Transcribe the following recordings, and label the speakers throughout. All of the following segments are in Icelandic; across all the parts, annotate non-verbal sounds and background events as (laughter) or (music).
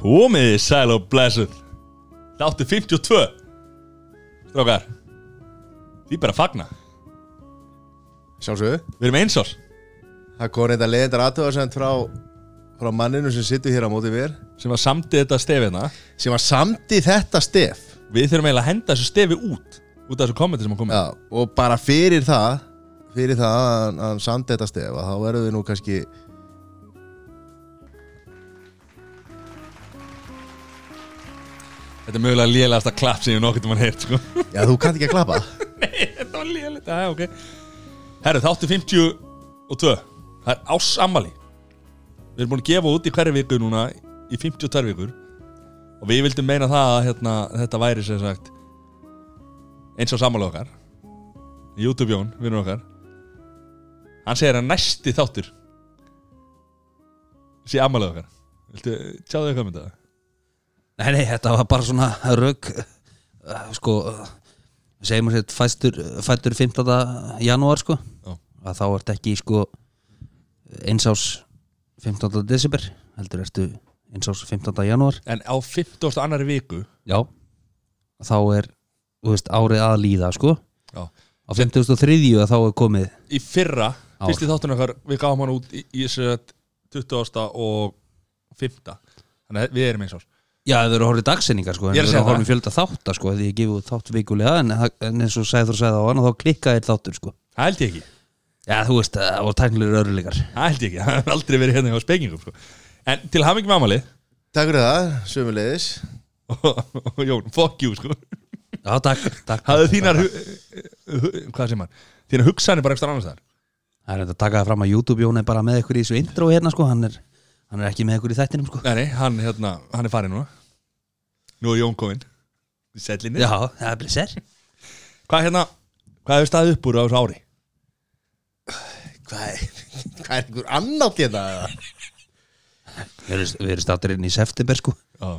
Speaker 1: Komiði sæl og blessuð Þáttu 52 Strákar Því bara fagna
Speaker 2: Sjálfsögðu,
Speaker 1: Við erum einsál
Speaker 2: það kom reynda leiðindar aðtöðarsend frá, frá manninu sem sittur hér á móti við er
Speaker 1: Sem að samdi þetta stefina
Speaker 2: sem var samt í þetta stef
Speaker 1: Við þurfum eiginlega að henda þessu stefi út Út af þessu kommenti sem að koma
Speaker 2: Já, og bara fyrir það fyrir það að hann- að hann samt þetta stef að þá verðum við nú kannski
Speaker 1: Þetta er mögulega lélegasta klapp sem ég hef nokkuð mann heyrt sko.
Speaker 2: Já, þú kannt ekki að klappa
Speaker 1: Nei, (laughs) þetta var lélegt Það er ok Herru, þáttu 52 Það er ásammali Við erum búin að gefa út í hverju viku núna Í 52 vikur Og við vildum meina það að hérna, þetta væri sem sagt Eins og sammali okkar YouTube Jón, vinnur okkar Hann segir að næsti þáttur Sé ammali okkar Viltu, tjáðu eitthvað um mynda það?
Speaker 3: Nei, nei, þetta var bara svona rauk sko segjum að þetta fæstur, fættur 15. janúar sko
Speaker 1: Já.
Speaker 3: að þá ertu ekki sko einsás 15. desember heldur ertu einsás 15. janúar
Speaker 1: En á 50. annari viku
Speaker 3: já þá er, þú veist, árið að líða sko á
Speaker 1: Já
Speaker 3: 53. að þá er komið
Speaker 1: í fyrra
Speaker 3: Ár.
Speaker 1: fyrsti þáttunum okkar við gáum hann út í, í þessu að 20. og 5. þannig að við erum eins og
Speaker 3: Já, það eru horfið dagsinningar sko, en
Speaker 1: Ég er að
Speaker 3: það
Speaker 1: segja
Speaker 3: eru
Speaker 1: það.
Speaker 3: horfið fjölda þátta sko, því ég gefið út þátt vikulega en, það- en eins og sæður sæða á hann þá klikkaðir þáttur sko.
Speaker 1: það held ég ekki,
Speaker 3: Já, þú veist, eh, það voru tæknilegur örlíkar
Speaker 1: það held ég ekki (laughs) það hefur aldrei verið hérna á spengingum sko. en til hamingi með amalið
Speaker 2: Takk fyrir það, sömuleiðis
Speaker 1: (laughs) og Jón, fuck you sko
Speaker 3: Já, takk, takk
Speaker 1: hafðu þínar hu- hu- hvað sem hann, þínar hugsanir bara eitthvað annars þar
Speaker 3: Það er þetta að taka það fram að YouTube Jón er bara með ykkur í þessu intro hérna sko Hann er, hann er ekki með ykkur í þættinum sko
Speaker 1: nei, nei, hann, hérna, hann er farin núna nú er Jón kominn í sellinni,
Speaker 3: Já, það er blesser
Speaker 1: hvað hérna hvað hefur staðið upp úr á þessu ári
Speaker 2: Hvað er, hvað er einhver annátt hérna?
Speaker 3: Við erum- við erum státtir inn í september sko
Speaker 1: oh.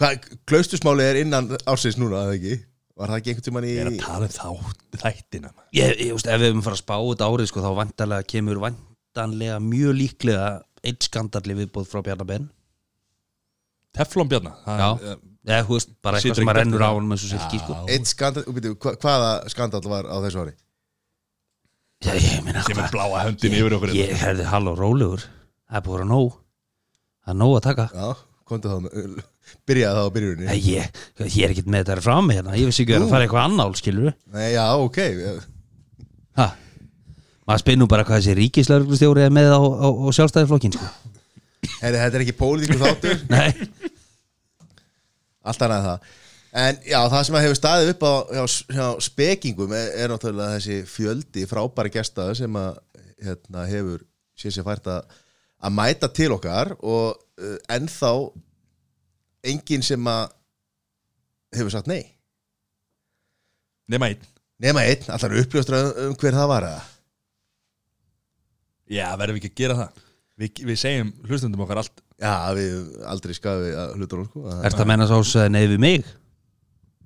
Speaker 2: Hvað, klaustusmáli er innan ársins núna, eða ekki? Var það ekki einhvern tímann í
Speaker 1: er að tala um þá þættina maður.
Speaker 3: Ég, ég veist, ef við erum að fara að spá þetta árið sko Þá vantarlega kemur vantanlega mjög líklega Eitt skandalli viðbúð frá Bjarna Ben
Speaker 1: Teflon Bjarna það
Speaker 3: Já,
Speaker 1: er, eh,
Speaker 3: eða þú veist, bara
Speaker 1: Situr
Speaker 3: eitthvað sem
Speaker 1: ekki
Speaker 3: að
Speaker 1: eftir
Speaker 3: rennur á
Speaker 1: það.
Speaker 3: hann með svo silki sko
Speaker 2: Eitt skandal, byrju, hva, hvaða skandal var á þessu ári?
Speaker 3: Já, ég meina
Speaker 1: sem er
Speaker 3: hvað
Speaker 1: bláa höndin yfir okkur hérna.
Speaker 3: Ég herði hall og rólegur Það er búin að vera nóg Það er nóg að taka
Speaker 2: Já, komdu þá með- Byrjaði þá á byrjuninni
Speaker 3: Nei, ég, ég er ekkert með þetta frá mig hérna Ég vissi ekki að vera að fara í eitthvað annál, skilur
Speaker 2: Nei, já, ok
Speaker 3: Ha? Maður spyr nú bara hvað þessi ríkislauglustjóri er með á, á, á sjálfstæðisflokkin sko.
Speaker 2: Heri, þetta er ekki pólitíkur þáttur,
Speaker 3: (laughs) Nei,
Speaker 2: allt annað en það En já, það sem hefur staðið upp á hjá, hjá spekingum er, er náttúrulega þessi fjöldi frábæri gestaður sem að hérna, hefur sér sér fært að, að mæta til okkar og uh, ennþá enginn sem að hefur sagt nei
Speaker 1: nema einn
Speaker 2: Nema einn, allar uppljóstra um, um hver það var eða
Speaker 1: Já, verðum við ekki að gera það Við, við segjum hlustundum okkar allt
Speaker 2: Já, við aldrei skafi að hlutur hún sko Það-
Speaker 3: ert að menna sá svo nei við mig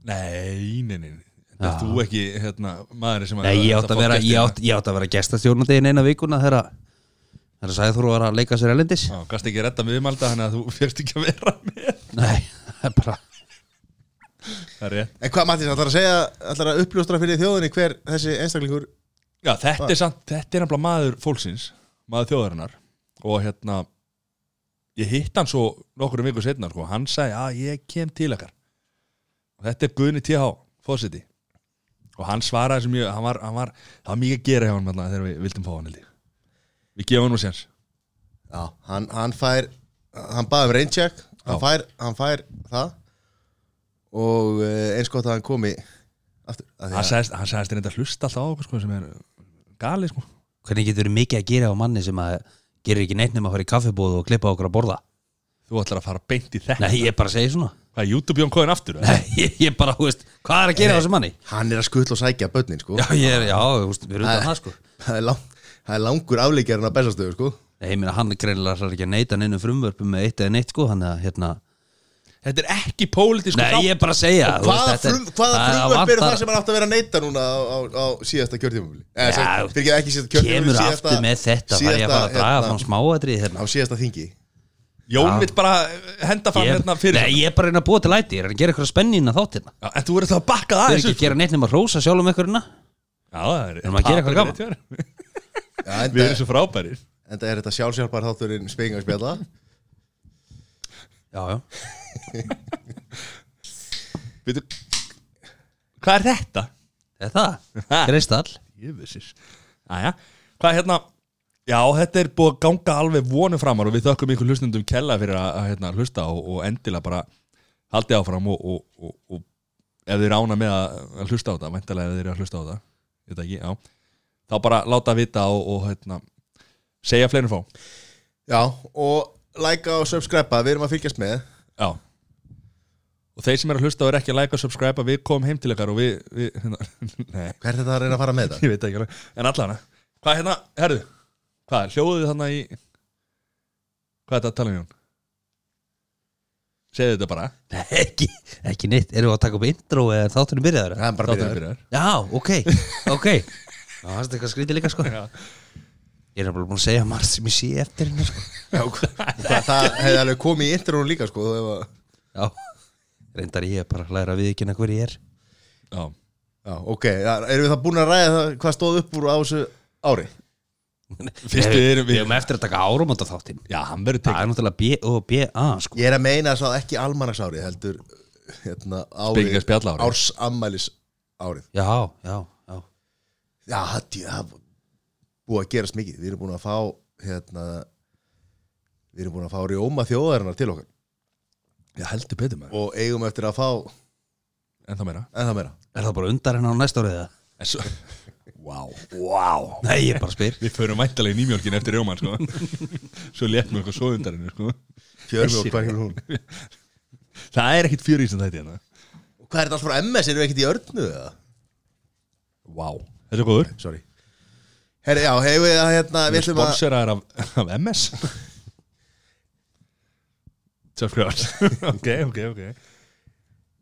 Speaker 1: Nei, nei, nei
Speaker 3: Já.
Speaker 1: Þetta þú ekki, hérna, maður sem
Speaker 3: Nei, ég átt að vera, ég
Speaker 1: gestina.
Speaker 3: átt, ég átt að vera gestastjórnandi inn eina vikuna þegar að- þegar að sagði þú var að leika sér elendis
Speaker 1: Já, gast ekki redda með viðmalda Þannig að þú (laughs) fyrst ekki að vera með
Speaker 3: Nei, (laughs) það er bara
Speaker 1: Það er rétt
Speaker 2: En hvað Mattis, allar að segja, allar að uppljóstra fyrir þjóðinni hver þessi einstaklingur
Speaker 1: Já, þetta er samt, þetta er nefnilega maður fólksins Maður þjóðarinnar Og hérna Ég hitt hann svo nokkur um viku setna sko. Hann sagði, að ég kem til okkar Og þetta er Guðni TH Fósiti Og hann svaraði sem ég, hann var, hann var Það var mikið að gera hjá hann þegar við vildum fá hann held ég. Við gefum hann nú séns
Speaker 2: Já, hann, hann fær hann baði um reyncheck hann
Speaker 1: Já.
Speaker 2: fær, hann fær það og eh, eins gott að hann komi aftur af því
Speaker 1: hann
Speaker 2: að-
Speaker 1: sagðist, hann sagðist reynda að hlusta alltaf á okkur sko, sem er gali sko.
Speaker 3: Hvernig getur þú mikið að gera á manni sem að gerir ekki neitt nema að fara í kaffibóð og klippa okkur að borða
Speaker 1: þú ætlar að fara beint í þetta
Speaker 3: Nei, ég bara segi svona
Speaker 1: hvað, YouTube Jón Kóðin aftur? eða?
Speaker 3: (laughs) Nei, (laughs) ég, ég bara, þú veist, hvað er að gera á þessu manni?
Speaker 2: hann er að skuttla og sækja börnin sko
Speaker 3: Já, ég er, já, þú veist, við erum utan það sko
Speaker 2: það, er lang, það er langur afleikjar en að bestastöðu sko
Speaker 3: Nei, ég meina hann greinilega ætlar ekki að neita neinum frumvörpum með eitt eða neitt sko, hann að hérna
Speaker 1: þetta er ekki pólitísku
Speaker 3: Nei, ég er bara að segja
Speaker 2: Sko, og hvaða, frum, hvaða frumvörp eru það sem hann átti að vera að neyta núna á, á, á síðasta kjörtímabili
Speaker 3: Já,
Speaker 2: eða sem, fyrir ekki síðasta hérna-
Speaker 3: Kemur
Speaker 2: kjörtímabili
Speaker 3: aftur með þetta, það er ég að fara að draga fram smáatrið hérna
Speaker 2: á síðasta þingi
Speaker 1: Jón vill bara henda fram
Speaker 3: ég,
Speaker 1: hérna fyrir
Speaker 3: nei, ég er bara að reyna að búa til læti Ég er að gera eitthvað spennina þáttina
Speaker 1: Já, En þú verður það að bakka
Speaker 3: hérna. Þau
Speaker 1: það sko.
Speaker 3: er ekki að gera neitt nema að rósa sjálfum einhverjuna
Speaker 1: Já, það er
Speaker 3: Erum að gera eitthvað gaman?
Speaker 1: gaman
Speaker 2: Já,
Speaker 1: Við
Speaker 2: enda,
Speaker 1: erum svo frábærir
Speaker 2: enda er þetta sjálfsjálfbar þátturinn spengarspjalla
Speaker 3: Já, já
Speaker 1: Veitu, Hvað er þetta?
Speaker 3: Þetta,
Speaker 1: Ha.
Speaker 3: greistall
Speaker 1: Jöfusir Æja, hvað er hérna Já, þetta er búið að ganga alveg vonu framar og við þökkum ykkur hlustundum kella fyrir að, að hérna, hlusta og, og endilega bara haldið áfram og, og, og, og ef þið rána með að, að hlusta á það væntalega ef þið eru að hlusta á það ég veit það ekki, já, þá bara láta vita og, og hérna, segja fleinu fá
Speaker 2: Já, og likea og subscribea, við erum að fylgjast með
Speaker 1: Já Og þeir sem eru að hlusta og eru ekki að like og subscribe að við komum heim til ykkar og við, við hérna, (laughs) Nei,
Speaker 2: Hvað er þetta að reyna að fara með þetta?
Speaker 1: ég veit ekki alveg En allavega, hvað hérna, herðu Hvað, hljóðuðu þarna í Hvað er þetta að tala um Jón? Segðu þetta bara
Speaker 3: Nei, ekki, ekki neitt, erum við að taka upp intro eða er þátturinn byrjaður?
Speaker 2: Það er bara
Speaker 1: Þátturinn
Speaker 2: byrjaður.
Speaker 1: byrjar
Speaker 3: Já, ok, ok
Speaker 2: (laughs)
Speaker 3: Já, það er eitthvað skrítið líka sko Ég er bara búin að segja margt sem ég sé eftir hennar sko
Speaker 2: (laughs) Það, það hefði alveg komið í intro líka sko ef að-
Speaker 3: Já, reyndar ég bara að læra við ekki hver ég er
Speaker 1: Já,
Speaker 2: Já, ok, já, erum við það búin að ræða það, hvað stóð upp úr á þessu ári?
Speaker 1: Fyrst við erum- við-
Speaker 3: Við erum eftir að taka árumönda þáttinn
Speaker 1: já hann verður
Speaker 3: Það
Speaker 1: tekið
Speaker 3: er náttúrulega B og BA sko
Speaker 2: Ég er að meina það ekki almanaksári heldur hérna, ári,
Speaker 1: Spekingarspjalla árið.
Speaker 2: ársammælis árið
Speaker 3: Já, já, já
Speaker 2: Já, það djú- það er búið að gerast mikið Við erum búin að fá hérna, við erum búin að fá rjóma þjóðarinnar til okkar
Speaker 1: Já, heldur betur maður
Speaker 2: og eigum eftir að fá
Speaker 1: En það meira
Speaker 2: en það meira
Speaker 3: Er það bara undar hennar á næsta árið það?
Speaker 1: En svo (laughs) Vá, vá
Speaker 3: Nei, ég bara spyr
Speaker 1: Við förum væntalega í nýmjólkin eftir rjóman sko (laughs) Svo léttum við eitthvað svo undarinn sko
Speaker 2: Fjörmjók, hvað er hún?
Speaker 1: Það er ekkit fjör í sem þetta hérna
Speaker 2: Hvað er þetta alls frá MS? Erum við ekkert í örnu? eða?
Speaker 1: Vá, þetta er góður
Speaker 2: Sorry Herri, já, hefur við að hérna,
Speaker 1: Við
Speaker 2: við
Speaker 1: erum
Speaker 2: ætlum að
Speaker 1: sponsoraðar af, af (laughs) MS Subscribers (laughs) Ok, ok, ok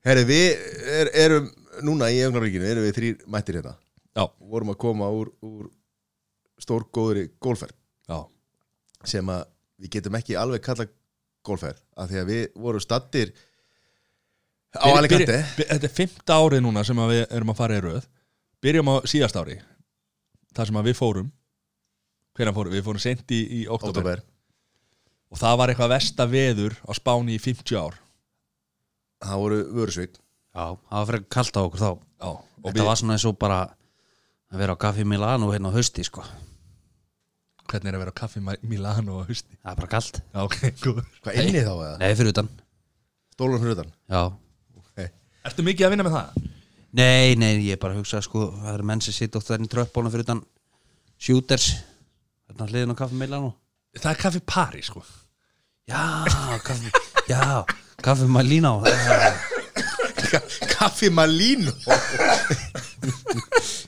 Speaker 2: Herri, við er, erum núna í augnabríkinu, erum við þrýr mættir hérna
Speaker 1: Já,
Speaker 2: vorum að koma úr, úr stórgóðri gólferð
Speaker 1: já,
Speaker 2: sem að við getum ekki alveg kalla gólferð af því að við vorum stattir á
Speaker 1: Byrj-
Speaker 2: Alicante
Speaker 1: byrj- byrj- Þetta er fimmta árið núna sem að við erum að fara í röð Byrjum á síðast ári þar sem að við fórum Hvernig fórum? við? Við fórum sent í, í oktober.
Speaker 2: oktober,
Speaker 1: Og það var eitthvað versta veður á Spáni í 50 ár
Speaker 2: það voru vörusvik
Speaker 3: (laughs) Já, það var fyrir kalt á okkur þá
Speaker 1: Já, og
Speaker 3: Þetta
Speaker 1: við,
Speaker 3: var svona eins og bara að vera á Gaffi Milano hérna á hausti sko
Speaker 1: hvernig er að vera á kaffi í Milano á hausti?
Speaker 3: Það er bara kalt
Speaker 1: Já, ok, (laughs) góður
Speaker 2: Hvað inni þá eða?
Speaker 3: Nei, fyrir utan
Speaker 2: Stólum fyrir utan
Speaker 3: Já
Speaker 2: hey.
Speaker 1: Ertu mikið að vinna með það?
Speaker 3: Nei, nei, ég bara hugsa sko Það eru menn sem sitt ofta þarna í tröppbónu fyrir utan Shooters Þarna hliðin á Kaffi Milano
Speaker 1: Það er kaffi Paris, sko
Speaker 3: Já, Kaffi (laughs) Já, Kaffi Milano Já,
Speaker 2: Kaffi Malino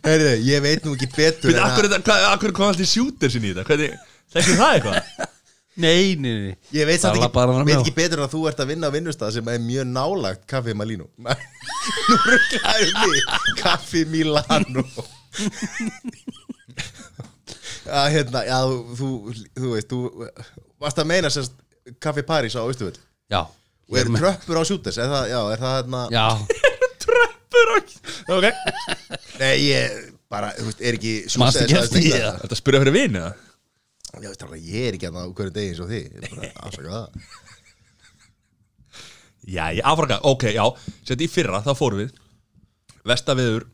Speaker 2: Herri, ég veit nú ekki betur
Speaker 1: Býtu,
Speaker 2: en að-
Speaker 1: akkur, þetta- hvað- akkur kom alltaf sjúter sinni í þetta? Hvernig, þekkir það eitthvað? (laughs)
Speaker 3: Nei, nei, nei
Speaker 2: Ég veit samt
Speaker 3: Það
Speaker 2: ekki,
Speaker 3: labbaði hann að
Speaker 2: veit
Speaker 3: mjá.
Speaker 2: ekki betur en að þú ert að vinna á vinnustað sem er mjög nálagt Kaffi Malino (laughs) Nú rugglaði mig Kaffi Milano (laughs) Já, hérna, já, þú, þú, þú veist, þú varst að meina sérst Kaffi París á Ístufull
Speaker 3: Já
Speaker 2: og eru tröppur á sjútes, er það, já, er það hérna
Speaker 3: Já,
Speaker 1: Tröppur og... Ok
Speaker 2: Nei, ég, bara, þú veist, er ekki
Speaker 3: Manstu ekki eftir því,
Speaker 2: Já,
Speaker 3: eða?
Speaker 1: Þetta spyrja fyrir vini eða?
Speaker 2: þú veist, alveg, ég er ekki hérna á hverju degi eins og þið, Ég er bara, afsaka það
Speaker 1: Já, já, afraka, ok, já Sett í fyrra, þá fórum við Vestaviður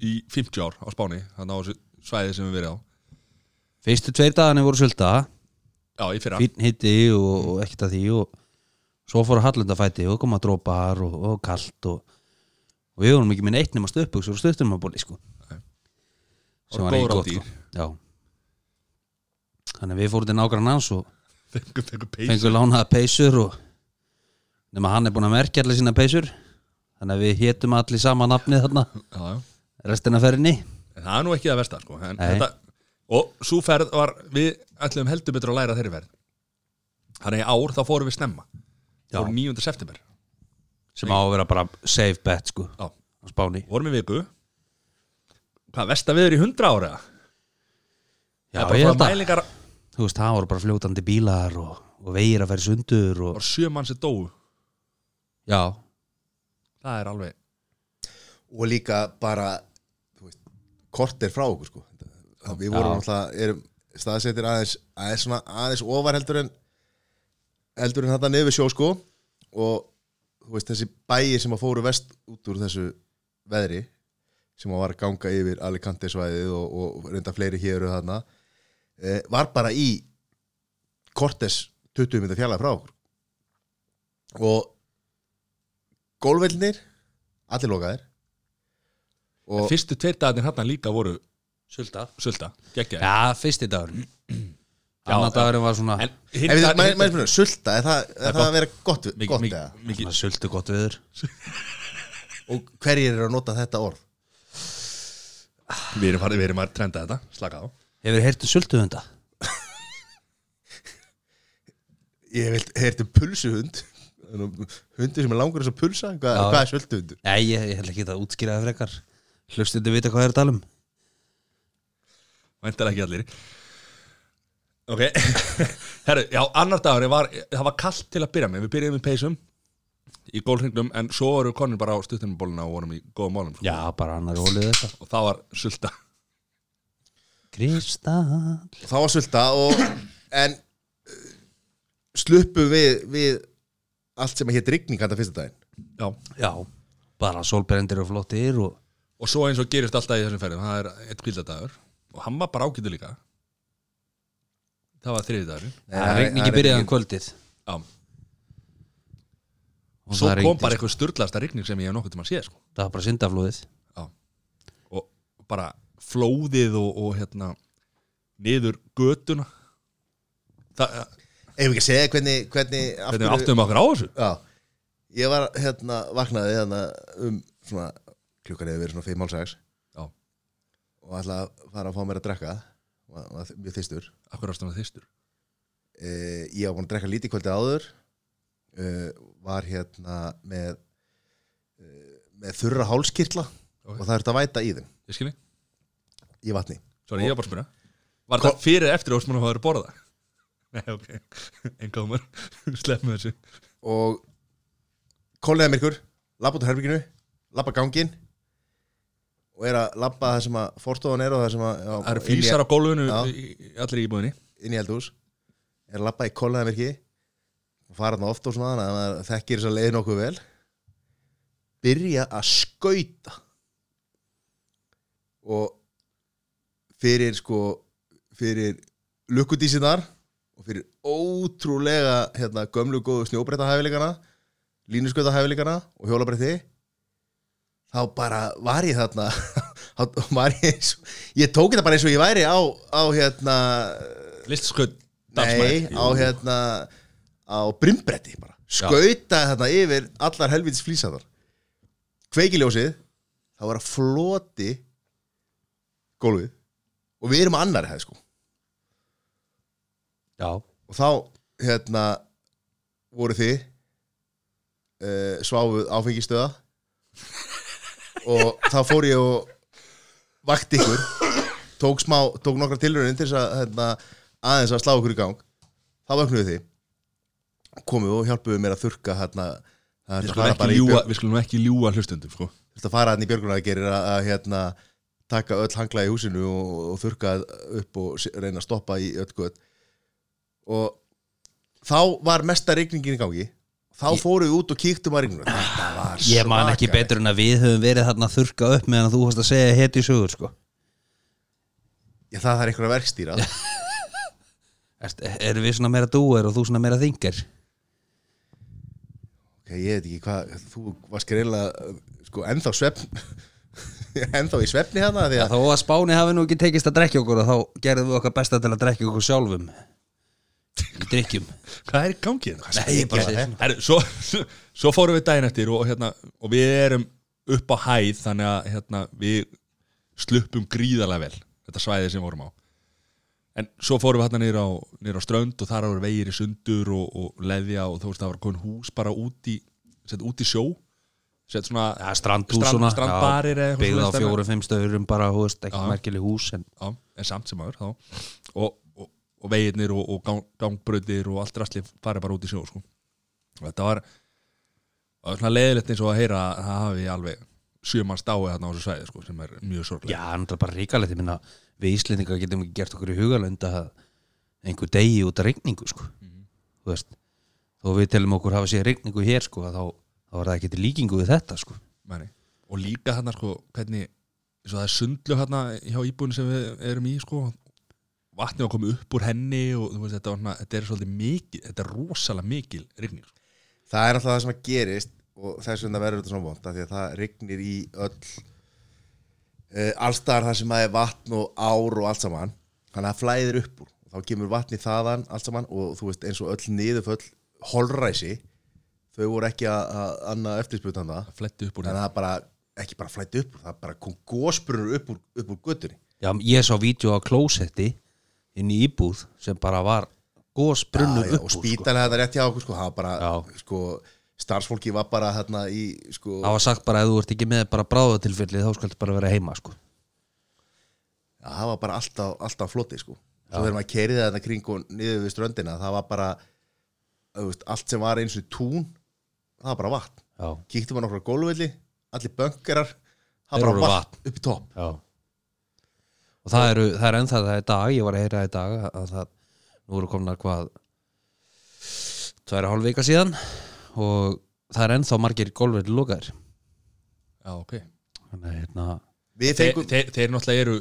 Speaker 1: í 50 ár á Spáni Þannig á þessu svæði sem við verið á
Speaker 3: fyrstu tveir dagarnir voru sulta
Speaker 1: Já, í fyrra
Speaker 3: fín hitti og, og ekkert að því og svo fóru hallundafæti og koma drópar og, og kalt og, og við vorum ekki með neitt nema stöpbuksur og stöttumabóli sko sem
Speaker 1: Voru
Speaker 3: var ekki
Speaker 1: góðar á
Speaker 3: gott
Speaker 1: dýr.
Speaker 3: sko. Já. þannig að við fórum til nágrann hans og
Speaker 1: Fengum, fengum peys
Speaker 3: fengum lánaða peysur og nema hann er búin að merkja allir sína peysur þannig að við hétum allir sama nafnið þarna
Speaker 1: Já, já
Speaker 3: restina ferðinni
Speaker 1: En það er nú ekki það versta, sko en,
Speaker 3: Nei.
Speaker 1: þetta, Og svo ferð var Við ætlum heldur betur að læra þeirri ferð Þannig í ár, þá fórum við snemma
Speaker 3: Já.
Speaker 1: Fórum 9. september
Speaker 3: sem á að vera bara safe bet sko
Speaker 1: Já,
Speaker 3: á Spáni
Speaker 1: vorum í viku Hvað, Vestaviður í 100 ára?
Speaker 3: Já,
Speaker 1: það er
Speaker 3: ég
Speaker 1: bara
Speaker 3: held
Speaker 1: frá
Speaker 3: að
Speaker 1: mælingar
Speaker 3: þú veist, það voru bara fljótandi bílar og, og vegir að færi sundur og,
Speaker 1: bara sjö mann sem dóu
Speaker 3: já,
Speaker 1: það er alveg
Speaker 2: og líka bara þú veist, kortir frá okkur sko. Það- við vorum
Speaker 3: Já.
Speaker 2: alltaf erum staðsettir aðeins aðeins, svona, aðeins ofar heldur en heldur en þetta nefið sjó sko og þú veist þessi bæi sem að fóru vest út úr þessu veðri sem að var að ganga yfir Alicante svæðið og, og reynda fleiri hér og þarna e, var bara í Cortes 20 minna fjallaði frá okkur og gólvelnir allir lokaðir
Speaker 1: En
Speaker 2: og
Speaker 1: fyrstu tveir dagarnir hann líka voru
Speaker 3: sulta
Speaker 1: sulta, geggja
Speaker 3: já, fyrsti dagur (clears throat) annar
Speaker 1: já.
Speaker 3: dagurinn var svona,
Speaker 1: en
Speaker 2: Ef við- maður- maður spyrir, sulta, er það, er það að vera gott, gott
Speaker 1: mikið
Speaker 2: eða?
Speaker 1: miki,
Speaker 3: svona sultu gott viður
Speaker 2: og hverjir eru að nota þetta orð
Speaker 1: við erum farið, við erum að trenda þetta slaka á
Speaker 3: hefur heyrtu sultu hunda
Speaker 2: ég hef heyrt um pulsuhund hundur sem er langur eins og pulsa hvað,
Speaker 3: Já.
Speaker 2: hvað er sultuhundur?
Speaker 3: nei, ég, ég held ekki það útskýraði frekar hlustu þetta vita hvað það er að tala um
Speaker 1: væntar ekki allir ok (laughs) herru, já, annar dagur var, það var kallt til að byrja með, við byrjum með peysum í gólhringnum, en svo eru konir bara á stuttunumbóluna og vorum í góðum málum sko.
Speaker 3: já, bara annar ólið þetta
Speaker 1: og það var sulta
Speaker 3: Kristall
Speaker 2: það var sulta og en eh, sluppu við, við allt sem hétt rigning hann fyrsta daginn
Speaker 1: já.
Speaker 3: já, bara sólbrendir og flottir og
Speaker 1: og svo eins og gerist alltaf í þessum ferðum það er eitt kvíldadagur og hann var bara ágætu líka það var þriði dagur
Speaker 3: það er
Speaker 2: það
Speaker 3: regningi
Speaker 2: er
Speaker 3: byrjaðan um kvöldið
Speaker 1: já,
Speaker 3: og
Speaker 1: svo kom
Speaker 3: það rigndi,
Speaker 1: bara
Speaker 3: sko.
Speaker 1: eitthvað styrlaðasta rigning sem ég hef nokkuð til maður séð sko.
Speaker 3: það var bara syndaflóðið
Speaker 1: Já. og bara flóðið og, og hérna niður götuna það,
Speaker 2: ef við ekki að segja hvernig, hvernig,
Speaker 1: hvernig
Speaker 2: af hverju-
Speaker 1: við áttum okkur á þessu
Speaker 2: já, ég var hérna vaknaði hérna um svona klukkan hefur verið svona 5.30
Speaker 1: já,
Speaker 2: og ætlaði að fara að fá mér að drekka var, var mjög þystur
Speaker 1: okkur ástum að þýstur
Speaker 2: uh, ég var búin að drekka lítið kvöldið áður uh, var hérna með uh, með þurra hálskirtla
Speaker 1: Ok.
Speaker 2: og það er þetta að væta í þeim
Speaker 1: ég skilji,
Speaker 2: í vatni
Speaker 1: sorry, ég var bara að spyrja var það fyrir eða eftir ósmunum að það eru borða nei, ok, en komur slepp með þessu
Speaker 2: og kollega myrkur labba út á herbygginu, labba gangin og er að labba það sem að forstofan er og það sem að já,
Speaker 1: það eru
Speaker 2: inn í-
Speaker 1: físar á gólfinu
Speaker 2: Já.
Speaker 1: í- í- allir í íbúðinni
Speaker 2: inn í eldhús er að labba í kollegaverki og fara þarna oft og svona þannig að maður þekkir þess að leiði nokkuð vel byrja að skauta og fyrir sko fyrir lukkudísinar og fyrir ótrúlega hérna, gömlu góðu snjóbreyta hæfileikana línuskauta hæfileikana og hjólabreyti þá bara var ég þarna (laughs) þá var ég eins og ég tók þetta bara eins og ég væri á, á hérna
Speaker 1: listskutt
Speaker 2: Nei, á hérna á brimbretti bara skauta þarna yfir allar helvitis flýsaðar kveikiljósið það var að floti gólfið og við erum á annari hæð sko
Speaker 3: já,
Speaker 2: og þá hérna voru þið uh, sváfuð áfengistöða og þá fór ég og vakti ykkur tók smá, tók nokkra tilraunin til þess að hérna, aðeins að slá ykkur í gang þá vöknuðu þið komu og hjálpuðu mér að þurka hérna, það
Speaker 1: við skulum
Speaker 2: þurfti að fara
Speaker 1: ekki
Speaker 2: bara í
Speaker 1: ljúga-
Speaker 2: björg-
Speaker 1: við skulum ekki ljúa hlustundum sko.
Speaker 2: þurfti að fara hérna í björgunaragerir að, að hérna taka öll hangla í húsinu og, og þurka upp og s- reyna að stoppa í öll gött og þá var mesta rigningin í gangi þá fórum við út og kíktum að rigninguna þetta var
Speaker 3: Ah, ég man ekki
Speaker 2: svakalegt.
Speaker 3: betur en að við höfum verið þarna að þurka upp meðan þú varst að segja heti sögur sko
Speaker 2: Já, það þarf einhverja verkstýra
Speaker 3: Erst, erum við svona meira dúer og þú svona meira þingar
Speaker 2: ok, ég veit ekki hvað, þú varst greinlega sko ennþá svefn (laughs) ennþá í svefni hana því að
Speaker 3: þó að Spáni hafi nú ekki tekist að drekja okkur þá gerðum við okkar besta til að drekja okkur sjálfum í drikkjum
Speaker 1: hvað er í gangi þetta?
Speaker 3: Nei, ég bara segi svona.
Speaker 1: Heru, svo, svo- svo fórum við daginn eftir og, hérna, og við erum upp á hæð þannig að hérna, við sluppum gríðarlega vel þetta svæði sem við vorum á en svo fórum við hérna niður á, niður á strönd og þar voru vegir í sundur og, og leðja og þú veist það var komin hús bara út í, sett út í sjó sett svona
Speaker 3: (laughs) ja, strandhús
Speaker 1: Strand-
Speaker 3: svona
Speaker 1: strandbarir eða
Speaker 3: já,
Speaker 1: eitthvað
Speaker 3: byggð á
Speaker 1: svoleiðis dæmi.
Speaker 3: fjórum, fimm stöðurum bara, hú veist, ekki
Speaker 1: Já.
Speaker 3: merkileg hús en
Speaker 1: já, en samt sem aður þá og, og, og veginir og, og gang, gangbröðir og allt rastli farið bara út í sjó sko. Og þetta var, var svona leiðilegt eins og að heyra að það hafi alveg sjömann stái þarna á þessu svæði sko, sem er mjög sorglega
Speaker 3: Já, það er náttúrulega bara ríkalegt, ég minna við Íslendingar getum ekki gert okkur í hugalönd að einhver degi út af rigningu sko. þú veist þó við telum okkur hafa séð rigningu hér sko, að þá, þá var það ekki til líkingu við þetta sko.
Speaker 1: Mæni. og líka þarna sko hvernig eins og það er sundlu þarna hjá íbúinu sem við erum í sko vatnið var komið upp úr henni og þú veist þetta, var, svona- þetta er svolítið mikil þetta er rosalega mikil rigning sko.
Speaker 2: það er alltaf það sem að gerist og þess vegna verður þetta svona vond af því að það rignir í öll uh, allstaðar þar sem að er vatn og ár og allt saman þannig að það flæðir upp úr þá kemur vatni þaðan allt saman og þú veist eins og öll niðurföll holræsi þau voru ekki að, að annað eftirspjötan það
Speaker 1: það fletti upp úr
Speaker 2: þannig
Speaker 1: henni
Speaker 2: að það bara ekki bara flætti upp úr það bara kom gósbrunur upp úr, upp úr göttunni
Speaker 3: Já, ég sá vídeo á klósetti inn í íbúð sem bara var gósbrunnur
Speaker 2: Já, já,
Speaker 3: upp
Speaker 2: og
Speaker 3: úr sko.
Speaker 2: spítan þetta rétt hjá okkur sko, það var bara,
Speaker 3: Já.
Speaker 2: sko, starfsfólki var bara hérna í, sko,
Speaker 3: Það var sagt bara að þú ert ekki með bara bráðatilfelli þá skaltu bara vera heima sko.
Speaker 2: Já, það var bara alltaf, alltaf flotti sko. Svo þegar maður keiriði þetta kring og niður við ströndina, það var bara þú veist, allt sem var eins og tún það var bara vatn.
Speaker 3: Já,
Speaker 2: Kíktum við nokkra gólfvelli, allir bönkarar það
Speaker 3: Þeir
Speaker 2: var
Speaker 3: voru
Speaker 2: bara vatn, upp í topp.
Speaker 3: já Og það eru, það eru ennþá það í dag ég var að heyra það í dag að- að það nú eru komna hvað tværi hálf vika síðan og það er ennþá margir gólfið lokaðir
Speaker 1: já, okay.
Speaker 3: Þannig að hérna
Speaker 2: Við
Speaker 1: þeir,
Speaker 2: fengum,
Speaker 1: þeir, þeir náttúrulega eru,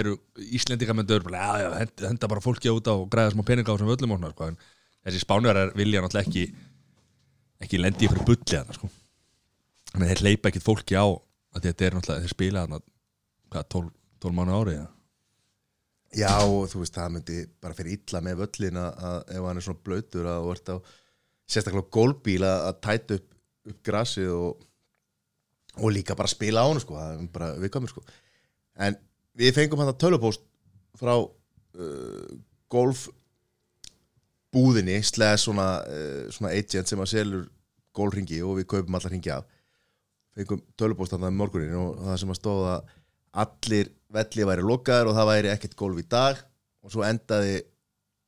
Speaker 1: eru Íslendingamöndur já, já, henda, henda bara fólki út á og græða smá peninga á sem völlum orna, sko. en þessi spánverðar vilja náttúrulega ekki ekki lendi fyrir bulli hana sko. en þeir hleypa ekkit fólki á að þetta er náttúrulega, þeir spila hana hvað, 12, 12 mánu árið ja.
Speaker 2: já, og þú veist, það myndi bara fyrir illa með völlin að, að ef hann er svona blöytur að þú ert á sérstaklega á gólbíl að, að tæta upp, upp grasið og, og líka bara spila á hann sko, það er bara viðkvæmur sko. en við fengum hann að tölupóst frá uh, golf búðinni slega svona, uh, svona agent sem að selur golfringi og við kaupum allar ringi af fengum tölupóst hann það morgunin um og það sem að stóða allir velli væri lokaður og það væri ekkert golf í dag og svo endaði,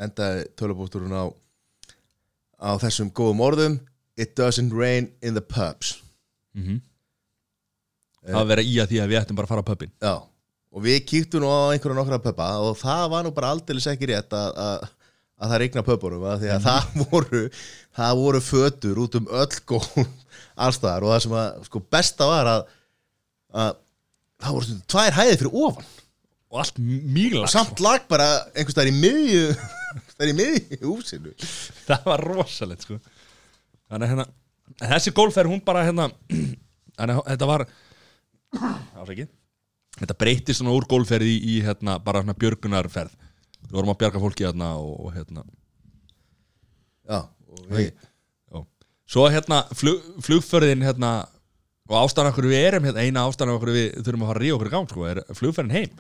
Speaker 2: endaði tölupósturinn á á þessum góðum orðum It doesn't rain in the pubs
Speaker 1: mm það verða í að því að við ættum bara að fara á pöppin
Speaker 2: Já, og við kýttum nú á einhverja nokkra pöpa og það var nú bara aldeilis ekki rétt að, að, að það regna pöpunum að því að það voru það voru fötur út um öll gólf allstaðar og það sem að sko besta var að, að það voru stundum tvær hæðið fyrir ofan
Speaker 1: og allt mýla
Speaker 2: og samt lag bara einhvers staðar í miðju (laughs) einhvers staðar í miðju húsinu
Speaker 1: (laughs) það var rosalegt sko þannig að hérna en þessi golfer hún bara hérna (clears throat) þannig að þetta var afsækið þetta breytist svona úr golferð í, í hérna bara hérna björgunarferð við vorum að bjarga fólki hérna og, og hérna
Speaker 2: Já, og við
Speaker 1: já. svo hérna flug, flugferðin hérna og ástæðan okkur við erum hérna eina ástæðan okkur við þurfum að fara að ríða okkur í gang sko er flugferðin heim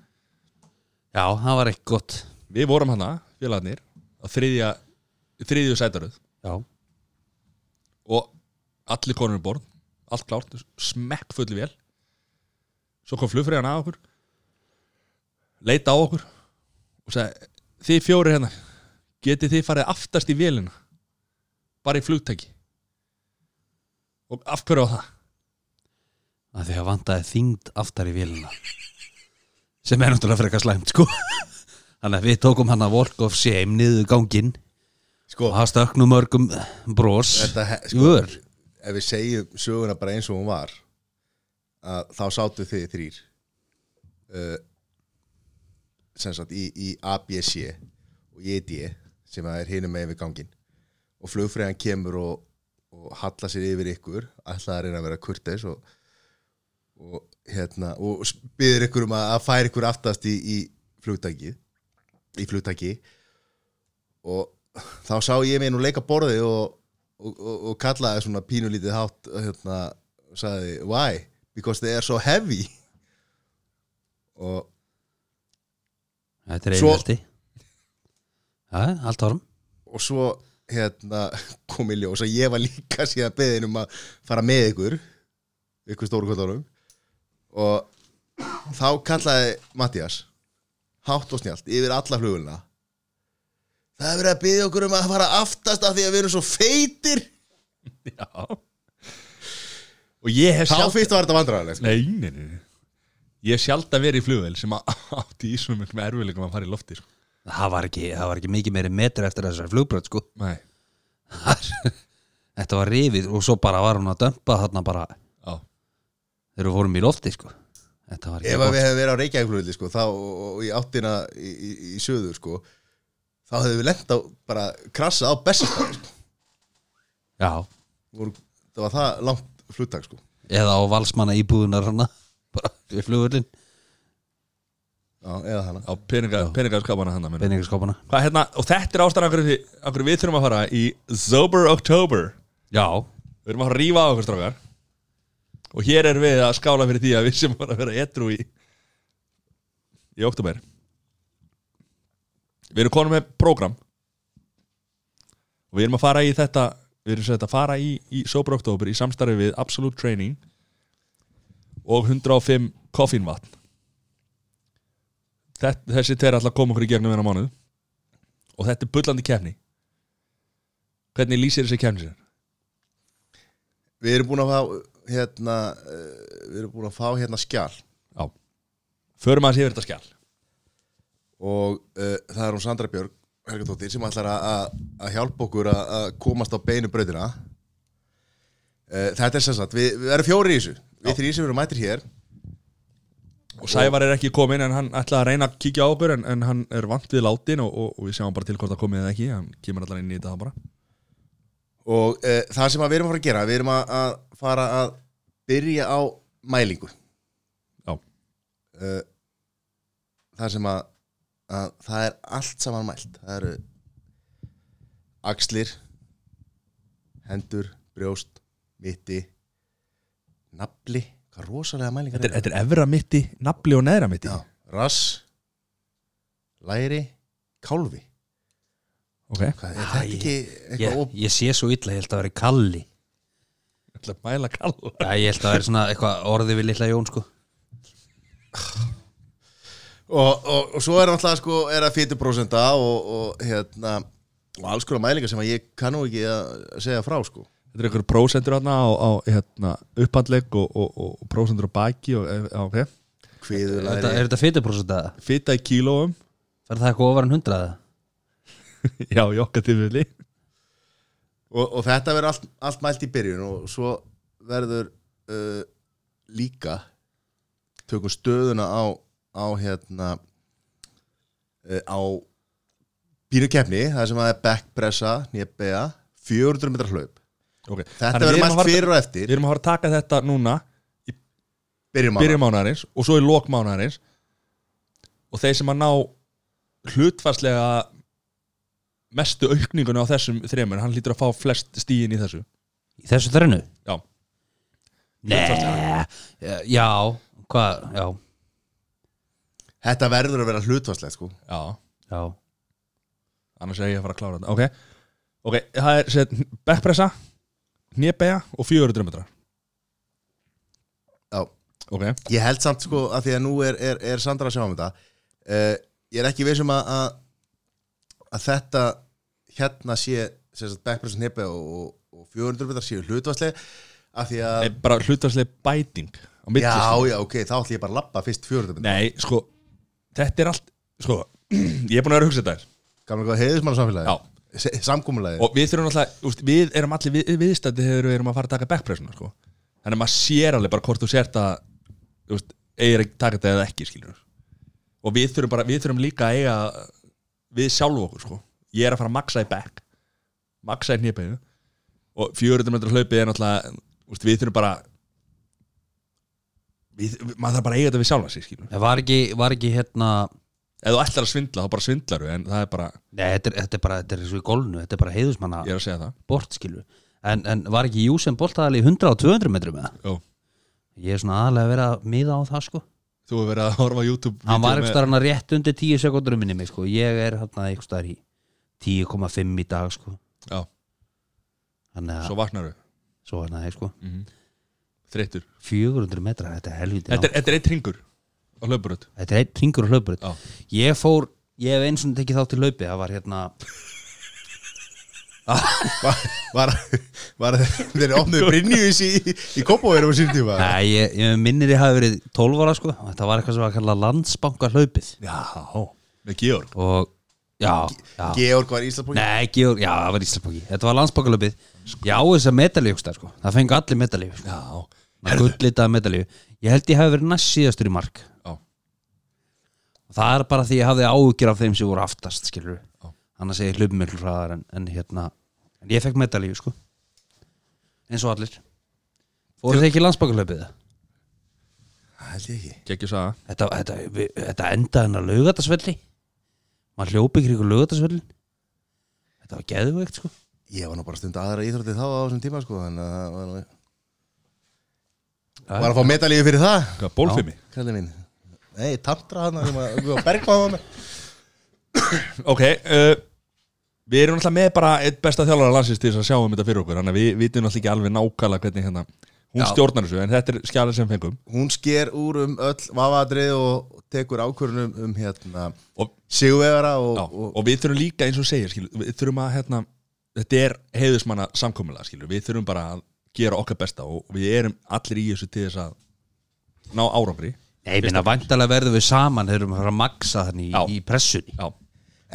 Speaker 3: Já, það var ekki gott
Speaker 1: við vorum hérna félagarnir á þriðja þriðju sætaröð
Speaker 3: Já,
Speaker 1: og allir konur um borð allt klárt, smekk fulli vel svo kom flugfræðan að okkur leita á okkur og sagði, þið fjóri hérna getið þið farið aftast í vélina bara í flugtæki og af hverju á það
Speaker 3: að því að vantaði þyngd aftar í vélina sem er náttúrulega frekar slæmt sko þannig að við tókum hann að walk of shame niður ganginn
Speaker 2: sko,
Speaker 3: og það stökk nú mörgum bros
Speaker 2: þetta, he-
Speaker 3: í
Speaker 2: sko
Speaker 3: vör.
Speaker 2: ef við segjum söguna bara eins og hún var að þá sátu þið þrýr uh, sem sagt í, í ABC og ED sem að er hinum megin við gangin og flugfræðan kemur og, og hallar sér yfir ykkur ætlaði að reyna að vera kurteis og, og hérna og byður ykkur um að, að færa ykkur aftast í, í flugtaki í flugtaki og þá sá ég mig nú leika borðið og, og, og, og kallaði svona pínulítið hátt hérna, og sagði why? because they are so heavy og
Speaker 3: þetta er
Speaker 2: Svo-
Speaker 3: einhelti já, allt árum
Speaker 2: og svo hérna, (laughs) kom í ljós að ég var líka síðan beðin um að fara með ykkur ykkur stóru kvöldanum og þá kallaði Mattias hátt og snjált yfir alla flugulina það er verið að byggja okkur um að fara aftast af því að við erum svo feitir
Speaker 1: Já Og ég hef
Speaker 2: Þá
Speaker 1: sjálf
Speaker 2: fyrst var þetta vandræðilegt sko.
Speaker 1: Nei, nei, nei nei. Ég hef sjálf að vera í flugvel sem að- (laughs) átti í svona miklum erfiðleikum að fara í lofti sko.
Speaker 3: það var ekki, það var ekki mikið meiri metri eftir þessar flugbröð sko
Speaker 1: Nei
Speaker 3: þetta var rifið og svo bara var hún að dömpa þarna bara
Speaker 1: Já
Speaker 3: þegar við fórum í lofti sko þetta var ekki
Speaker 2: Ef að
Speaker 3: gott
Speaker 2: við hefum verið á Reykjavíkflöðli sko, þá, og, og í áttina í, í, í söður sko, þá hefðum við lent á bara krassa á bestastæði sko.
Speaker 3: já,
Speaker 2: Voru- Það var það langt fluttak sko.
Speaker 3: eða á valsmanna íbúðunar hana bara við flugullin,
Speaker 2: Já, eða hana
Speaker 1: Á peninga, peningaskapana hann að
Speaker 3: peningarskopana
Speaker 1: Hvað hérna, og þetta er ástæðan okkur, okkur við þurfum að fara í Sober October
Speaker 3: já,
Speaker 1: Við erum að fara að rífa á okkur strákar Og hér erum við að skála fyrir því að við sem var að vera etru í Í oktober Við erum konum með program Og við erum að fara í þetta Við erum sem þetta að fara í, í Sober October Í samstarfi við Absolute Training Og 105 koffínvatn Þetta, Þessi tveir alltaf koma okkur í gegnum hennar mánuð Og þetta er bullandi kefni Hvernig lýsir þessi kefni sér?
Speaker 2: Við erum búin að fá hérna, eh, við erum búin að fá hérna skjal
Speaker 1: Já Förum aðeins yfir þetta skjál
Speaker 2: og uh, það er hún Sandra Björg Helgadóttir sem ætlar að- að að hjálpa okkur að að komast á beinu brautina uh, Þetta er sem sagt, við, við erum fjóri í þessu Við þrýr sem erum mættir hér
Speaker 1: Og Sævar er ekki kominn en hann ætlaði að reyna að kíkja á okkur en, en hann er vant við látin og, og, og við sjáum bara til hvort það komið eða ekki Hann kemur allan inn í þetta bara
Speaker 2: og uh, það sem að við erum að fara að gera við erum að, að fara að byrja á mælingu
Speaker 1: Já,
Speaker 2: uh, það sem að, að það er allt saman mælt það eru axlir hendur, brjóst, mitti nafli hvað rosalega mælingar
Speaker 1: þetta er, þetta er efra mitti, nafli og neðra mitti
Speaker 2: Já, rass læri, kálfi
Speaker 1: Ok
Speaker 2: hvað, er þetta
Speaker 3: Æ,
Speaker 2: ekki
Speaker 3: ég,
Speaker 2: eitthvað op...
Speaker 3: ég sé svo illa ég held að vera kalli
Speaker 1: Ég ætla að mæla kalla
Speaker 3: já, ég held að vera svona eitthvað orði við litla Jón sko
Speaker 2: og, og, og svo er náttúrulega sko er að 40% og, og hérna og alls konar mælingar sem að ég kannu ekki að segja frá sko
Speaker 1: Þetta er einhverjum prósendur hérna á, á hérna, upphandlegg og, og, og, og prósendur á baki og, eh, já, okay.
Speaker 2: hviður
Speaker 3: er
Speaker 2: læri
Speaker 3: þetta, er þetta fytuprósent aða?
Speaker 1: Fita í kílóum (laughs)
Speaker 3: fer það eitthvað ofar en hundraða?
Speaker 1: Já, í okkar tilfelli
Speaker 2: og, og þetta verður allt, allt mælt í byrjun og svo verður uh, líka tökum stöðuna á á hérna uh, á pínu keppni, það sem að er backpressa nýjabega, 400 metrar hlaup
Speaker 1: okay.
Speaker 2: þetta
Speaker 1: Þannig við
Speaker 2: verður
Speaker 1: erum að
Speaker 2: mælt
Speaker 1: fara-
Speaker 2: fyrir og
Speaker 1: Við
Speaker 2: eftir
Speaker 1: erum að fara að taka þetta núna
Speaker 2: byrjum á
Speaker 1: byrjum mánarins og svo í lok mánarins og þeir sem að ná hlutfarslega mestu aukningun á þessum þremur, hann lítur að fá flest stíin í þessu
Speaker 3: í þessu þrennu?
Speaker 1: Já,
Speaker 3: Nei, já, hvað, já,
Speaker 2: þetta verður að vera hlutvarslegt sko
Speaker 1: já,
Speaker 3: já,
Speaker 1: annars er ég að fara að klára þetta Ok, ok, það er set, backpressa, hnébega og 400 metrar
Speaker 2: Já.
Speaker 1: Ok,
Speaker 2: ég held samt sko að því að nú er, er, er Sandra að sjá um þetta uh, ég er ekki vissum að, að að þetta hérna sé sem sagt backpress hnipi og, og, og 400 metrar séu hlutvarslega af því að
Speaker 1: Nei, Eh, bara hlutfarslega bæting á milli
Speaker 2: já
Speaker 1: sko.
Speaker 2: já ok þá ætlum ég bara að lappa fyrst 400 metrar
Speaker 1: Nei, sko, þetta er allt sko, (clears throat) ég er búin að vera að hugsa þetta þér
Speaker 2: gamlega hvað heiðis mann
Speaker 1: Já.
Speaker 2: samfélagi samkúmulagi
Speaker 1: og við þurfum alltaf, úst, við erum allir við, viðstætti þegar við erum að fara að taka backpressuna sko. þannig að maður sér alveg bara hvort þú sért að þú veist, eigir að taka þetta eða ekki skilur og við þurfum, bara, við þurfum líka að eiga við sjálf okkur sko. ég er að fara að maksa í back maksa í hnipinu og 400 metrar hlaupið er náttúrulega úst, við þurfum bara við, maður þarf bara að eiga þetta við sjálfa sig skilur
Speaker 3: En var ekki, var ekki hérna,
Speaker 1: ef þú ætlar að svindla þá bara svindlaru en það er bara,
Speaker 3: nei, þetta er, þetta er bara, þetta er svo í golfnu, þetta er bara heiðusmanna
Speaker 1: ég er að segja það
Speaker 3: bort, skilur, en, en var ekki Júsen boltaðal í 100 og 200 metrum eða?
Speaker 1: Jó.
Speaker 3: Ég er svona aðlega að vera að miða á það, sko,
Speaker 1: þú hefur verið að horfa á YouTube
Speaker 3: hann var
Speaker 1: vídeó með-
Speaker 3: ekki starf hann rétt undir 10 sekundurum minni mig, sko, ég er hérna eitthvað starf í 10,5 í dag, sko,
Speaker 1: Já,
Speaker 3: þannig að,
Speaker 1: svo vaknaru
Speaker 3: svo hérna, sko,
Speaker 1: Mhm. þreyttur
Speaker 3: 400 metrar, þetta er helviti
Speaker 1: þetta er, þetta er eitt ringur á hlauparöð
Speaker 3: Þetta er einn ringur og hlauparöð
Speaker 1: Já.
Speaker 3: Ég fór Ég hef eins og tekið þátt í laupi Það var hérna
Speaker 2: Var, var, var þeirri opnuðu Brynjus í, í Kópavörum á sínum tíma?
Speaker 3: Nei, ég, ég minnir ég hafi verið 12 ára sko Þetta var eitthvað sem var að kalla landsbanka laupið
Speaker 1: Já, með Georg
Speaker 3: Og já, já
Speaker 2: Georg var í Íslandbúki
Speaker 3: Nei, Georg, já, það var Íslandbóki Þetta var landsbankalöpið Ég á þessa medalíu sko. Það fengi allir medalíu sko.
Speaker 1: Já,
Speaker 3: Gullitaða medalíu Ég held ég hafi verið næst síðastur í mark
Speaker 1: já,
Speaker 3: Og Það er bara því ég hafði áhugjur af þeim sem voru aftast skilur við Annars er ég hlupum miklu hraðar en, en hérna En ég fekk medalíu sko Eins og allir Fóruð þið ekki í landsbankalöpið það?
Speaker 2: Held ég ekki
Speaker 1: geggjur saga
Speaker 3: Þetta, þetta, við, þetta endaði hennar laugatarsvelli Maður hljópi ykkur laugatarsvellin Þetta var geðveikt sko
Speaker 2: Ég var nú bara stund aðra íþrótti þá á þessum tíma sko Þannig að það var nú
Speaker 3: Já.
Speaker 2: Var að fá medalíu fyrir það
Speaker 1: Hvað, bólfimi?
Speaker 2: Kallið minn Nei, tantra hann Við var bergmáð hann
Speaker 1: Ok, uh, við erum alltaf með bara eitt besta þjálfara landsins til þess að sjáum þetta fyrir okkur Þannig að við vitum alltaf ekki alveg nákvæmlega hvernig hérna Hún
Speaker 3: Já.
Speaker 1: stjórnar þessu, en þetta er skjalið sem fengum
Speaker 2: Hún sker úr um öll vafadrið og tekur ákvörunum um hérna
Speaker 1: Og,
Speaker 2: Sigurvegara og,
Speaker 1: já,
Speaker 2: og,
Speaker 1: og við þurfum líka eins og þú segir, skilu, við þurfum að hérna Þetta er heiðismanna samkomulega, skilu Við þurfum bara að gera okkar besta og við erum allir í þessu til þess að ná árangri
Speaker 3: Nei, minna, vandalega verðum við saman þegar við erum að maksa þannig
Speaker 1: Já.
Speaker 3: í, í pressunni
Speaker 1: Já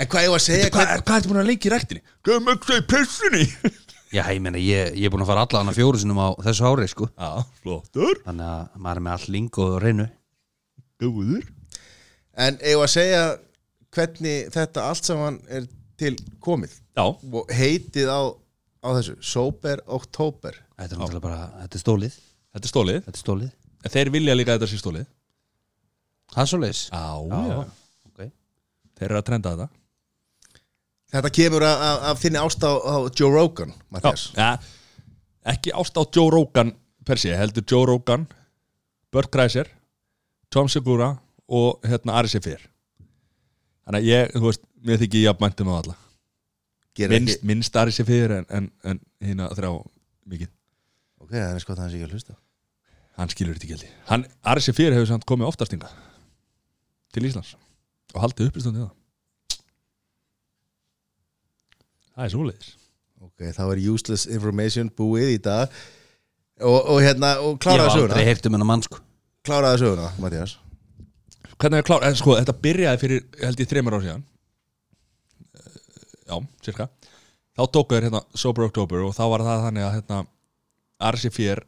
Speaker 2: En hvað ég var að segja
Speaker 1: Hvað, hvað ertu búin að leika í rektinni? Hvað er mjög í pressunni?
Speaker 3: Já, ég meina, ég, ég er búin að fara alla hana fjóru sinum á þessu ári, sko
Speaker 1: (laughs) Já, flottur
Speaker 3: Þannig að maður er með all lingu og reynu
Speaker 1: Góður
Speaker 2: En ég var að segja hvernig þetta allt saman er til komið
Speaker 1: Já,
Speaker 2: og heitið á, á þessu Sober Oktober
Speaker 3: Þetta er náttúrulega bara, þetta er stólið
Speaker 1: þetta er stólið
Speaker 3: Þetta er stólið
Speaker 1: En Þeir vilja líka að þetta sé stólið
Speaker 3: Það er svoleiðis
Speaker 1: Já,
Speaker 3: Já, ok
Speaker 1: Þeir eru að trenda þetta
Speaker 2: Þetta kemur að, að, að finna ást á, á Joe Rogan Mathias.
Speaker 1: ja, Ekki ást á Joe Rogan per sé, heldur Joe Rogan Burt Kreischer Tom Segura og hérna Ari Sefir Þannig að ég, þú veist, mér þykir ég að mæntum á alla
Speaker 2: Gerir ekki-
Speaker 1: minnst, minnst Ari Sefir en, en, en hérna þrjá mikið
Speaker 2: Ok, það er sko það hans ekki að hlusta
Speaker 1: Hann skilur þetta ekki held ég Hann- Ari Sefir hefur samt komið oftast inga til Íslands og haldið upplýstandi það Það er svoleiðis
Speaker 2: Ok, þá er useless information búið í dag og, og hérna, og
Speaker 3: Ég
Speaker 2: kláraði
Speaker 3: hef aldrei
Speaker 2: söguna
Speaker 3: heyrt um hennar mann, sko
Speaker 2: kláraði söguna, Mattias
Speaker 1: hvernig er klár, eh, sko, þetta byrjaði fyrir held ég þreymur ár síðan Eh, já, cirka þá tóku þér hérna Sober October og þá var það þannig að hérna RC4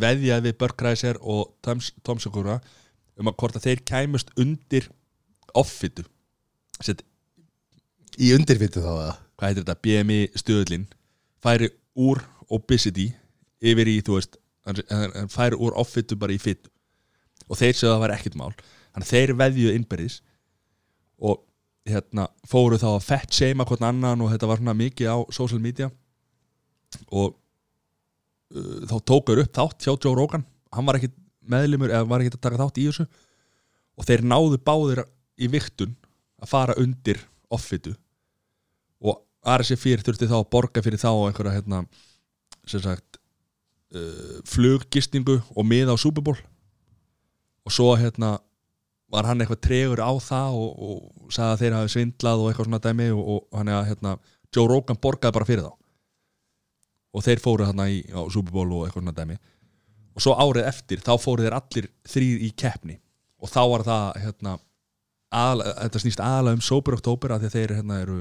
Speaker 1: veðjaði við Börgræsir og Toms- Tom Segura um að hvort að þeir kæmust undir offitu Sett,
Speaker 2: Í undirfittu þá eða?
Speaker 1: hvað heitir þetta, BMI stöðlin færi úr obesity yfir í, þú veist hann- hann hann færi úr offitu bara í fit og þeir sögðu að það var ekkert mál þannig að þeir veðjuðu innbyrðis og hérna fóru þá að fett seima hvort annan og þetta var svona mikið á social media og uh, þá tókuður upp þátt hjá Joe Rogan hann var ekkit meðlimur eða var ekkit að taka þátt í þessu og þeir náðu báðir í viktun að fara undir offitu og RSF4 þurfti þá að borga fyrir þá einhverja hérna sem sagt uh, fluggistingu og miða á Super Bowl og svo hérna var hann eitthvað tregur á það og, og sagði að þeir hafi svindlað og eitthvað svona dæmi og, og hann að hérna Joe Rogan borgaði bara fyrir þá og þeir fóru þarna í á Super Bowl og eitthvað svona dæmi og svo árið eftir þá fóru þeir allir þrýr í keppni og þá var það hérna aðal, þetta snýst aðalega um Sober October af því að þeir hérna eru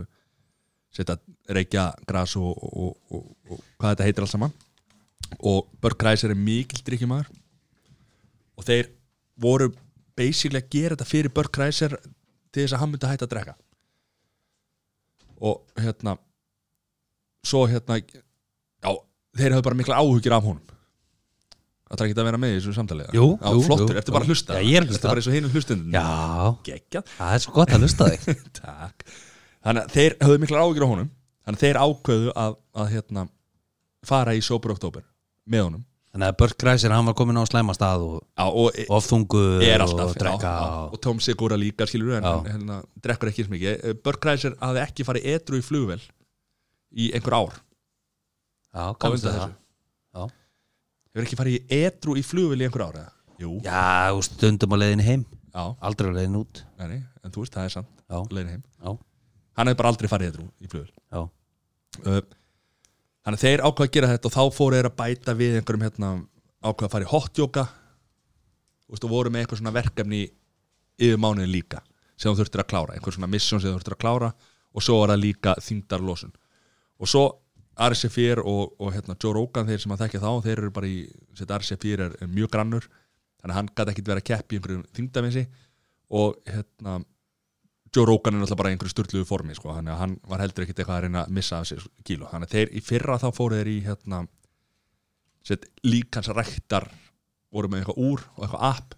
Speaker 1: setja reykja gras og, og, og, og hvað þetta heitir alls saman og Börk Kreiser er mikil drikkjumæður og þeir voru basically að gera þetta fyrir Börk Kreiser til þess að hann myndi hætta að drekka og hérna svo hérna já, þeir hafðu bara mikla áhugjur af honum Það þarf ekki að vera með í þessu samtalið
Speaker 3: Jú,
Speaker 1: já,
Speaker 3: jú,
Speaker 1: flottur,
Speaker 3: jú,
Speaker 1: ertu bara að
Speaker 3: jú.
Speaker 1: hlusta
Speaker 3: Já, ég er að
Speaker 1: Ertu
Speaker 3: hlusta.
Speaker 1: bara eins og hinum hlustundum
Speaker 3: Já,
Speaker 1: geggjað (laughs)
Speaker 3: það er svo gott að lusta þig (laughs)
Speaker 1: Takk Þannig að þeir höfðu miklar ágjur á honum Þannig að þeir ákveðu að, að hérna, fara í Sober Oktober með honum
Speaker 3: Þannig að Börk Græsir, hann var komin á slæma stað og,
Speaker 1: á, og e-
Speaker 3: og þungur
Speaker 1: er alltaf
Speaker 3: og drekka
Speaker 1: já, já, og Tom Segura líka skilur en
Speaker 3: Já.
Speaker 1: hann hérna, drekkur ekki eins mikið Börgræsir hafði ekki farið etru í flugvel í einhver ár
Speaker 3: Já,
Speaker 1: á undan
Speaker 3: kannski það
Speaker 1: þessu.
Speaker 3: Já.
Speaker 1: Hefur ekki farið etru í flugvel í einhver ár eða? Jú,
Speaker 3: Já, og stundum á leiðin heim
Speaker 1: já, Já,
Speaker 3: aldrei að leiðin út
Speaker 1: nei, nei, en þú veist, það er samt
Speaker 3: Já.
Speaker 1: leiðin heim
Speaker 3: Já.
Speaker 1: Hann hefði bara aldrei farið þetta í flugul
Speaker 3: Já.
Speaker 1: Uh, Þannig að þeir ákvað að gera þetta og þá fóru þeir að bæta við einhverjum hérna, ákvað að fara í hotjóka og voru með eitthvað svona verkefni yfir mánuðin líka sem þú þurftir að klára, einhver svona mission sem þú þurftir að klára og svo var það líka þyngdarlosun og svo RC4 og, og hérna, Joe Rogan þeir sem að þekkja þá, þeir eru bara í sem sagt, RC4 er, er mjög grannur þannig að hann gæti ekkit verið að keppi í einhverjum þyngdavinsi og hérna Joe Rogan er náttúrulega bara í einhverju styrluðu formi sko, þannig að hann var heldur ekkit eitthvað að reyna að missa af sér kíló, þannig að þeir í fyrra þá fóru þeir í hérna set, líkans ræktar voru með eitthvað úr og eitthvað app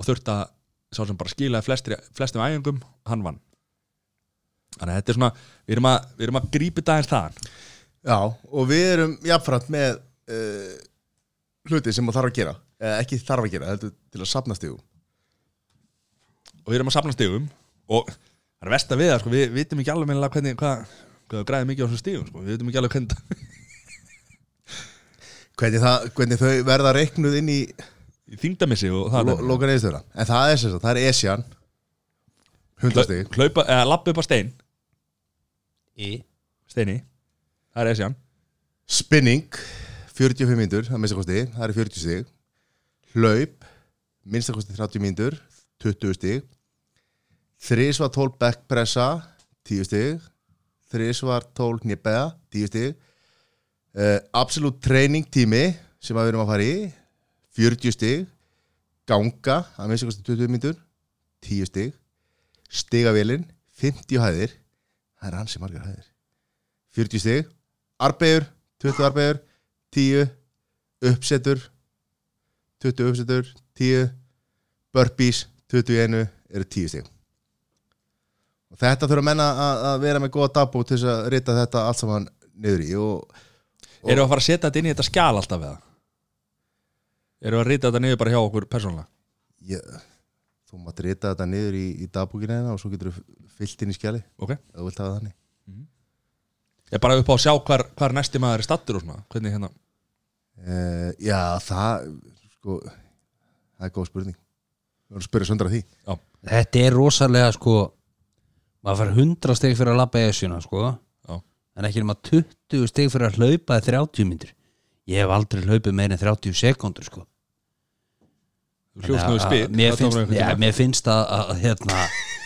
Speaker 1: og þurft að sá sem bara skilaði flestri, flestum æfingum, hann vann þannig að þetta er svona við erum að, við erum að grípi dagins þaðan
Speaker 2: Já, og við erum jafnframt með uh, hluti sem maður þarf að gera eða ekki þarf að gera, heldur til að sapna stígum
Speaker 1: og við erum að safna stigum og það er vest að við það sko, við vitum ekki alveg meðlega hvernig hvað, hvað græði mikið á þessum stigum sko, við vitum ekki alveg hvernig
Speaker 2: hvernig, það, hvernig þau verða reiknuð inn í
Speaker 1: í þyngdamissi og það
Speaker 2: lo, lokan eðistöðuna en það er sem sagt, það er Esjan 100 stíg
Speaker 1: hlaupa, eða lappa upp á stein
Speaker 3: Í
Speaker 1: steini, það er esjan
Speaker 2: spinning 45 mínútur, að minnsta kosti, það er 40 stíg hlaup minnsta kosti 30 mínútur, 20 stíg þrísvar 12 backpressa 10 stíg þrísvar 12 nýbeða 10 stíg uh, absolutt training tími sem að við erum að fara í 40 stíg ganga, að minnsta kosti 20 mínútur 10 stíg stigavélin, 50 hæðir það er hansi margar hæðir 40 stig arbegur, 20 arbegur 10 uppsetur 20 uppsetur 10 burpees 21 eru 10 stig og þetta þurfa menna að, að vera með góða dagbú til þess að rita þetta allt saman niður í og Og-
Speaker 1: Eru að fara að setja þetta inn í þetta skjal alltaf eða? Eru að rita þetta niður bara hjá okkur persónulega?
Speaker 2: ég, þú mátt rita þetta niður í, í dagbúkina þeirna og svo getur þú fyllt inn í skjali
Speaker 1: Ok
Speaker 2: ef þú vilt hafa það þannig
Speaker 1: Ég er bara upp á að sjá hvar, hvar næsti maður er stattur og svona Hvernig hérna
Speaker 2: uh, já það sko, það er góð spurning við vorum að spyrja söndra því
Speaker 3: Þetta er rosalega sko maður fær 100 steg fyrir að labba esjuna sko
Speaker 1: Já.
Speaker 3: en ekki nema 20 steg fyrir að hlaupa í 30 myndir ég hef aldrei hlaupið meir en 30 sekundur sko
Speaker 1: Þú hljóst nú í
Speaker 3: Þannig að-
Speaker 1: spil
Speaker 3: að mér finnst, já, mér finnst að, að hérna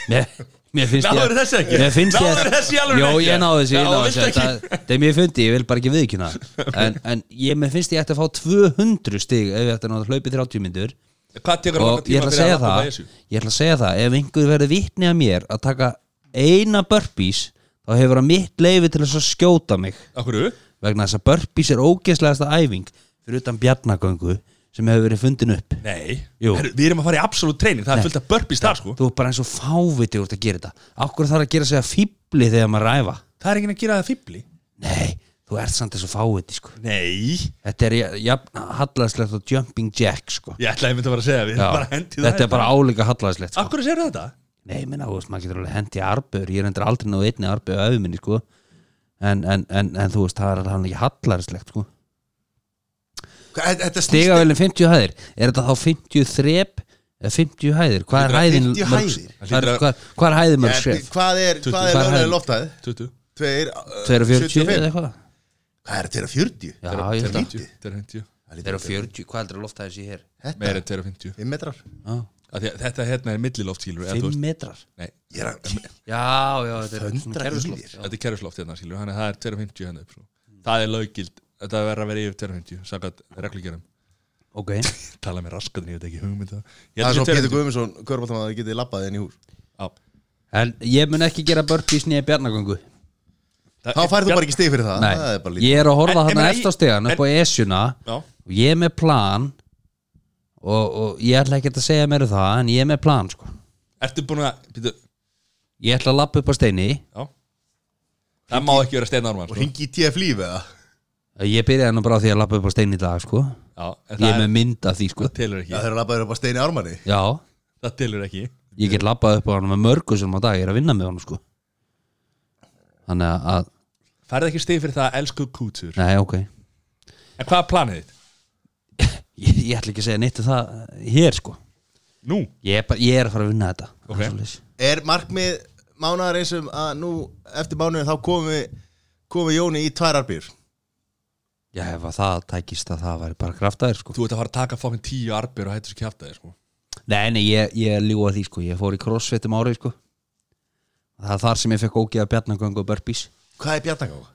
Speaker 3: mér, mér finnst ég-
Speaker 1: Náður þessi ekki?
Speaker 3: mér finnst ég-
Speaker 1: Náður þessi í alvöru
Speaker 3: Jó,
Speaker 1: ekki?
Speaker 3: ég náðu þessi, ég
Speaker 1: Já,
Speaker 3: náðu
Speaker 1: viltu
Speaker 3: þessi
Speaker 1: ekki?
Speaker 3: Það það er mjög fyndi, ég vil bara ekki viðkynna
Speaker 1: (laughs)
Speaker 3: það. en, en ég, mér finnst ég ætti að fá 200 stig ef ég ætti að hlaupið 30 myndur
Speaker 1: Hvað tekur
Speaker 3: og ég ætla að segja það ég ætla að segja það, ef einhver verður vitni að mér að taka eina burpees þá hefur það mitt leifi til þess að skjóta mig
Speaker 1: Akkur eru?
Speaker 3: vegna þess að burpees er ógeðslegasta æfing fyrir utan bjarnagöngu sem hefur verið fundin upp
Speaker 1: Nei
Speaker 3: Jú.
Speaker 1: Herru, Við erum að fara í absolutt treyning Það er fullt af burpees þar sko
Speaker 3: þú er bara eins og fáviti úr að gera þetta akkur þarf að gera sig að fýbli þegar maður ræfa
Speaker 1: Það er ekki að gera það fýbli
Speaker 3: nei, þú ert samt eins og fáviti sko.
Speaker 1: Nei
Speaker 3: þetta er jafn hallæðslegt og jumping jack sko.
Speaker 1: Ég ætlaði myndi að fara að segja Við
Speaker 3: Já,
Speaker 1: erum bara að hendi það hérna.
Speaker 3: þetta er bara álíka hallæðslegt sko.
Speaker 1: Akkur segir þetta?
Speaker 3: nei, ég minna, þú veist, maður getur alveg hendi arbjör ég er endur aldrei náðu einni arbjör öfum minni sko. en, en, en, en þú veist, það er alveg ekki hallæðslegt sko.
Speaker 2: Hvað- þetta snýst
Speaker 3: stigavelin 50 hæðir, er þetta þá 50 þrep eða 50 hæðir, hvað
Speaker 2: Þetta
Speaker 3: er
Speaker 2: er
Speaker 3: hæðin
Speaker 2: 50
Speaker 3: mörg-
Speaker 2: hæðir.
Speaker 3: hvað er- hvað er- hvað er hæðin mörg
Speaker 2: Ja,
Speaker 3: skref?
Speaker 2: Hvað er, hvað er
Speaker 3: Hvað er
Speaker 2: löglega
Speaker 3: hæð?
Speaker 2: loftæð?
Speaker 1: 20
Speaker 3: 240
Speaker 2: 2,45
Speaker 3: eða eitthvað
Speaker 2: Hvað er 2,40?
Speaker 3: Já, ég held að
Speaker 1: 250
Speaker 2: Það
Speaker 3: Þeir eru 40, hvað heldur að lofta þessi hér?
Speaker 1: Meir en 250
Speaker 2: 5 metrar
Speaker 3: Ah,
Speaker 1: Af því að Þetta hérna er milliloft skilur
Speaker 3: 5 metrar
Speaker 1: Nei,
Speaker 2: Ég er að
Speaker 3: Já, já, þetta er svona
Speaker 2: Föndra í
Speaker 3: kerfisloft
Speaker 2: þér.
Speaker 3: já.
Speaker 1: þetta er kerfisloft hérna skilur þannig að það er 250 hérna upp sko. það er löggild, þetta verður að vera yfir 250 sakat reglugjörnum,
Speaker 3: Ok,
Speaker 1: tala með raskatinn, ég veit ekki hugmynda
Speaker 2: Það er svo Pétur
Speaker 1: Pétur
Speaker 2: Guðmundsson, körfaldamaður, það getið labbað inn í hús
Speaker 3: en ég mun ekki gera burpees nýja bjarnagöngu
Speaker 2: Þá færðu bara ekki stig fyrir það
Speaker 3: Nei,
Speaker 2: Það er bara
Speaker 3: ég er að horfa
Speaker 1: En- en
Speaker 3: þarna
Speaker 1: meina,
Speaker 3: eftir á stegan
Speaker 1: en-
Speaker 3: upp á esjuna
Speaker 1: Já.
Speaker 3: og ég er með plan og, og ég ætla ekki að segja mér um það en ég er með plan sko
Speaker 1: ertu búin að Pétur,
Speaker 3: Ég ætla að lappa upp á steini
Speaker 1: já það má ekki vera steinarmann
Speaker 2: Og
Speaker 1: sko.
Speaker 2: ringi í TF líf eða
Speaker 3: Eh, Ég byrjaði nú bara á því að lappa upp á steini í dag sko
Speaker 1: já, en
Speaker 3: Ég er
Speaker 1: það,
Speaker 3: með
Speaker 1: er,
Speaker 3: mynd af því sko
Speaker 1: það telur
Speaker 2: Já,
Speaker 1: ekki
Speaker 2: þeir eru labbaður upp á steini ármanni
Speaker 3: Já,
Speaker 1: það telur ekki
Speaker 3: ég get lappað upp á hann með mörgu sem á dag Ég er að vinna með hann sko Þannig að- að,
Speaker 1: færðu ekki stig fyrir það, elsku kútur
Speaker 3: nei ok
Speaker 1: en hvað er planið þitt?
Speaker 3: ég, ég ætla ekki að segja neitt um það hér sko
Speaker 1: Nú,
Speaker 3: ég er, bara, ég er að fara að vinna þetta
Speaker 1: Ok.
Speaker 3: Það er svoleiðis.
Speaker 2: Er markmið mánaðar eins og að nú eftir mánuðin þá komum við komum við Jóni í tværarbýr
Speaker 3: Já, ef að það tækist að það væri bara kraftaðir sko.
Speaker 1: þú ert að fara að taka fokkin tíu arbjör og hættu sér kjæft að þér sko.
Speaker 3: Nei, nei, ég, ég ljúa því sko. Ég fór í crossfit um árið sko. Það er þar sem ég fekk ógeða bjarnagöngu og burpees
Speaker 2: Hvað er bjarnagáð?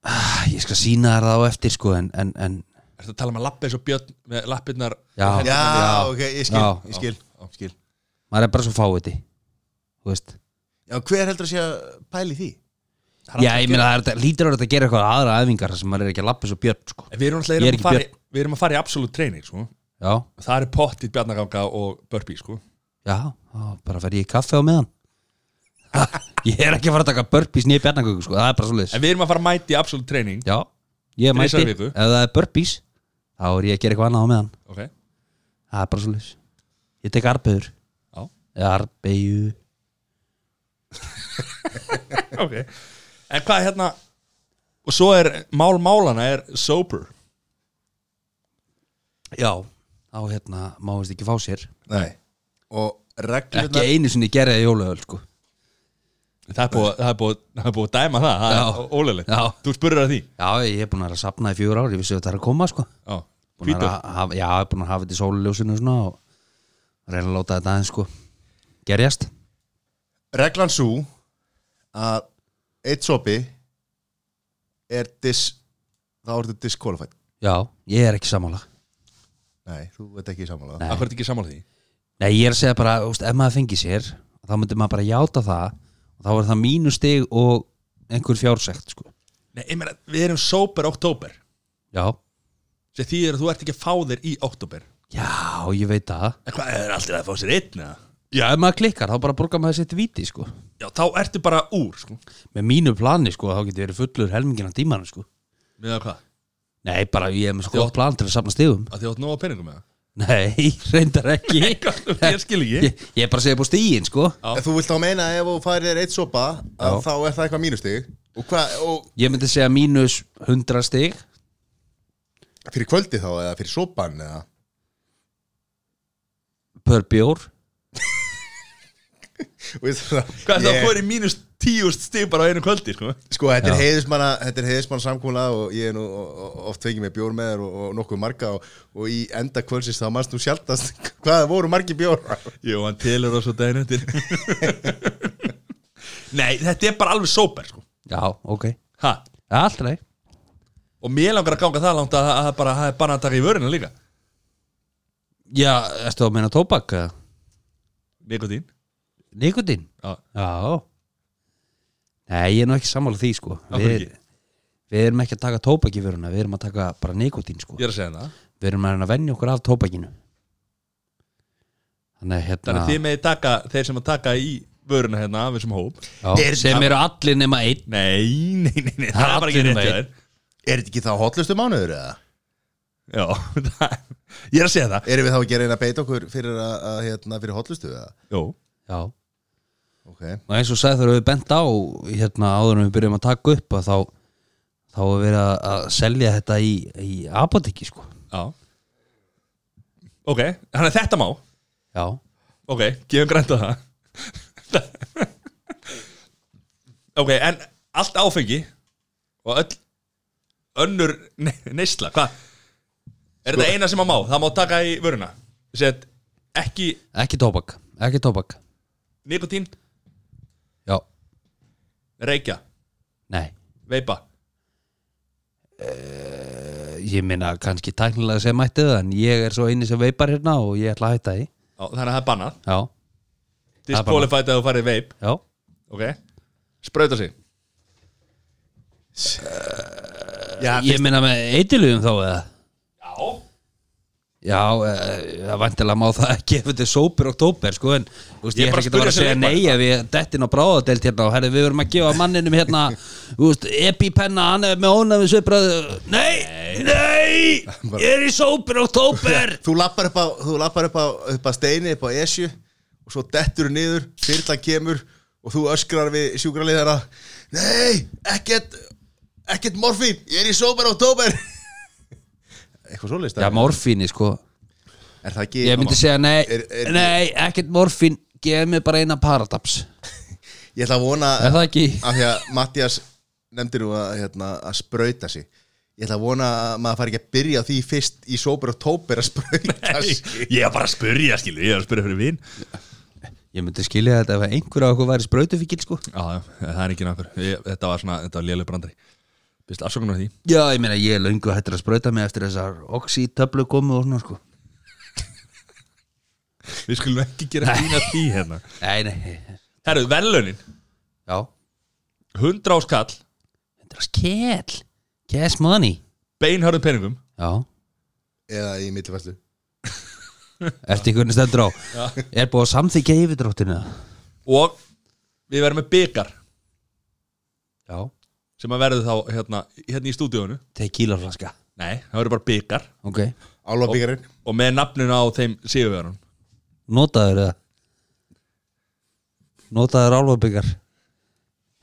Speaker 3: Ah, Ég skal sína þær það á eftir sko, en, en, en
Speaker 1: Ertu að tala með lappið eins og björn með lappirnar
Speaker 3: Já.
Speaker 2: Já,
Speaker 3: Já.
Speaker 2: ok, ég skil,
Speaker 3: Já,
Speaker 2: ég skil, skil.
Speaker 3: maður er bara svo fáið því Þú veist
Speaker 2: Já, hver heldur að sé að pæli því?
Speaker 1: Það er
Speaker 3: Já,
Speaker 1: alltaf
Speaker 3: ég
Speaker 1: að
Speaker 3: meina það er þetta- lítur að þetta að gera eitthvað aðra æfingar þar sem maður er ekki að lappa svo björn sko.
Speaker 1: En Við erum
Speaker 3: Ég
Speaker 1: alltaf
Speaker 3: er
Speaker 1: erum
Speaker 3: ekki
Speaker 1: að, fara, í- við erum að fara í absolutt training sko.
Speaker 3: Já,
Speaker 1: Það er pottið bjarnaganga og burpee sko.
Speaker 3: já, já, bara fer ég í kaffe á meðan (laughs) Ég er ekki að fara að taka burpees nýja bjarnagöngu sko, það er bara svo
Speaker 1: En við erum að fara að mæti í absolutt training
Speaker 3: Já, ég mæti,
Speaker 1: Þrisvar í
Speaker 3: ef
Speaker 1: viku.
Speaker 3: það er burpees þá er ég að gera eitthvað annað á meðan
Speaker 1: okay.
Speaker 3: Það er bara svo Ég tek arbegur
Speaker 1: Já.
Speaker 3: Arbegu
Speaker 1: ok En hvað er hérna Og svo er mál málana er sober
Speaker 3: Já, þá hérna má veist ekki fá sér
Speaker 2: Nei Og
Speaker 3: Ekki
Speaker 2: reglurnar
Speaker 3: einu sinni gerði ég jólaöl sko
Speaker 1: Það er búið, það er búið, það er búið að dæma það Það
Speaker 3: Já.
Speaker 1: er ólulegt
Speaker 3: Já.
Speaker 1: Þú spurður að því
Speaker 3: Já, ég er búin að vera að sapna í fjögur ár Ég vissi að þetta er að koma sko
Speaker 1: Já.
Speaker 3: Búin að
Speaker 1: Hvítur
Speaker 3: vera að hafa, Já, ég er búin að hafa þetta í sóluljósinu og svona og reyna að láta þetta aðeins sko Gerjast
Speaker 2: Reglan svo að eitt sopi er dis þá ertu disqualified
Speaker 3: Já, ég er ekki sammála
Speaker 2: Nei, þú veit ekki samanlega
Speaker 3: Nei.
Speaker 1: Það er ekki sammála því
Speaker 3: Nei, ég er að segja bara, úst, ef maður fengi sér þá myndi maður bara játa það og þá er það mínustig og einhver fjársekt sko.
Speaker 1: Nei, ég meina, við erum sober oktober
Speaker 3: Já,
Speaker 1: sem þýðir að þú ert ekki að fá þér í oktober
Speaker 3: já, ég veit það
Speaker 1: En hvað, það er alltaf að fá sér einn eða?
Speaker 3: Já, ef maður klikkar, þá bara borgar maður sitt viti sko.
Speaker 1: Já, þá ertu bara úr, sko
Speaker 3: Með mínu plani, sko, þá getur verið fullur helmingina tímanum, sko
Speaker 1: Með það hvað?
Speaker 3: Nei, bara ég er með sko
Speaker 1: Já.
Speaker 3: gott plan til að safna stigum
Speaker 1: Að því átt nóg að peningum með
Speaker 3: Nei, (laughs) reyndar ekki ég,
Speaker 1: það? Ég skil ekki
Speaker 3: ég er bara að segja búið stigin, sko
Speaker 1: Já.
Speaker 2: En þú vilt þá meina að ef þú færir þér eitt sopa að
Speaker 3: Já.
Speaker 2: þá er það eitthvað mínustig og, hvað, og
Speaker 3: Ég myndi segja mínus 100 stig
Speaker 2: fyrir kvöldi þá eða fyrir sopan eða
Speaker 3: per bjór
Speaker 2: Og ég-
Speaker 1: Hvað er það
Speaker 2: Ég-
Speaker 1: að fóri mínus tíu stig bara á einu kvöldi, sko?
Speaker 2: Sko, þetta
Speaker 3: Já.
Speaker 2: er heiðismanna, þetta er heiðismanna samkvæmlega og ég er nú o- o- oft fengið með bjór með þér og, og nokkuð marga og, og í enda kvölsins þá mannst þú (laughs) sjaldast hvað voru margi bjór
Speaker 1: Jú, hann telur á svo daginn eftir (laughs) Nei, þetta er bara alveg sober, sko
Speaker 3: Já, ok
Speaker 1: ha.
Speaker 3: Alltaf leið
Speaker 1: Og mér langar að ganga það langt að það er bara það er bara að taka í vörina líka
Speaker 3: Já, ertu að meina tóbak? eða?
Speaker 1: Nikotín
Speaker 3: Nikotín?
Speaker 1: Já,
Speaker 3: Já Nei, ég er nú ekki sammála því sko
Speaker 1: Af hverju
Speaker 3: við,
Speaker 1: ekki?
Speaker 3: við erum ekki að taka tóbak í vöruna Við erum að taka bara nikotín sko
Speaker 1: ég er að segja það
Speaker 3: Við erum að reyna að venja okkur af tóbakinu
Speaker 1: Þannig
Speaker 3: Þannig að hérna
Speaker 1: að þið meði taka, þeir sem að taka í vörina hérna af þessum hóp
Speaker 3: já, Sem eru allir nema einn
Speaker 1: Nei, nei, nei, nei það,
Speaker 3: er
Speaker 1: er bara ekki
Speaker 3: allir
Speaker 1: rétt hjá
Speaker 3: með.
Speaker 1: þér
Speaker 2: Er þetta ekki þá hotlustu mánuður eða?
Speaker 1: Já, (laughs) það, ég er að segja það
Speaker 2: Erum við þá ekki að reyna að beita okkur fyrir, að, að, hérna, fyrir hotlustu eða?
Speaker 1: Jó,
Speaker 3: Já
Speaker 2: Ok,
Speaker 3: Og eins og sagði þegar við bent á Hérna áður en við byrjum að taka upp að Þá, þá er verið að, að selja þetta í, í apotekki sko
Speaker 1: já Ok, þannig að þetta má
Speaker 3: Já
Speaker 1: Ok, gefum grænt á það Ok, en allt áfengi og öll önnur ne neysla, hvað? Er þetta eina sem að má? Það má taka í vöruna Sett ekki
Speaker 3: Ekki tóbak Ekki tóbak
Speaker 1: nikotín,
Speaker 3: Já
Speaker 1: reykja,
Speaker 3: Nei
Speaker 1: veipa
Speaker 3: Ég minna kannski tæknilega sem mætti það en ég er svo eini sem veipar hérna og ég ætla að hætta því
Speaker 1: Já, Þannig að það er bannað
Speaker 3: Já, er bannað.
Speaker 1: Disqualified að þú farið veip
Speaker 3: já
Speaker 1: Ok, sprauta sig
Speaker 2: Já,
Speaker 3: Ég minna með eitilugum þá eða
Speaker 1: Já
Speaker 3: Já, eh, það vantilega má það ekki ef þetta er sópur oktober sko en þú veist,
Speaker 1: Ég
Speaker 3: ég,
Speaker 1: bara spurði
Speaker 3: ætla ekki að vera að
Speaker 1: sem
Speaker 3: segja
Speaker 1: leikmaður.
Speaker 3: nei ef ég dettin á bráðadelt hérna og herri við verum að gefa manninum hérna þú veist, epipenna, hann er með ónæmi svipbröð Nei, nei, ég er í sópur (laughs) oktober
Speaker 2: Þú lappar upp á, þú lappar upp á, upp á steini, upp á esju og svo dettur þú niður, þyrlan kemur og þú öskrar við sjúkraliðara Nei, ekkert ekkert morfín, ég er í sóber á tóber Eitthvað svoleiðist
Speaker 3: Já, morfíni sko
Speaker 2: Er það ekki
Speaker 3: Ég myndi segja, nei,
Speaker 2: Er- er-
Speaker 3: nei, ekkert morfín Geð mér bara eina paradaps
Speaker 2: Ég ætla að vona
Speaker 3: Er það ekki?
Speaker 2: Af því að Mattias nefndi nú að, hérna, að sprauta sig Ég ætla að vona að maður fari ekki að byrja á því fyrst í sópur og tópur að sprauta sig
Speaker 1: Ég er bara að spyrja, skilu, ég er að spyrja fyrir vin
Speaker 3: Ég myndi skilja þetta ef einhver af okkur væri sprautufíkil sko
Speaker 1: Já, já, það er ekki náttúrulega Þetta var svona, þetta var lélega brandari Bist afsökunar því
Speaker 3: Já, ég meina, ég er löngu hættur að sprauta mig eftir þessar oxytöflu komu og svona sko
Speaker 1: Við skulum ekki gera fína því hérna
Speaker 3: Nei, nei,
Speaker 1: Herru, velunin,
Speaker 3: já
Speaker 1: 100 áskall,
Speaker 3: Þetta er skell Cash money
Speaker 1: beinhörðum peningum
Speaker 3: Já,
Speaker 2: Eða í millifæslu
Speaker 3: eftir hvernig stendur á Er búið að samþykja yfirdróttinu
Speaker 1: Og við verðum með byggar
Speaker 3: Já
Speaker 1: Sem að verður þá hérna, hérna í stúdíónu
Speaker 3: Tequila-flaska
Speaker 1: Nei, það verður bara byggar
Speaker 3: Ok
Speaker 2: Álfabíkarinn
Speaker 1: Og með nafninu á þeim síðuverðunum
Speaker 3: Notaður það Notaður álfabyggar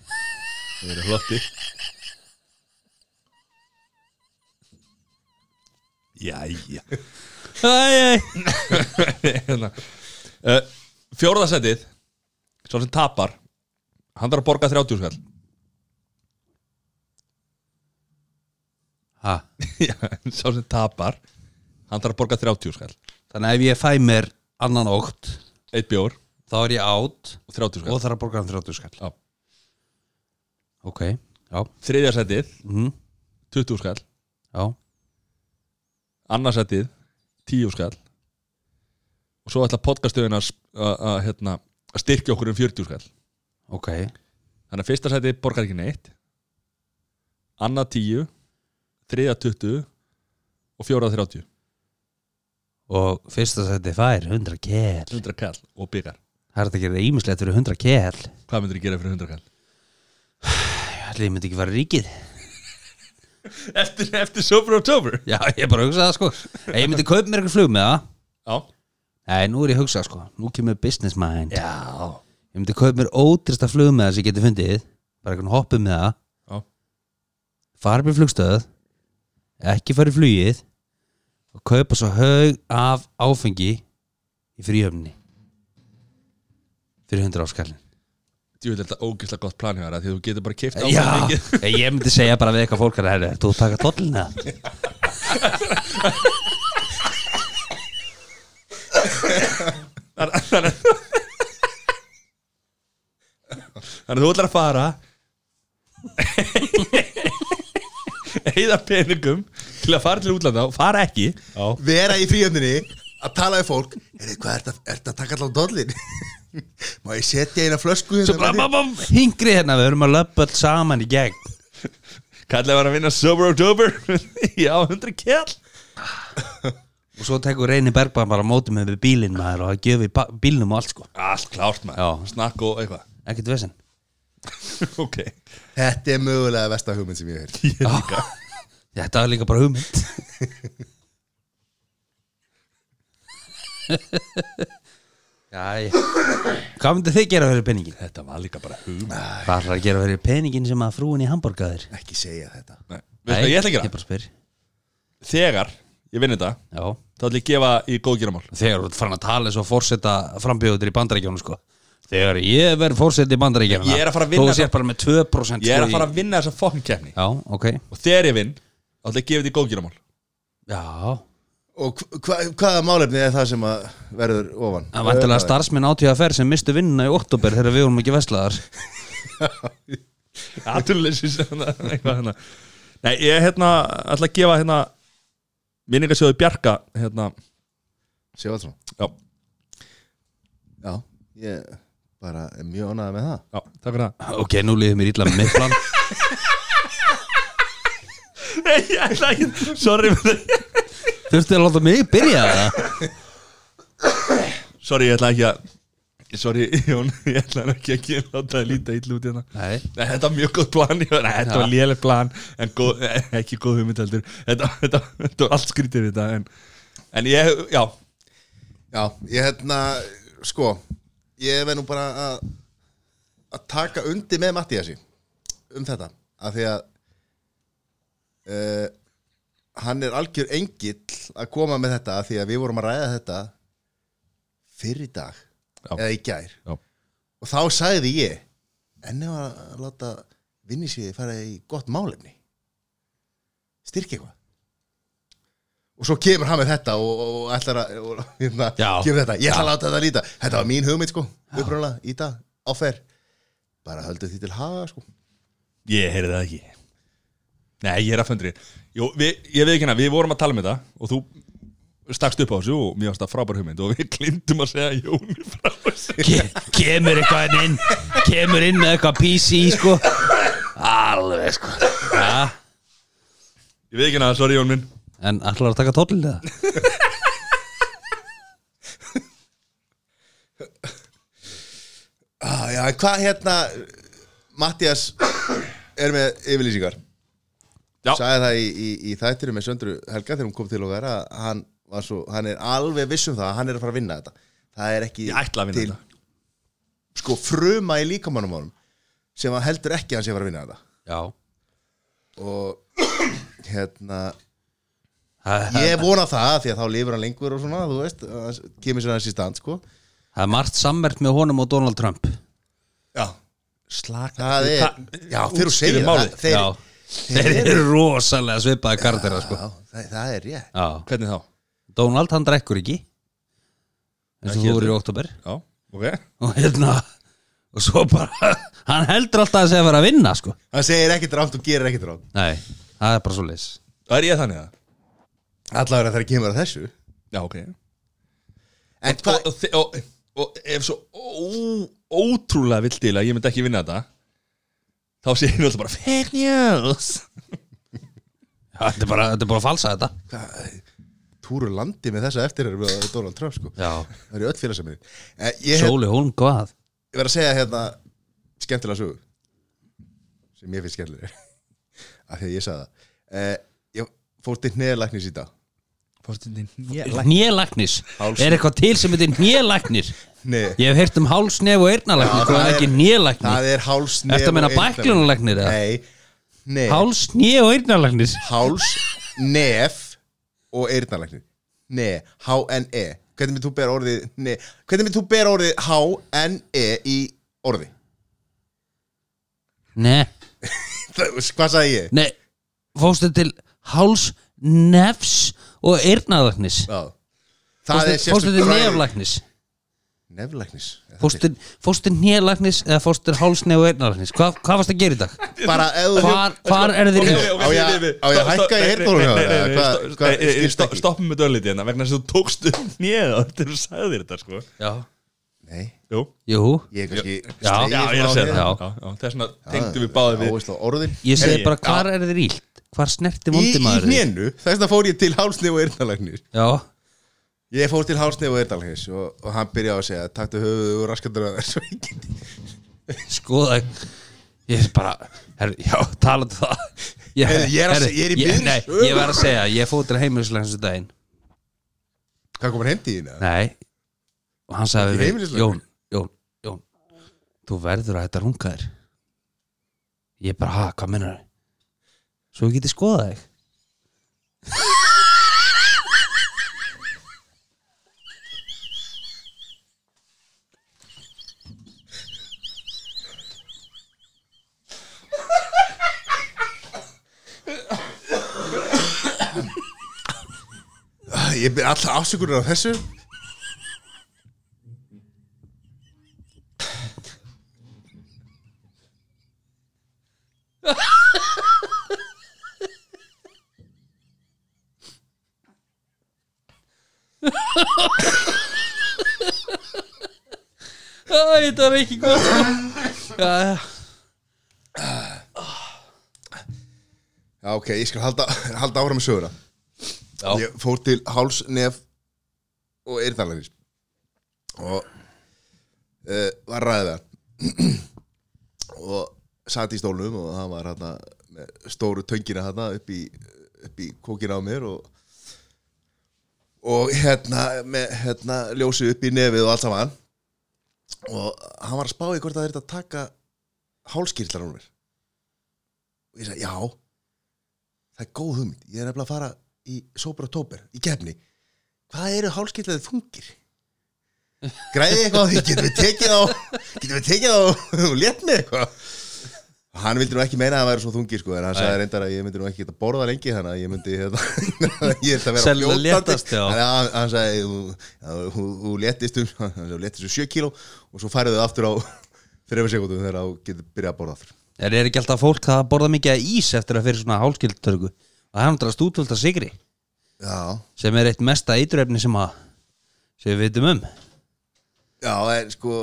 Speaker 1: Það verður flotti Jæja
Speaker 3: Æ, æ
Speaker 1: hérna. uh, Fjórðasendið Svo sem tapar Hann þarf að borga 30 skall (laughs)
Speaker 3: Ha,
Speaker 1: Já, Svo sem tapar Hann þarf að borga 30 skall
Speaker 3: Þannig að ef ég fæ mér annan ótt
Speaker 1: Eitt bjór
Speaker 3: Þá er ég átt
Speaker 1: og 30 skall
Speaker 3: Og þarf að borga hann 30 skall
Speaker 1: Já.
Speaker 3: Ok, já
Speaker 1: Þriðjasendið
Speaker 3: mm,
Speaker 1: 20 skall
Speaker 3: Já
Speaker 1: Annarsendið 10 skall Og svo ætla podcastöðin að, sp- að, að, hérna, að styrkja okkur um 40 skall
Speaker 3: Ok,
Speaker 1: Þannig að fyrsta sæti borgar ekki neitt Annað 10 Þriða 20 Og fjórða 30
Speaker 3: og fyrsta sætti fær 100 kell
Speaker 1: 100 kall og byggar
Speaker 3: Það er þetta að gera ímislegt fyrir 100 kell
Speaker 1: Hvað myndir gera fyrir 100 kall?
Speaker 3: Ég ætli ég myndi ekki fara í ríkið
Speaker 1: Eftir, eftir Sober October
Speaker 3: Já, ég bara hugsaði það sko En Ég myndi kaupa mér eitthvað flug með það
Speaker 1: Já
Speaker 3: Nei, nú er ég hugsað sko, nú kemur business mind
Speaker 1: Já
Speaker 3: Ég myndi kaupa mér ótrista flug með það sem ég geti fundið Bara eitthvað hoppu með það
Speaker 1: Já.
Speaker 3: Fara upp í flugstöð Ekki fara í flugið Og kaupa svo haug af áfengi Í fríhöfni Fyrir 100 áskallin
Speaker 1: Ég vil þetta ógeðslega gott plan hjá þér að Því að þú getur bara keift
Speaker 3: Já, (laughs) ég myndi segja bara við eitthvað fólk að herri, ert þú að taka tóllina?
Speaker 1: Þannig Þannig að þú ætlar að fara Eða peningum Til að fara til útlanda og fara ekki Já
Speaker 2: Vera í fríöndinni að tala við fólk Heyrðu, hvað ert að, ert að taka allan dollin? (laughs) Má ég setja eina flösku hérna? með þér?
Speaker 3: Hingri hérna, við erum að löpa alls saman í gegn
Speaker 1: Kallaði var að vinna Sober October (laughs) Já, 100 kell
Speaker 3: Og svo tekur Reyni Bergman bara á móti með við bílinn maður og að gefa í ba- bílnum og allt sko
Speaker 1: Allt klárt maður,
Speaker 3: Já.
Speaker 1: snakk og eitthvað
Speaker 3: Ekkert vesinn
Speaker 1: (laughs) Ok,
Speaker 2: Þetta er mögulega versta hugmynd sem ég hef
Speaker 1: (laughs)
Speaker 2: heyrt.
Speaker 3: Þetta er líka bara (laughs) hugmynd Jæja Hvað myndi þið gera fyrir peningin?
Speaker 1: þetta var líka bara hugum
Speaker 3: Hvað ætlar að gera fyrir peningin sem að frúin í hamburgaðir?
Speaker 2: Ekki segja þetta
Speaker 1: Nei, veistu hvað ég ætla að
Speaker 3: Ég
Speaker 1: gera?
Speaker 3: bara spyr
Speaker 1: Þegar ég vinn þetta,
Speaker 3: Já
Speaker 1: þá ætla ég að gefa í góðgeramál
Speaker 3: þegar þú ert farin að tala eins og fórseta frambjóður í bandaríkjónu sko þegar ég verð fórseta í bandaríkjónu
Speaker 1: Ég er að fara að vinna
Speaker 3: þú sér bara með 2%
Speaker 1: Ég er
Speaker 3: sko
Speaker 1: að
Speaker 3: í-
Speaker 1: fara að vinna þessa fokkin kefni
Speaker 3: já, ok,
Speaker 1: Og þegar ég vinn, þá ætla ég að gefa þetta í góðgeramál
Speaker 3: já
Speaker 2: Og hva, hvaða málefni er það sem að verður ofan?
Speaker 3: það var endilega starfsmenn átíða að fer sem mistu vinnuna í oktober þegar við vorum ekki veslaðar
Speaker 1: Aturleysi (laughs) hérna. Nei, ég hérna, ætla að gefa hérna Minningasjóði Bjarka hérna,
Speaker 2: Sjóðsson
Speaker 1: Já,
Speaker 2: Já, ég bara er mjög ánægð með það
Speaker 1: já, takk fyrir það
Speaker 3: ok, nú liðið mér illa með mitt plan
Speaker 1: Nei, ég ætla ekki, sorry (laughs)
Speaker 3: þurftu að láta mig byrja það
Speaker 1: Sorry, ég ætla ekki að Sorry, Jón, ég ætla ekki að gera Láta að líta illa út hérna
Speaker 3: nei,
Speaker 1: Nei, þetta var mjög góð plan Nei, þetta var léleg plan En góð, eh, ekki góð hugmynd heldur þetta, þetta, þetta var allt skrítir við þetta En, en ég, já
Speaker 2: Já, ég hérna, sko Ég verð nú bara að að taka undi með Mattiasi um þetta, af því að uh, hann er algjör engill að koma með þetta því að við vorum að ræða þetta fyrir í dag
Speaker 1: Já.
Speaker 2: eða í gær
Speaker 1: Já.
Speaker 2: og þá sagði ég enni var að láta vinni sig fara í gott málefni styrki eitthvað og svo kemur hann með þetta og, og, og ætlar að og, hérna,
Speaker 3: Já.
Speaker 2: kemur þetta, ég ætla að láta þetta líta þetta var mín hugmynd sko, upprónulega, í dag áfer, bara höldu því til haga sko,
Speaker 1: Ég heyrði það ekki Nei, ég er að föndri Jú, við, Ég veit ekki hérna, við vorum að tala um þetta og þú stakst upp á þessu og mér varst það frábær hugmynd og við klindum að segja Jóni frá þessu
Speaker 3: Ke- kemur eitthvað hérna inn kemur inn með eitthvað PC sko alveg sko ja.
Speaker 1: Ég veit ekki hérna, sorry Jón minn
Speaker 3: en allar að taka tóllin það
Speaker 2: ah, já, en hvað hérna Mattias er með yfirlýsingar
Speaker 1: Já.
Speaker 2: sagði það í, í, í þættinu með Söndru Helga þegar hún kom til okkar að hann, var svo, hann er alveg viss um það að hann er að fara að vinna þetta það er ekki
Speaker 1: Ég ætla að vinna
Speaker 2: til,
Speaker 1: þetta.
Speaker 2: sko fruma í líkamannum honum sem að heldur ekki að hann sé að fara að vinna þetta
Speaker 3: já
Speaker 2: og (coughs) hérna
Speaker 3: það það-
Speaker 2: ég vona það því að þá lifur hann lengur og svona þú veist, að kemur sér hans í stand sko
Speaker 3: það er margt sammert með honum og Donald Trump
Speaker 2: já,
Speaker 1: Slaka
Speaker 2: það er já, þegar þú segir það,
Speaker 1: málið
Speaker 2: þeir,
Speaker 3: já þeir eru rosalega svipaði kardera sko
Speaker 2: já, það, það er rétt
Speaker 3: já
Speaker 1: Hvernig þá?
Speaker 3: Donald hann drekkur ekki eins og
Speaker 1: Ekki
Speaker 3: þú voru í oktober
Speaker 1: Já, ok
Speaker 3: og hérna og svo bara (laughs) hann heldur alltaf að segja að vera að vinna sko
Speaker 2: hann segir ekkert rámt og gerir ekkert rámt
Speaker 3: nei það er bara svo leis
Speaker 1: Það er ég þannig það
Speaker 2: allavega þegar kemur að þessu
Speaker 1: Já, ok
Speaker 2: en
Speaker 1: og,
Speaker 2: hvað,
Speaker 1: og, þi- og, og ef svo ó, ótrúlega vilt til að ég myndi ekki vinna þetta þá sé ég náttúrulega bara fake news
Speaker 3: þetta er bara, þetta er bara að falsa þetta
Speaker 2: túru landi með þessa eftir er við Donald Trump sko
Speaker 3: já
Speaker 2: það eru öll félagsamir ég hef
Speaker 3: Sóli Hólm hvað
Speaker 2: ég verð að segja hérna skemmtilega sögu sem ég finnst skemmtilega (laughs) af því að ég sagði það eh, ég fór til neðalæknis í dag
Speaker 3: Nélagnis Er eitthvað til sem heitir nélagnis
Speaker 2: Nei,
Speaker 3: Ég hef heyrt um hálsnef og
Speaker 2: Já,
Speaker 3: eyrnalagnis Hvað
Speaker 2: það
Speaker 3: er
Speaker 2: er-
Speaker 3: ekki nélagnis
Speaker 2: það er hálsnef
Speaker 3: Ertu að meina
Speaker 2: og eyrnalagnis.
Speaker 3: bæklunarlæknir, eða?
Speaker 2: Nei, nei
Speaker 3: Hálsnef og eyrnalagnis
Speaker 2: hálsnef og eyrnalæknir Ne, H-N-E Hvernig myndir þú bera orðið ne, Hvernig myndir þú bera orðið H-N-E í orði? (laughs)
Speaker 3: Nei,
Speaker 2: Hvað sagði ég?
Speaker 3: nei Fóstu til hálsnefs og eyrnalagnis
Speaker 2: Já Það er
Speaker 3: Fóstu fórstu til neflagnis
Speaker 2: Neflæknis
Speaker 3: Fóstu fóstu til nélagnis eða fóstu til hálsnef og eyrnalagnis Hva, Hvað varst að gera í dag?
Speaker 2: Bara eða
Speaker 3: Hvar, hvar er þið
Speaker 1: Ok, ok,
Speaker 2: Á ég-
Speaker 1: við- við-
Speaker 2: á ég
Speaker 1: stopp, stopp,
Speaker 2: að hækka í
Speaker 1: nei,
Speaker 2: heyrnartólinu
Speaker 1: nei, nei,
Speaker 2: hérna,
Speaker 1: nei, nei,
Speaker 2: hvað-
Speaker 1: stopp,
Speaker 2: hvað-
Speaker 1: nei, nei,
Speaker 2: skilst
Speaker 1: stopp-
Speaker 2: ekki.
Speaker 1: Stoppum með döllit hérna vegna þess að þú tókst um nýða þegar þú sagði þér þetta sko
Speaker 3: Já,
Speaker 2: Nei,
Speaker 1: Jú,
Speaker 3: jú
Speaker 2: ég er kannski
Speaker 3: Já,
Speaker 2: slegið
Speaker 1: já, ég er að
Speaker 2: frá
Speaker 1: segja
Speaker 2: hér.
Speaker 3: Já.
Speaker 1: það Já, já, Þess vegna tengdu við báði við
Speaker 2: Áherslu á orðin
Speaker 3: Ég segi
Speaker 1: Heyrðu,
Speaker 3: bara hvar er þið rílt Hvar
Speaker 2: Í,
Speaker 3: snerti
Speaker 2: í
Speaker 3: vondimaður
Speaker 2: hnénu, þess að fór ég til hálsnef og eyrnalæknir
Speaker 3: Já,
Speaker 2: Ég fór til hálsnef og eyrnalæknir og, og hann byrjaði að segja Taktu höfuðu og raskatur að þessu
Speaker 3: skoða ég er bara, her, já, talandi um það ég,
Speaker 2: Heyrðu, ég er að
Speaker 3: herri,
Speaker 2: seg- ég er í
Speaker 3: ég,
Speaker 2: miðri
Speaker 3: nei,
Speaker 2: sögu.
Speaker 3: ég var að segja, ég fóð til heimilislega þessu daginn
Speaker 2: Hvað kom hann heim til þín? eða?
Speaker 3: nei, og hann sagði
Speaker 2: Ekki
Speaker 3: við mig,
Speaker 2: heimilislæknir?
Speaker 3: Jón, Jón, Jón þú verður að þetta runga þér ég bara, ha, hvað minnar svo ég geti skoðað þig
Speaker 2: Ah, Ég byrja alltaf afsökunar á þessu
Speaker 3: Æ, þetta er ekki (laughs) góð já, já,
Speaker 2: Já, ok, ég skal halda, halda áfram með söguna
Speaker 3: Já.
Speaker 2: Ég fór til háls, nef og eyrnalæknis og uh, var ræða (clears throat) og sat í stólnum og hann var hérna með stóru töngina hérna upp í, upp í kókina á mér og og hérna með hérna ljósið upp í nefið og allt saman og hann var að spá í hvort það er þetta að taka hálskýrlar á mér og ég sagði já það er góð hugmynd, ég er nefnilega að fara í Sober October í gefni hvað eru hálskillega þungir græði eitthvað á því getum við tekið á getum við tekið á og létt með eitthvað hann vildi nú ekki meina að það væri svo þungir sko, en hann sagði reyndar að ég myndi nú ekki geta borða lengi þannig að ég myndi hérna, (laughs) ég ætla að vera
Speaker 3: Sennilega
Speaker 2: fljótandi.
Speaker 3: léttast, já.
Speaker 2: Þannig að hann, hann sagði þú- já, þú þú léttist um (laughs) hann sagði, þú léttist um 7 kíló og svo færðu þau aftur á (laughs) 3 sekundum þegar þú getur byrjað að borða aftur
Speaker 3: Er, er ekki alltaf fólk það að borða mikið af ís eftir að fyrir svona hálskildtörgu og hann drast útvöld að sigri
Speaker 2: já,
Speaker 3: sem er eitt mesta eiturefni sem að sem við vitum um
Speaker 2: Já, en sko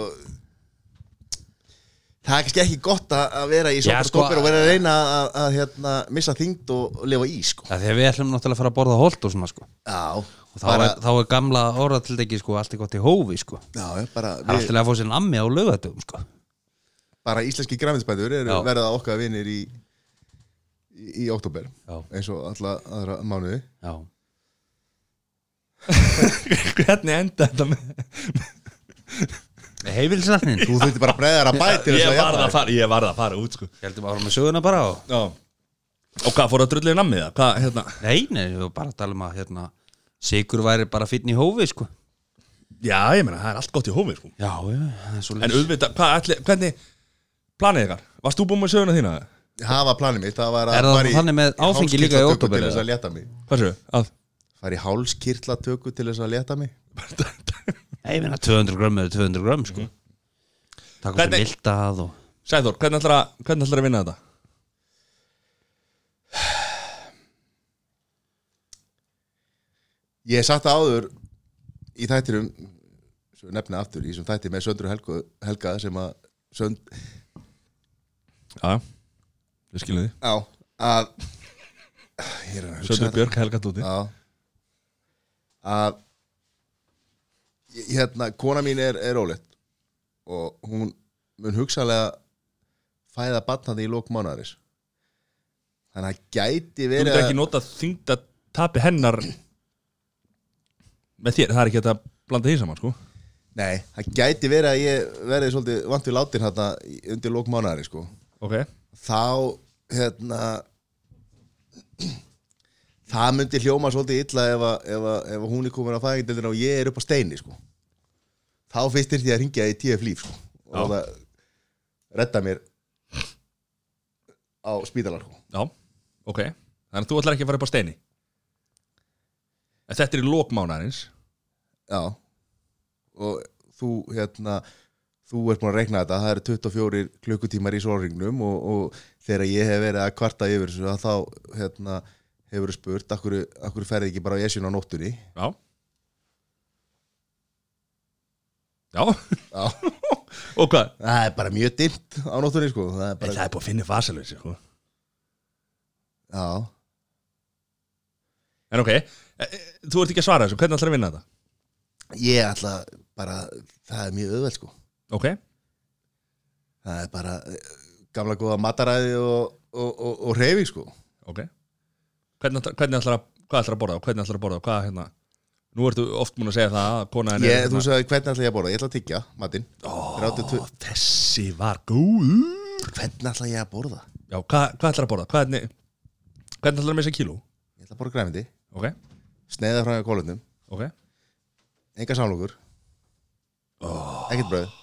Speaker 2: Það er kannski ekki gott að- að vera í
Speaker 3: Já,
Speaker 2: svona
Speaker 3: sko,
Speaker 2: stoppir og vera að reyna að, að hérna, missa þyngd og og lifa í, sko
Speaker 3: Það þegar við ætlum náttúrulega að fara að borða holt og svona sko
Speaker 2: Já,
Speaker 3: og þá,
Speaker 2: bara,
Speaker 3: er, þá er gamla orðatildegi sko allt er gott í hófi sko Það
Speaker 2: já, já, bara,
Speaker 3: er
Speaker 2: við,
Speaker 3: alltaf að fá sér nammi á laugatum sko
Speaker 2: bara íslenski græmiðsbændur eru
Speaker 3: Já.
Speaker 2: verða okkar vinir í í, í oktober
Speaker 3: Já,
Speaker 2: eins og alla aðra mánuði
Speaker 3: já
Speaker 1: (laughs) Hvernig enda þetta með
Speaker 3: Heifilsnatnin, (laughs)
Speaker 2: Þú þurfti bara að breyða þær að bæti til þess
Speaker 1: Ég
Speaker 2: að
Speaker 1: varð
Speaker 2: jafna
Speaker 1: að
Speaker 2: þig.
Speaker 1: fara, ég varð að fara út sko
Speaker 3: heldum áfram með söguna bara og
Speaker 1: Já Og hvað fór að drullið nammi það? Hvað, hérna
Speaker 3: Nei, nei, við varum bara að tala um að hérna Sigur væri bara fyrn í hófi sko
Speaker 1: Já, ég meina, það er allt gott í hófið sko
Speaker 3: Já, já, það er svo
Speaker 1: En auðvitað, hvað, ætli, hvernig Planið ykkar, varst þú búin með söguna þína?
Speaker 2: Það var planið mitt, það var að
Speaker 3: Er það
Speaker 2: fara í-
Speaker 3: þannig með
Speaker 2: í
Speaker 3: áfengi líka í
Speaker 2: hálskirtlatöku
Speaker 3: október,
Speaker 2: Til þess
Speaker 3: eða?
Speaker 2: að létta mig
Speaker 1: Hvað séu? Að (laughs)
Speaker 2: Fari hálskirtla tökku til þess að létta mig
Speaker 3: Nei, ég meina 200 grömm eða 200 grömm sko Takk fyrir
Speaker 1: Hvernig-
Speaker 3: mildað og
Speaker 1: Sæþór, hvernig ætlar að, hvernig ætlar að vinna þetta?
Speaker 2: Ég hef sagt það áður í þættinum svo ég nefna aftur í þessum þætti með Söndru Helga, Helga sem að sönd,
Speaker 1: Já, við skilum því
Speaker 2: á, að ég er að hugsa
Speaker 1: Söndur
Speaker 2: þetta.
Speaker 1: Björk, Helga Dóti
Speaker 2: Já. að ég- hérna, kona mín er, er óleitt og hún mun hugsalega fæða batnandi í lók mánaris þannig að gæti
Speaker 1: Þú
Speaker 2: verið
Speaker 1: getur
Speaker 2: að-
Speaker 1: ekki nota þyngda tapi hennar með þér, það er ekki hægt að blanda því saman sko
Speaker 2: Nei, það gæti verið að ég verið svolítið vant við látin hérna undir lók mánaris sko
Speaker 1: Ok
Speaker 2: þá hérna það myndi hljóma svolítið illa ef, að, ef, að, ef að hún er komin á fæðingadeldina og ég er upp á steini sko. þá fyrst er því að ringja í TF líf sko. og
Speaker 1: Já.
Speaker 2: það redda mér á spítalar sko.
Speaker 1: Já, ok Þannig að þú ætlar ekki að fara upp á steini En þetta er í lokmánarins
Speaker 2: já og þú hérna þú ert búin að reikna þetta, það eru 24 klukkutímar í sólringnum og, og þegar ég hef verið að kvarta yfir þessu að þá hérna hefur spurt, akkur, akkur ferði ekki bara á esjun á nóttunni
Speaker 1: Já Já, (laughs)
Speaker 2: já
Speaker 1: og hvað?
Speaker 2: Það er bara mjög dimmt á nóttunni sko Það er bara,
Speaker 1: er búið að finna fasalins sko.
Speaker 2: já
Speaker 1: En ok, e- e, þú ert ekki að svara þessu, hvernig ætlar að vinna þetta?
Speaker 2: Ég ætla bara, það er mjög auðveld sko
Speaker 1: Ok,
Speaker 2: Það er bara eh, gamla góða mataræði og, og, og, og reyfing sko
Speaker 1: ok Hvernig, ætlar- hvernig ætlar að, hvað ætlar að borða og hvernig ætlar að borða og hvað hérna Nú ertu oft múin að segja það að kona henni hérna.
Speaker 2: ég, Þú sagði hvernig ætla ég að borða, ég ætla að tyggja matinn
Speaker 1: Ó,
Speaker 2: 32.
Speaker 1: þessi var góð
Speaker 2: Hvernig ætla ég að borða?
Speaker 1: Já, hvað, hvað ætlar að borða? Hvernig, hvernig ætlar að missa kíló?
Speaker 2: Ég ætla að borða græmindi,
Speaker 1: Ok,
Speaker 2: sneiða frá kólunum
Speaker 1: ok
Speaker 2: Enga samlokur oh. Ekkert bröð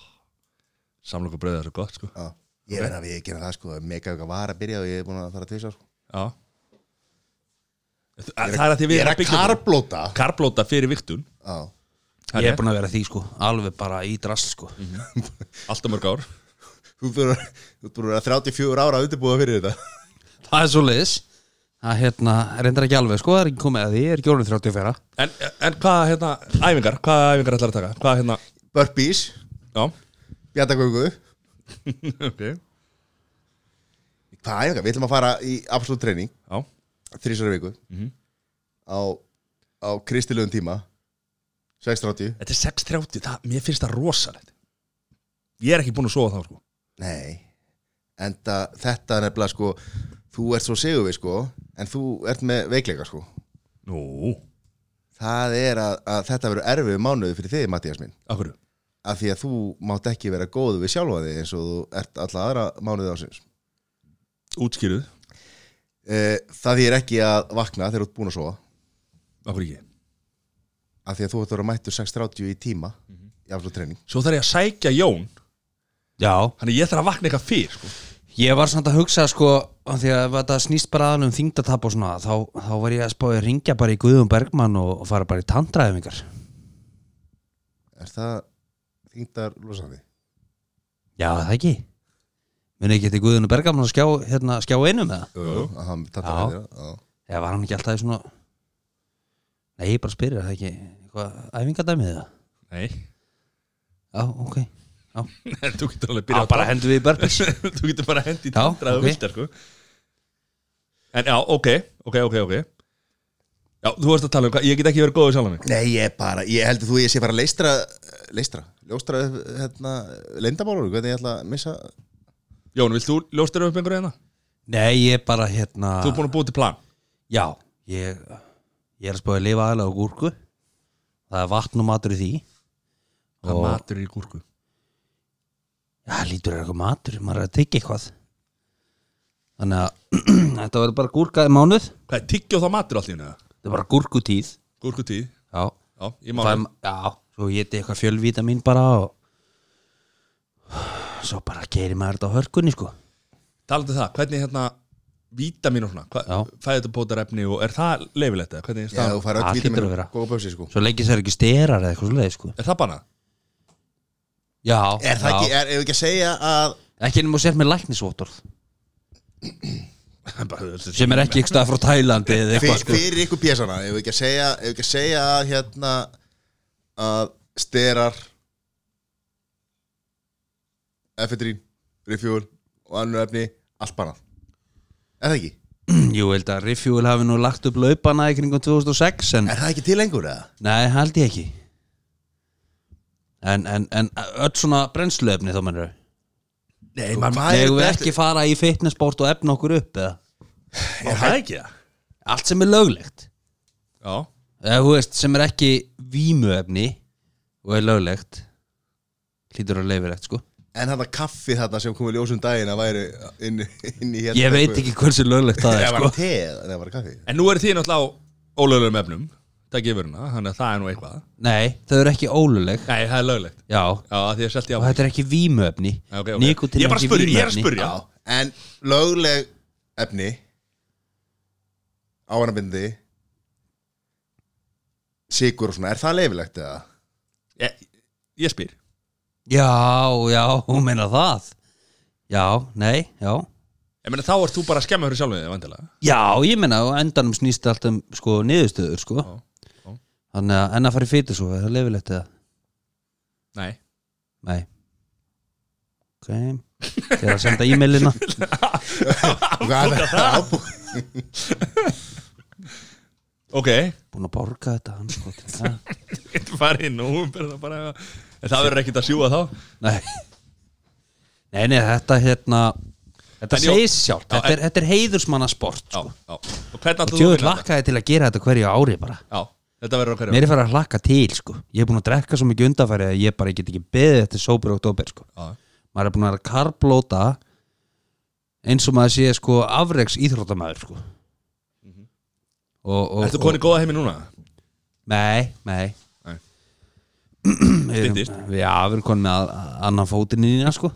Speaker 1: Samlokur bröðið er svo gott, sko
Speaker 2: já. Ég verð að við gera það sko, mega eitthvað var að byrja og ég er búin að fara að tvisa sko.
Speaker 1: Já Það er að því við
Speaker 2: Ég er
Speaker 1: erum
Speaker 2: að
Speaker 1: byggja upp-
Speaker 2: karblóta
Speaker 1: Karblóta fyrir viktun
Speaker 2: Já
Speaker 1: Það
Speaker 3: Ég er
Speaker 1: er
Speaker 3: búin að vera því sko, alveg bara í drast sko
Speaker 1: alltaf mörg ár
Speaker 2: Þú ert búin að- þú ert búin að vera 34 ára að undirbúa fyrir þetta
Speaker 3: Það er svo leiðis Það hérna, reyndar ekki alveg sko, það er ekki komið að því, ég er ekki orðin 34
Speaker 1: En, en hvað, hérna, æfingar, hvað æfingar ætlar að taka? Hvað, hérna,
Speaker 2: Burpees,
Speaker 1: já
Speaker 2: bjartagöngu
Speaker 1: Ok Já,
Speaker 2: Hvað er það? Við ætlum að fara í absolutt treyning þrísara viku
Speaker 1: Mhm.
Speaker 2: á, á kristilegum tíma 6.30
Speaker 1: þetta er 6.30, það, mér finnst það rosalegt Ég er ekki búin að sofa þá, sko
Speaker 2: Nei En það, þetta er nefnilega sko Þú ert svo segjum við sko En þú ert með veikleika sko
Speaker 1: Nú,
Speaker 2: Það er að, að þetta verður erfið mánuði fyrir þig Mattías minn
Speaker 1: af hverju?
Speaker 2: Af því að þú mátt ekki vera góð við sjálfa þig eins og þú ert alla aðra mánuði ásins
Speaker 1: Útskýruð
Speaker 2: Eh, Það þýr ekki að vakna þegar þú ert búin að sofa
Speaker 1: Akkur ekki
Speaker 2: af því að þú ætti að vera mættur 6.30 í tíma í afslut treyning
Speaker 1: Svo þarf ég að sækja Jón
Speaker 3: Já,
Speaker 1: Þannig ég þarf að vakna eitthvað fyrr sko.
Speaker 3: Ég var samt að hugsa sko af því að þetta snýst bara aðan um þingdatap og svona þá, þá var ég að spá að ringja bara í Guðum Bergmann og, og fara bara í tandræðumingar
Speaker 2: er það þingdar losandi?
Speaker 3: Já, það ekki Muni ekki eftir Guðun Bergmann að skjá, hérna, skjá einum með það?
Speaker 2: Jú, jú, að hann tattar
Speaker 3: Já.
Speaker 2: með þér já.
Speaker 3: Já, var hann ekki alltaf í svona Nei, ég bara spyrir er það ekki eitthvað æfingadæmið það?
Speaker 1: Nei, (laughs)
Speaker 3: Já, ok Já,
Speaker 1: en þú getur alveg að
Speaker 3: Já
Speaker 1: byrja
Speaker 3: bara hendur við í bergis
Speaker 1: (laughs) Þú getur bara hendi í
Speaker 3: Já,
Speaker 1: tindra
Speaker 3: ok.
Speaker 1: okay. viltar, sko. En já, ok, ok, ok, ok Já, þú varst að tala um hvað Ég get ekki verið góður sjálf mig
Speaker 2: Nei, ég bara, ég heldur þú að ég sé bara að leistra leistra, ljóstra upp, hérna, leyndamálur, hvernig ég ætla að missa
Speaker 1: Jón, vilt þú ljóst þér upp einhverju hérna?
Speaker 3: Nei, ég bara hérna
Speaker 1: Þú er búin að búið til plan
Speaker 3: Já, ég, ég er að spá að lifa aðlega á gúrku Það er vatn og matur í því
Speaker 1: Hvað matur er í gúrku?
Speaker 3: Já, lítur er eitthvað matur, maður er að tekja eitthvað Þannig að (clears throat) þetta verður bara gúrkaði mánuð Þetta
Speaker 1: Hvað er tyggjóð þá matur allt í hérna?
Speaker 3: er bara gúrkutíð
Speaker 1: Gúrkutíð,
Speaker 3: Já,
Speaker 1: já, ég má
Speaker 3: það er, já svo ég geti eitthvað fjölvítamín bara og svo bara gerir maður þetta á hörkunni sko
Speaker 1: Talandi um það, hvernig hérna Vítamin og svona,
Speaker 3: Já.
Speaker 1: hvað, fæðutabótarefni og er það leifilegt eða? Hvernig er
Speaker 2: Já,
Speaker 1: staðan?
Speaker 2: þú fara
Speaker 3: það
Speaker 2: öll
Speaker 3: hlýtur
Speaker 2: vítaminu
Speaker 3: að vera.
Speaker 2: góða bösi, sko
Speaker 3: Svo lengi sér ekki sterar eða eitthvað svoleið sko
Speaker 1: Er það bannað?
Speaker 3: Já,
Speaker 2: Er það ekki,
Speaker 3: já.
Speaker 2: er, ef ekki að segja að
Speaker 3: ekki nema þú sér með læknisvottorð
Speaker 1: Bara-
Speaker 3: sem er ekki eitthvað frá Tælandi eða
Speaker 2: fyr,
Speaker 3: eitthvað sko
Speaker 2: fyrir ykkur pjæsana ef við ekki að segja, ef við ekki að segja að hérna að sterar efetrín, refuel og annur efni, allt bannað er það ekki?
Speaker 3: (clears throat) Jú, ég held að Refuel hafi nú lagt upp laupana í kringum 2006 en
Speaker 2: Er það ekki til lengur eða?
Speaker 3: Nei, held ég ekki En, en, en öll svona brennsluefni þá mennur
Speaker 2: Nei,
Speaker 3: Þegar við ekki fara í fitnessport og efna okkur upp eða
Speaker 1: Er það ekki það?
Speaker 3: Allt sem er löglegt
Speaker 1: Já,
Speaker 3: eða þú veist, sem er ekki vímuefni og er löglegt hlýtur að leifilegt sko
Speaker 2: En hann að kaffi þarna sem komið ljósum um daginn að væri inn, inn í hérna
Speaker 3: Ég veit ekki hversu löglegt það
Speaker 1: (laughs)
Speaker 2: Það
Speaker 3: er
Speaker 2: var
Speaker 3: sko
Speaker 2: te, eða það var kaffi
Speaker 1: en nú er þið náttúrulega á ólögulegum efnum Það gefur hana, þannig að það er nú eitthvað
Speaker 3: Nei, þau eru ekki óluleg
Speaker 1: Nei, það er löglegt
Speaker 3: Já,
Speaker 1: Já, af því að selti á
Speaker 3: og þetta er ekki vímuefni
Speaker 1: Ok, ok.
Speaker 3: Nikótín
Speaker 1: Ég er bara að
Speaker 3: ekki
Speaker 1: spyrja, ég er að
Speaker 3: vímuefni.
Speaker 1: spyrja
Speaker 2: Já, en lögleg efni áhannabindi sigur og svona, er það leifilegt eða?
Speaker 1: Ég, ég spyr
Speaker 3: Já, já, hún meina það Já, nei, já
Speaker 1: Ég meina þá ert þú bara að skemma fyrir sjálfum þig vandilega
Speaker 3: Já, ég menna á endanum snýst allt um sko niðurstöður sko
Speaker 1: Já, já.
Speaker 3: Þannig að enn að fara í fýtu svo, er það leifilegt eða?
Speaker 1: Nei
Speaker 3: Nei Ok Þeir eru að senda e-mailina
Speaker 2: Hvað er (laughs) það?
Speaker 1: Ok,
Speaker 3: Búin að borga þetta hann sko til það (laughs)
Speaker 1: (laughs) getur farið inn og hún berða bara En það verður ekkert að sjúga þá
Speaker 3: Nei Nei, nei, þetta hérna Þetta
Speaker 1: En jú-
Speaker 3: segir sjálf,
Speaker 1: Já,
Speaker 3: þetta er, þetta er heiðursmanna sport
Speaker 1: Já,
Speaker 3: sko.
Speaker 1: já Og hvernig
Speaker 3: Og
Speaker 1: ætlar þú að
Speaker 3: tjóður
Speaker 1: vinna þetta?
Speaker 3: lakkaði til að gera þetta hverju ári bara
Speaker 1: Já, þetta verður á hverju
Speaker 3: Mér er fyrir að lakka til sko Ég er búin að drekka svo mikið undafæri að ég bara get ekki beðið eftir sópur og dóber sko
Speaker 1: Já,
Speaker 3: maður er búin að vera karblóta eins og maður sé sko afreks íþróttamæður sko og, og,
Speaker 1: Mhm. Ertu koni góða heimi núna?
Speaker 3: nei, nei
Speaker 1: Nei.
Speaker 3: Við erum-
Speaker 1: Styttist.
Speaker 3: já, við erum konið með að- að- annan fótinn í nýna sko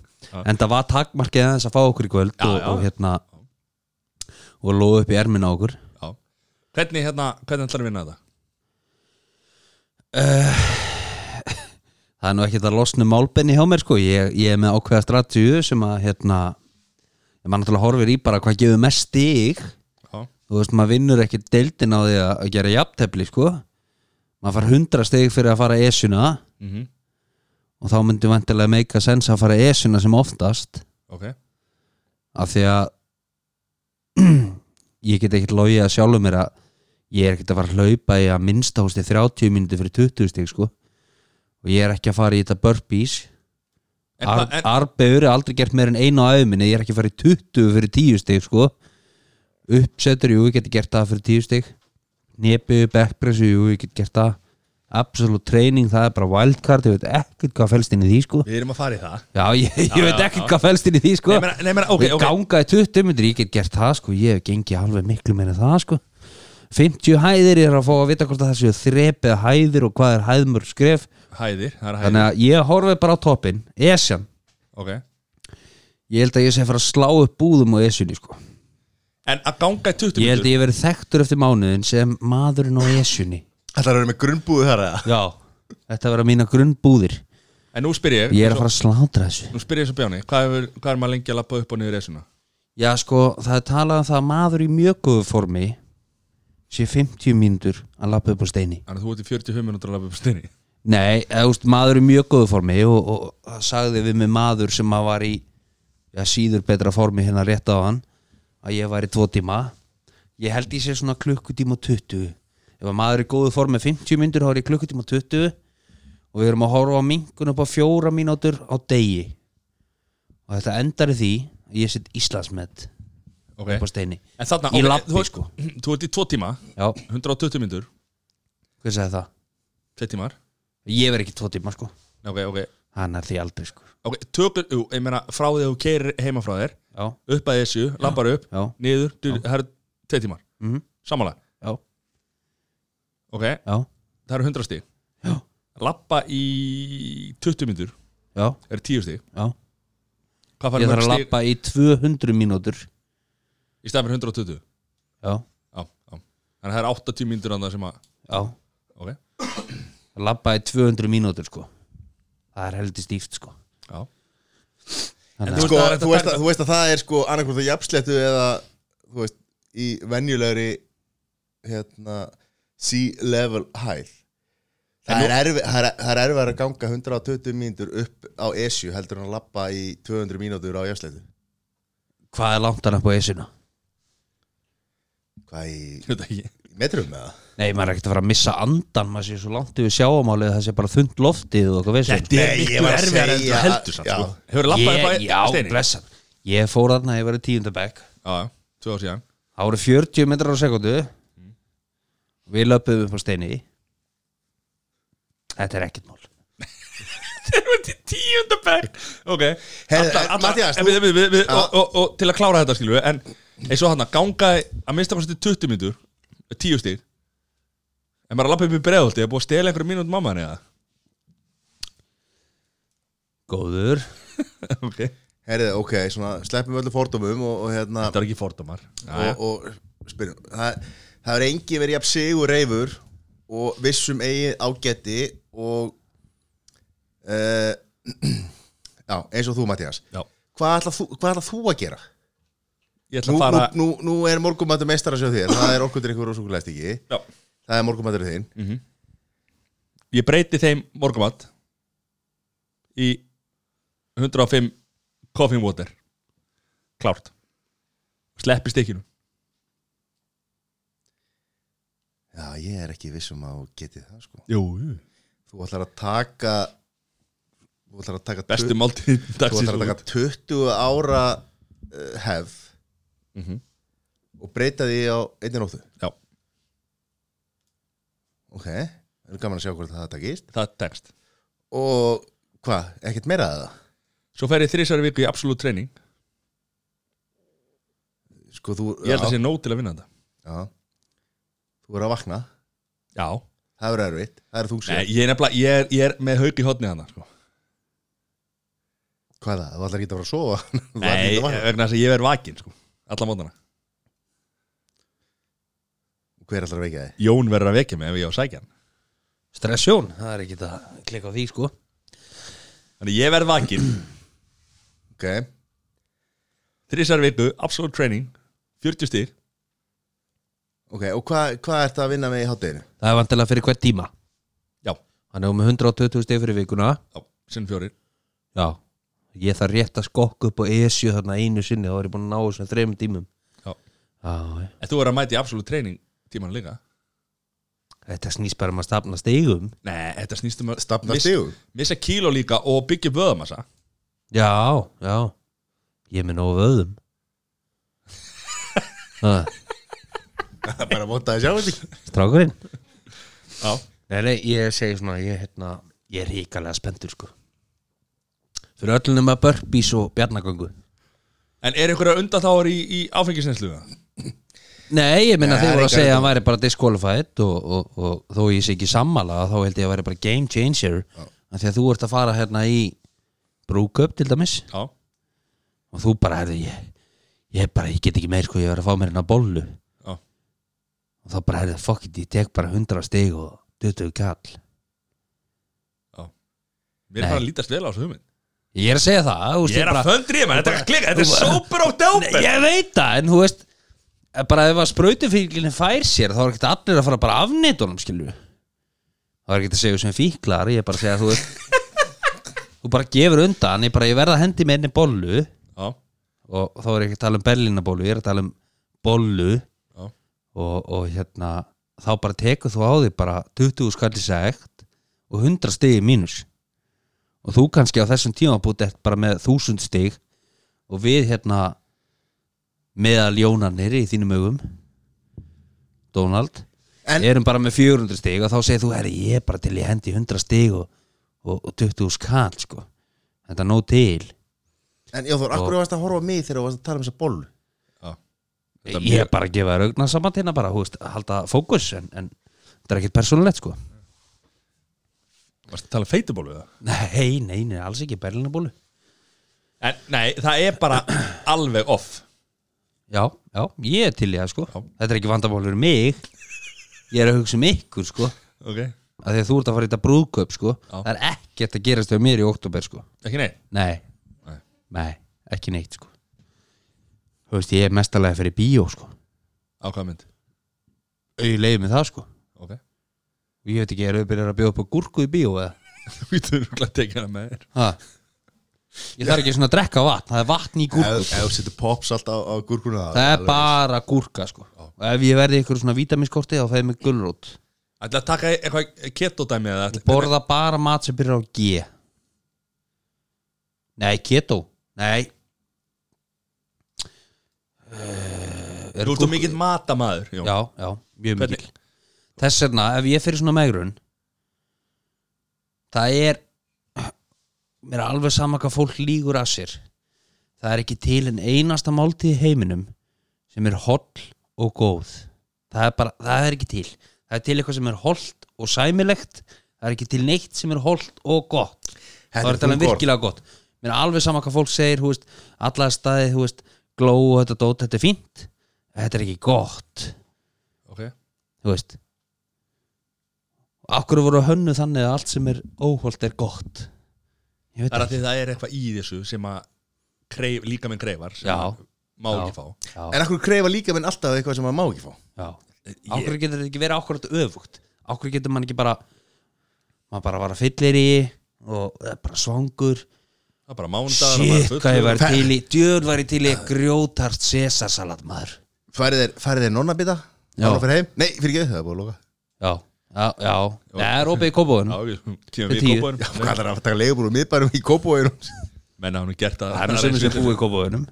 Speaker 3: en það var takmarkið aðeins að fá okkur í kvöld
Speaker 1: Já,
Speaker 3: og,
Speaker 1: já.
Speaker 3: og hérna og loðu upp í ermina á okkur
Speaker 1: Já Hvernig hérna, hvernig ætlar að vinna þetta?
Speaker 3: það er nú ekkert að losna málbenni hjá mér sko ég, ég er með ákveða strategju sem að hérna, ég maður náttúrulega horfir í bara hvað gefur mest stig
Speaker 1: Já,
Speaker 3: þú veist, maður vinnur ekki deildin á því að að gera jafntefli, sko maður fara hundra steg fyrir að fara esuna
Speaker 1: mhm,
Speaker 3: og þá myndi vantilega meika sens að fara esuna sem oftast
Speaker 1: ok
Speaker 3: af því að (clears throat) ég get ekkert logið að sjálfum mér að ég er ekkert að fara að hlaupa í að minnsta hósti 30 minúti fyrir 20 steg, sko og ég er ekki að fara í þetta burpees
Speaker 1: En hvað, en,
Speaker 3: Arbegur er aldrei gert meir en einu á auðminni ég er ekki að fara í 20 fyrir 10 steg sko. uppsetur, jú, ég geti gert það fyrir 10 steg nebu, backpressu, jú, ég geti gert það absolutt training, það er bara wildcard ég veit ekkert hvað felst inn í því sko.
Speaker 1: við erum að fara í það
Speaker 3: já, ég, ég
Speaker 1: Já,
Speaker 3: veit
Speaker 1: já,
Speaker 3: ekkert
Speaker 1: já.
Speaker 3: hvað felst inn í því sko.
Speaker 1: Nei, meina- nei, meina, ok,
Speaker 3: ég
Speaker 1: ok.
Speaker 3: ganga í 20 myndir, ég get gert það sko. ég hef gengið alveg miklu meina það sko. 50 hæðir er að fá að vita hvort að það séu þrep eða hæðir og hvað er hæðmörg skref
Speaker 1: Hæðir, það er hæðir
Speaker 3: þannig að ég horfið bara á toppin Esjan,
Speaker 1: Ok
Speaker 3: ég held að ég sé að fara að slá upp búðum á Esjunni sko
Speaker 1: En að ganga í 20
Speaker 3: Ég held að ég verið þekktur eftir mánuðin sem maðurinn á Esjunni
Speaker 2: Þetta er að vera með grunnbúðu þar eða?
Speaker 3: Já Þetta verða mína grunnbúðir
Speaker 1: En nú spyr ég,
Speaker 3: Ég er að fara að slátra þessu
Speaker 1: Nú spyr ég svo bjáni Hvað, hefur, hvað er maður lengi að lappa upp og niður esuna?
Speaker 3: Já sko, það er talað um það að maður í mjög góðu formi sé 50 mínútur að lappa upp á steini
Speaker 1: Þannig að þú ert í 45 minútur að lappa upp stinni
Speaker 3: Nei, eða, úst, maður í mjög góðu formi og, og, og það sagði við með maður sem að var í já, síður betra formi hérna rétt á hann að ég var í tvo tíma Ég held ég sé svona klukkutíma og 20 Ef að maður í góðu formi er 50 mínútur þá er ég klukkutíma og 20 og við erum að horfa á minkun upp á fjóra mínútur á degi og þetta endar í því að ég set Íslandsmet
Speaker 1: Ok
Speaker 3: upp á steini
Speaker 1: En þarna,
Speaker 3: Í
Speaker 1: ok,
Speaker 3: labbi,
Speaker 1: þú, ert-
Speaker 3: sko.
Speaker 1: Þú ert í 2 tíma
Speaker 3: Já,
Speaker 1: 120 minútur
Speaker 3: hver sagði það?
Speaker 1: 2 tímar
Speaker 3: Ég verð ekki tvo tíma sko
Speaker 1: Ok, ok
Speaker 3: Hann er því aldrei sko
Speaker 1: Ok, tökur, jú, ég meina frá því að þú keirir heima frá þér
Speaker 3: Já,
Speaker 1: Upp að þessu, lappar upp,
Speaker 3: já,
Speaker 1: niður, duð, það eru 2 tímar
Speaker 3: mm
Speaker 1: Samanlega,
Speaker 3: já,
Speaker 1: ok,
Speaker 3: já,
Speaker 1: það eru 100 stig
Speaker 3: Já.
Speaker 1: Lappa í 20 minútur
Speaker 3: já,
Speaker 1: er 10 stig
Speaker 3: já
Speaker 1: Hvað
Speaker 3: Ég
Speaker 1: farið
Speaker 3: þarf
Speaker 1: mörg
Speaker 3: að
Speaker 1: stig
Speaker 3: labba í 200 mínútur
Speaker 1: í stæðan fyrir 120?
Speaker 3: Já,
Speaker 1: Já, já Þannig að það er 80 mínútur annað sem að
Speaker 3: já
Speaker 1: Ok,
Speaker 3: Labba í 200 mínútur sko Það er heldur stíft sko
Speaker 1: já
Speaker 3: Þannig
Speaker 1: En
Speaker 3: að
Speaker 2: Sko,
Speaker 1: það er þetta
Speaker 2: þú veist,
Speaker 1: tækla-
Speaker 2: að, þú veist að það er sko annarkvort á jafnsléttu eða þú veist, í venjulegri hérna sea level hæð
Speaker 1: En
Speaker 2: Það er, erfi, það, er, það er erfið að ganga 120 mínútur upp á Esju heldur en að lappa í 200 mínútur á jafnsléttu
Speaker 3: hvað er langt hann upp á esuna?
Speaker 2: Hvað í
Speaker 1: Ég veit ekki
Speaker 2: í metrum með það?
Speaker 3: Nei, maður er ekkert að fara að missa andan maður sé svo langt yfir sjáamálið það sé bara þund loftið og eitthvað veist
Speaker 1: Þetta er
Speaker 2: Nei, ég
Speaker 1: miklu
Speaker 2: var að
Speaker 1: erfiðar en
Speaker 2: segja
Speaker 1: þú heldur samt sko
Speaker 2: að- já.
Speaker 1: Hefur lappað
Speaker 3: ég,
Speaker 1: upp
Speaker 3: Já,
Speaker 1: að steini?
Speaker 3: blessan Ég fór þarna, ég var í tíundabæk
Speaker 1: Já, já, tvö ár síðan
Speaker 3: Það voru 40 metrar á sekundu Við löpum upp á steini Þetta er ekkert mál
Speaker 1: Tíunda bekk Ok
Speaker 2: Herðu,
Speaker 1: Allar- allar-
Speaker 2: eh, Matthías,
Speaker 1: en
Speaker 2: þú-
Speaker 1: við- við- við- við-
Speaker 2: Já.
Speaker 1: og- og- Og til að klára þetta skilur við En eins og hann að ganga í- að minnsta kosti 20 mínútur 10 stig En maður er að lappa upp í breiðholti Það er búið að stela einhverjum mínútur mamma hann eða (laughs)
Speaker 3: Góður
Speaker 1: Ok Þetta
Speaker 2: Herðið, ok, svona sleppum öllu fordómum og, og hérna
Speaker 1: er ekki fordómar Já,
Speaker 2: og, og spyrjum það, það er engin verið jafn sigur reyfur og vissum eigið ágæti og uh, (clears throat) já, eins og þú Mattias
Speaker 1: já.
Speaker 2: hvað ætla þú, hvað ætla þú að gera?
Speaker 1: Ég ætla
Speaker 2: Nú,
Speaker 1: að
Speaker 2: nú,
Speaker 1: fara
Speaker 2: nú, nú er morgumættur meistara sér þér það er okkur drikkur og súkulæst ekki
Speaker 1: Já.
Speaker 2: það er morgumættur þinn
Speaker 1: Mm. Ég breyti þeim morgumat Í 105 Coffee and water Klárt Sleppi stikkinu
Speaker 2: já, ég er ekki vissum að þú getið það sko
Speaker 1: Jú, jú
Speaker 2: þú ætlar að taka þú ætlar að taka
Speaker 1: Bestu máltíð
Speaker 2: Þú
Speaker 1: dagsins
Speaker 2: ætlar að taka 20 ára uh, hefð
Speaker 1: Mhm.
Speaker 2: og breyta því á einni nóttu
Speaker 1: Já,
Speaker 2: Ok, það er gaman að sjá hvort það takist
Speaker 1: það tekst
Speaker 2: Og hvað, ekkert meira að það?
Speaker 1: Svo fer ég þrísari viku í absolutt treyning
Speaker 2: Sko þú
Speaker 1: Ég held að
Speaker 2: já,
Speaker 1: sé nóg til að vinna þetta
Speaker 2: já. Þú er að vakna,
Speaker 1: Já
Speaker 2: það er erfitt, það er þungsjö
Speaker 1: Nei, ég er nefnilega, ég er, ég er með haug í hotni hana sko.
Speaker 2: Hvað er það, þú ætlar ekki að fara að sofa (laughs) Þú ætlar
Speaker 1: Nei,
Speaker 2: ekki að vakna
Speaker 1: vegna þess að ég verð vakin sko. Alla mótana
Speaker 2: Hver ætlar að veika þig?
Speaker 1: Jón verður að vekja mig ef ég á að sækja hann
Speaker 3: Stressjón, það er ekki að klikka á því sko
Speaker 1: Þannig ég verð vakin (clears throat)
Speaker 2: Ok,
Speaker 1: Þrísari viku, absolutt treyning 40 stíl
Speaker 2: ok, og hvað hva ert að vinna með í hátteginu?
Speaker 3: Það er vantilega fyrir hvert tíma
Speaker 1: Já,
Speaker 3: Hann er með 120 steg fyrir vikuna
Speaker 1: já, sinn fjórir
Speaker 3: Já Ég þarf rétt að skokka upp á ESU þarna einu sinni þá er ég búin að ná þessum þreim tímum
Speaker 1: Já.
Speaker 3: Já,
Speaker 1: En þú verður að mæta í absolutt treyning tíman líka
Speaker 3: þetta snýst bara um að stafna stegum
Speaker 1: Nei, þetta snýst um að
Speaker 2: Stafna
Speaker 1: miss-
Speaker 2: stíu?
Speaker 1: Missa kíló líka og byggja vöðamassa
Speaker 3: Já, já Ég er með nógu vöðum (laughs) Ha,
Speaker 2: Það er bara að vota að sjá þetta
Speaker 3: Strákurinn
Speaker 1: Já,
Speaker 3: Nei, nei, ég segi svona Ég, hérna, ég er ríkalega spenntur sko Fyrir öllunum að burpees og bjarnagöngu
Speaker 1: En er einhverja undan þá í, í áfengisnæslu?
Speaker 3: Nei, ég minna
Speaker 2: Nei, það
Speaker 3: þeir
Speaker 2: er
Speaker 3: voru að
Speaker 2: engar
Speaker 3: segja að
Speaker 2: undan-
Speaker 3: hann væri bara disqualified og, og, og þó ég sé ekki sammála þá held ég að væri bara game changer af því að þú ert að fara hérna í brúköp til dæmis
Speaker 1: Já,
Speaker 3: og þú bara herði ég, ég bara, ég get ekki meir sko, ég verið að fá mér hérna bollu
Speaker 1: Já.
Speaker 3: og þá bara herði, fuck it, ég tek bara 100 stig og 20 kall
Speaker 1: mér er bara að lítast vel á þessu hugmynd
Speaker 3: Ég er að segja það, þú veist,
Speaker 1: Ég er að
Speaker 3: bara-
Speaker 1: föndrið, mann, þetta er
Speaker 3: bara-
Speaker 1: að klika Þetta er
Speaker 3: þú bara-
Speaker 1: sópur og dáber
Speaker 3: Nei, Ég veit það, en þú veist að bara ef að sprautufíklinn fær sér þá er ekkert allir að fara bara að afneita honum skilju þá er ekkert að segja sem fíklar ég er bara að segja að þú veist þú bara gefur undan, ég bara ég verða að hendi með einni bollu
Speaker 1: Já,
Speaker 3: og þá er ég ekki að tala um berlinabólu ég er að tala um bollu
Speaker 1: já,
Speaker 3: og, og hérna þá bara tekur þú á því bara 20 skalli segt og 100 stigi mínus og þú kannski á þessum tímabúti ert bara með 1000 stig og við hérna meðal jónarnir í þínum augum Donald
Speaker 2: En-
Speaker 3: erum bara með 400 stig og þá segir þú er ég er bara til ég hendi 100 stig og, og, og 20 skall sko þetta er nóg til
Speaker 2: En Jóþór, akkur varst að horfa á mig þegar þú varst að tala um þessa boll
Speaker 1: já Þetta er
Speaker 3: ég er
Speaker 1: mjög-
Speaker 3: bara að gefa raugna saman til hérna bara, hú veist, halda fókus en, en þetta er ekkert persónulegt sko
Speaker 1: Varstu að tala um feituból við það?
Speaker 3: Nei, nei, nei, alls ekki Berlínabólu
Speaker 1: En, nei, það er bara alveg off
Speaker 3: Já, já, ég er til í það sko
Speaker 1: Já.
Speaker 3: Þetta er ekki vandabólur mig Ég er að hugsa um ykkur sko
Speaker 1: Ok
Speaker 3: að Þegar þú ert að fara í þetta brúðköp sko
Speaker 1: Já.
Speaker 3: Það er ekkert að gerast við mér í oktober sko
Speaker 1: Ekki nei
Speaker 3: Nei,
Speaker 1: Nei.
Speaker 3: nei, ekki neitt sko Þú veist, ég er mestalega fyrir bíó sko
Speaker 1: Ákvæða mynd
Speaker 3: Ég leiði mig það sko
Speaker 1: Ok (laughs)
Speaker 3: Og Ég veit ekki, er þau byrjar að bjóða upp á gúrku í bíó eða
Speaker 1: Þú þurfum ekki að tekja það með þér
Speaker 3: ha? Ég þarf ekki svona að drekka vatn Það er vatn í
Speaker 2: Ef
Speaker 3: gúrku sko.
Speaker 2: ef þú setur pops allt á, á gúrkuna
Speaker 3: Það er bara gúrka sko Og Ef ég verði ykkur svona vítaminskorti þá fæði mig gulrót
Speaker 1: Ætla að taka eitthvað keto-dæmi eða ætla-
Speaker 3: borða bara mat sem byrjar á G Nei, keto Nei uh,
Speaker 1: Þú ert þú mikill matamaður Jón.
Speaker 3: Já, já, mjög
Speaker 1: Hvernig-
Speaker 3: mikill Þess vegna, ef ég fyrir svona megrun Það er Mér er alveg sama hvað fólk lígur að sér Það er ekki til en einasta máltíð í heiminum sem er holl og góð það er, bara, það er ekki til Það er til eitthvað sem er hollt og sæmilegt Það er ekki til neitt sem er hollt og gott
Speaker 2: er
Speaker 3: Það er talað
Speaker 2: þung orð.
Speaker 3: virkilega gott Mér er alveg sama hvað fólk segir þú veist, Alla staði, þú veist, gló og þetta dót Þetta er fínt, þetta er ekki gott
Speaker 1: Ok
Speaker 3: þú veist Akkur voru hönnu þannig að allt sem er óholt er gott Ég veit
Speaker 1: Það er að því það er eitthvað í þessu sem að kreif, líka minn kreifar sem
Speaker 3: Já.
Speaker 1: að má
Speaker 3: Já.
Speaker 1: ekki fá
Speaker 3: Já,
Speaker 2: En akkur kreifa líka minn alltaf eitthvað sem maður má ekki fá
Speaker 3: já Akkur getur þetta ekki verið akkur þetta öfugt Akkur getur mann ekki bara maður bara var að fyllir í og eh, bara svangur
Speaker 1: Það er bara mánudagur og maður er
Speaker 3: Shit, hvað ég
Speaker 1: fullur.
Speaker 3: var til í djöður var ég til í grjótart sesarsalat maður
Speaker 2: Færið þeir, færið þeir nonna bita?
Speaker 3: Já.
Speaker 2: Ára fyrir heim? Nei, fyrir ekki, það er búið að loka
Speaker 3: Já, já, já Það er opið í kópóðun
Speaker 1: Já, við kemum við
Speaker 3: Tíu.
Speaker 2: Hvað
Speaker 1: kópaðurum
Speaker 2: er að taka leigubúru miðbærum í (laughs) kópóinum?
Speaker 1: Menna hann er gert að
Speaker 3: Það er nú sem sem búið í kópóðunum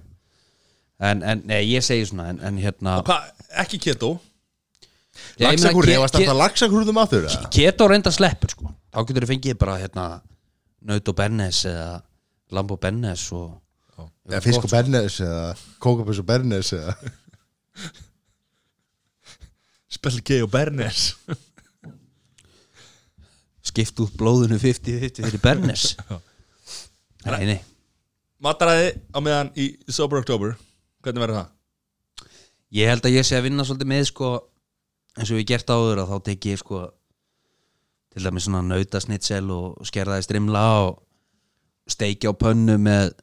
Speaker 3: En, en, nei, ég segi svona En, en hérna
Speaker 1: Hvað, ekki keto
Speaker 3: Já, ég meina,
Speaker 2: Laxakrúði,
Speaker 3: ke-
Speaker 2: varst
Speaker 3: ke-
Speaker 2: alltaf laxakrúðum að þurra?
Speaker 3: Keto reynda sleppur sko Þá getur þú fengið bara hérna Naut og Bennes eða Lambo Bennes og
Speaker 2: Eða fisk og bernes eða kókabus og bernes eða
Speaker 1: Spell K og Bernes
Speaker 3: skipt út blóðinu 50-50 fyrir Bennes (laughs) Nei, nei
Speaker 1: Mataræði á meðan í Sober October Hvernig verður það?
Speaker 3: Ég held að ég sé að vinna svolítið með sko eins og ég gert áður að þá tek ég sko til dæmis svona nautasnitsel og skerðaði strimla og steikja á pönnu með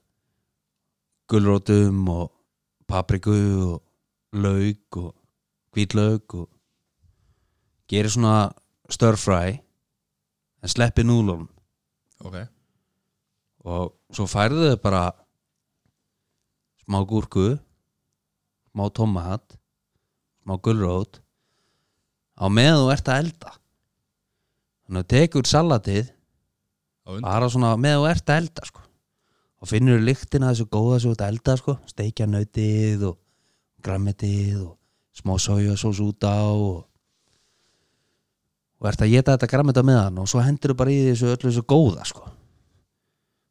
Speaker 3: gulrótum og papriku og lauk og hvítlauk og gerir svona stir fry en sleppi núlum
Speaker 1: Ok
Speaker 3: og svo færðu þau bara smá gúrku smá tomat smá gulrót á meðan þú ert að elda þannig að tekur salatið
Speaker 1: Á undan.
Speaker 3: bara svona meðan þú ert að elda sko. og finnur lyktina af þessu góða sem þú ert að elda sko. steikja nautið og grammetið og smá sojasós út á og og ert að geta þetta grammet á meðan og svo hendur þú bara í þessu öllu þessu góða sko.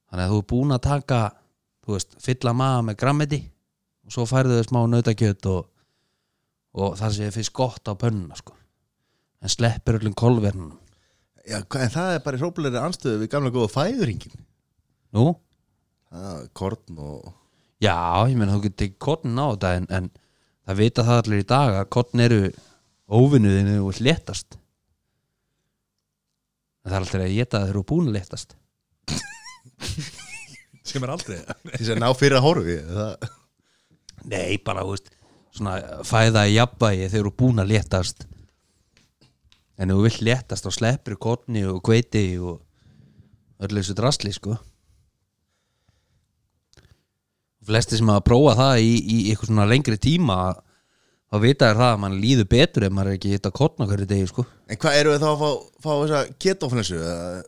Speaker 3: þannig að þú er búin að taka þú veist, fylla maða með grammeti og svo færðu þau smá nautakjöt og, og það sé fyrst gott á pönnuna sko. en sleppir öllum kolvernum
Speaker 2: (laughs) Já, hva- en það er bara í hrópulegri anstöðu við gamla góða fæðuringin
Speaker 3: nú,
Speaker 2: Korn og
Speaker 3: já, ég meina þú getur ekki kottn á þetta en, en það vita það allir í dag að kottn eru óvinnuðinu og léttast en það er alltaf að geta þeir eru búin að léttast
Speaker 1: sem er aldrei
Speaker 2: til þess að ná fyrir að horfi það,
Speaker 3: nei, bara, þú veist svona fæða í jafnvægi þeir eru búin að léttast en ef þú vill léttast þá sleppir kottni og kveiti og öllu þessu drasli sko flesti sem hafa prófað það í, í eitthvað svona lengri tíma þá vita þér það að mann líður betur ef maður er ekki hitt að kottna hverju degi sko
Speaker 2: En hvað eru við þá að fá, fá þessa ketoflensu eða-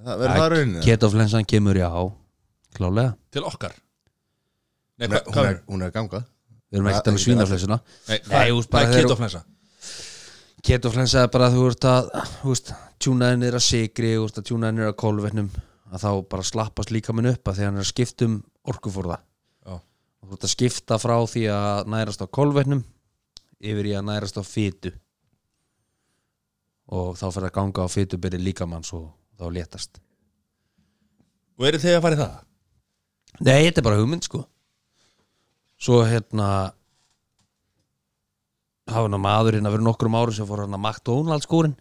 Speaker 2: Það verður það raunin
Speaker 3: ketoflensan kemur já klálega,
Speaker 1: til okkar Nei,
Speaker 2: hún,
Speaker 1: hva,
Speaker 2: er-
Speaker 1: hvað
Speaker 2: hún,
Speaker 1: er
Speaker 2: er- hún er að ganga
Speaker 3: við erum ekkert um alveg svínaflensuna
Speaker 1: Nei,
Speaker 3: Nei,
Speaker 1: það
Speaker 3: þú
Speaker 1: er-
Speaker 3: veist, bara
Speaker 1: það er
Speaker 3: þeir-
Speaker 1: ketoflensa
Speaker 3: ketoflensa er bara að þú ert að þú veist, tjúnaðin er að sigri þú veist, að tjúnaðin er að kólvetnum að þá bara slappast líka minn upp að því að hann er að skipta um orkufórða
Speaker 1: Já.
Speaker 3: þú ert að skipta frá því að nærast á kólvetnum yfir í að nærast á fytu og þá fer að ganga á fytu byrja líkamanns og þá létast
Speaker 1: og eru þið að fara í það?
Speaker 3: Nei, þetta er bara hugmynd sko Svo hérna hafa hann að maðurinn að vera nokkrum árum sem fór hann að McDonalds skúrin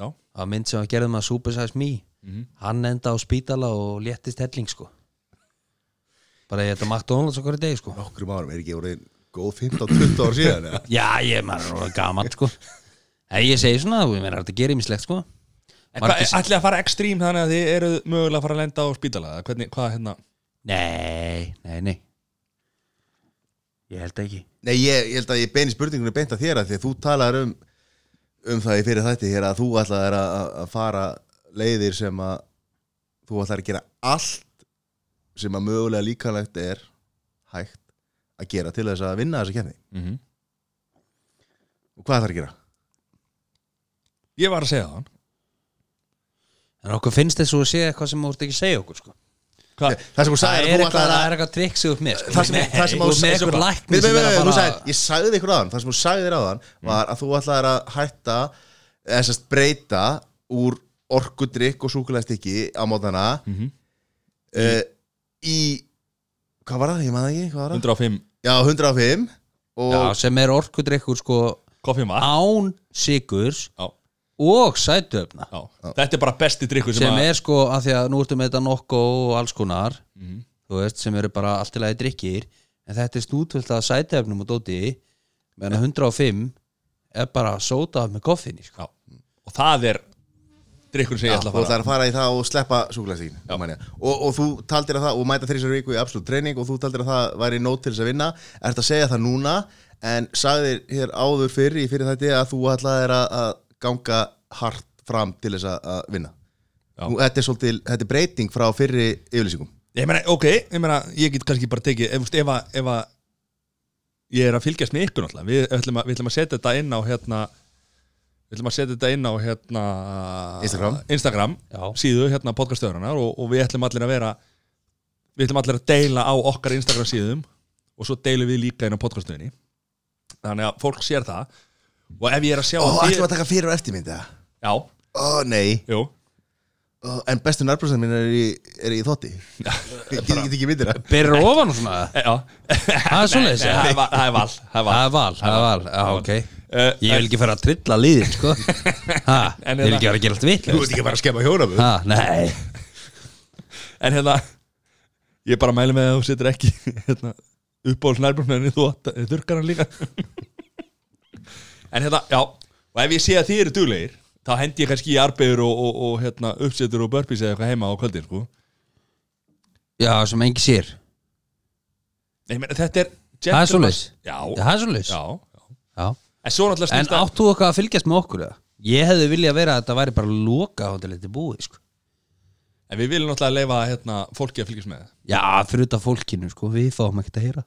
Speaker 1: Já.
Speaker 3: að mynd sem hann gerði með að Super Size Me
Speaker 1: Mhm.
Speaker 3: hann enda á spítala og léttist helling sko bara ég þetta McDonalds okkur í degi sko
Speaker 2: Nokkrum árum, er ekki voruð góð 15-20 ár síðan eða?
Speaker 3: Já, ég maður er orðinn gaman sko Nei, ég segi svona, þú meina þetta gerir mislegt sko
Speaker 1: En
Speaker 3: Margir-
Speaker 1: hvað, ætlið að fara ekstrím þannig að þið eru mögulega að fara að lenda á spítala eða hvernig, hvað hérna
Speaker 3: Nei, nei, nei Ég held ekki
Speaker 2: Nei, ég, ég held að ég beini spurningunni beint að þér að því að þú talar um um það í fyrir þætti hér að þú ætlaðir að, að- að fara leiðir sem að þú ætlaðir að gera allt sem að mögulega líkanlegt er hægt að gera til þess að vinna þessa kefni
Speaker 1: mm -hmm.
Speaker 2: og hvað ætlaðir að gera?
Speaker 1: Ég var að segja það
Speaker 3: En okkur finnst þess að sé eitthvað sem þú ert ekki að segja okkur sko
Speaker 1: Hvað?
Speaker 2: Það sem þú
Speaker 3: Það
Speaker 2: sagði
Speaker 3: er
Speaker 2: að þú
Speaker 3: eitthvað,
Speaker 2: ætlaðir
Speaker 3: það
Speaker 2: að
Speaker 3: er eitthvað trikk sig upp með sko.
Speaker 2: Það sem, það sem
Speaker 3: Þú
Speaker 2: þú
Speaker 3: ert með
Speaker 2: sagði-
Speaker 3: eitthvað
Speaker 2: Nei,
Speaker 3: lækni
Speaker 2: nei,
Speaker 3: sem er
Speaker 2: nei,
Speaker 3: að
Speaker 2: nei, þú
Speaker 3: fara Mm.
Speaker 2: sagðir- Ég sagði ykkur aðan Það sem þú sagði þér aðan var að þú ætlaðir að hætta eða sérst breyta úr orkudrykk og súkulæðstikki á mótana
Speaker 1: Mhm.
Speaker 2: uh, í hvað var það, ég maður ekki, hvað var það
Speaker 1: 105
Speaker 2: já, 105 og
Speaker 3: Já, sem er orkudrykkur sko
Speaker 1: koffi mat
Speaker 3: án sigurs
Speaker 1: Já,
Speaker 3: og sætuöfna
Speaker 1: já. Þetta er bara besti drikku sem,
Speaker 3: sem
Speaker 1: að
Speaker 3: er sko að því að nú ertu með þetta nokko og alls konar
Speaker 1: Mhm.
Speaker 3: þú veist, sem eru bara allt í lagi drikkir en þetta er stútvöld að sætuöfnum og dóti meðan að 105 er bara sótað með koffinni sko.
Speaker 1: já. Og það er drikkur sem
Speaker 2: Já,
Speaker 1: ég ætla að
Speaker 2: þú
Speaker 1: fara
Speaker 2: ætlar að fara í það og sleppa súkulæstíkin og, og þú taldir að það og mæta þrísar viku í absolutt treyning og þú taldir að það væri nót til þess að vinna ert að segja það núna en sagðir hér áður fyrr í fyrir þetta að þú ætlaðir að, að ganga hart fram til þess að, að vinna
Speaker 1: Já.
Speaker 2: Nú, þetta, er svolítil, þetta er breyting frá fyrri yfirlýsingum
Speaker 1: Ég meina, ok, ég meina, ég get kannski bara tekið ef, þú veist, ef, að, ef að ég er að fylgjast með ykkur náttúrulega við ætlum að, við ætlum að setja þetta inn á hérna við ætlum að setja þetta inn á hérna
Speaker 2: Instagram.
Speaker 1: Instagram
Speaker 3: Já.
Speaker 1: síðu hérna podcastöðurinnar og, og við ætlum allir að vera við ætlum allir að deila á okkar Instagram síðum og svo deilum við líka inn á podcastöðinni þannig að fólk sér það og ef ég er að sjá
Speaker 2: Ó,
Speaker 1: að
Speaker 2: ætlum
Speaker 1: þið-
Speaker 2: að taka fyrir og eftirmynda
Speaker 1: Já,
Speaker 2: Ó, nei,
Speaker 1: jú
Speaker 2: Ó, en bestu nærbróðsar mín er í, er í þótti Ég get ekki myndir það
Speaker 3: Berur ofan og svona
Speaker 1: Eh, Já,
Speaker 3: (laughs) Það er svoleiðis
Speaker 1: Eh, það
Speaker 3: ja.
Speaker 1: er val Það er val, það er val.
Speaker 3: Það er val, það er val, já ok
Speaker 1: Eh,
Speaker 3: Ég vil ekki fara að trilla liðin sko
Speaker 1: (laughs)
Speaker 3: ha,
Speaker 1: En
Speaker 3: Ég vil
Speaker 1: hérna-
Speaker 3: ekki fara að gera allt vitt
Speaker 2: Þú ert ekki bara að skemma hjónaböð
Speaker 3: ha, Nei,
Speaker 1: En hérna Ég bara mæli með að þú setur ekki hérna, uppáhalds nærbjörnum en þú átt- þurrkar hann líka En hérna, já Og ef ég sé að þið eru duglegir þá hendi ég kannski í arbegur og, og, og hérna, uppsetur og burpees eða eitthvað heima á kvöldin sko.
Speaker 3: já sem engi sér
Speaker 1: Nei, meni, þetta er
Speaker 3: Það er svoleiðis.
Speaker 1: Já,
Speaker 3: Það er svolítið
Speaker 1: já,
Speaker 3: já.
Speaker 1: já En svo náttúrulega
Speaker 3: En
Speaker 1: snýst að
Speaker 3: áttu okkar að fylgjast með okkur eða? Ég hefði viljað vera að þetta væri bara loka á þetta liti búi sko.
Speaker 1: En við viljum náttúrulega leifa hérna, fólki að fylgjast með
Speaker 3: Já, fyrir þetta fólkinu sko, við fáum ekkert að heyra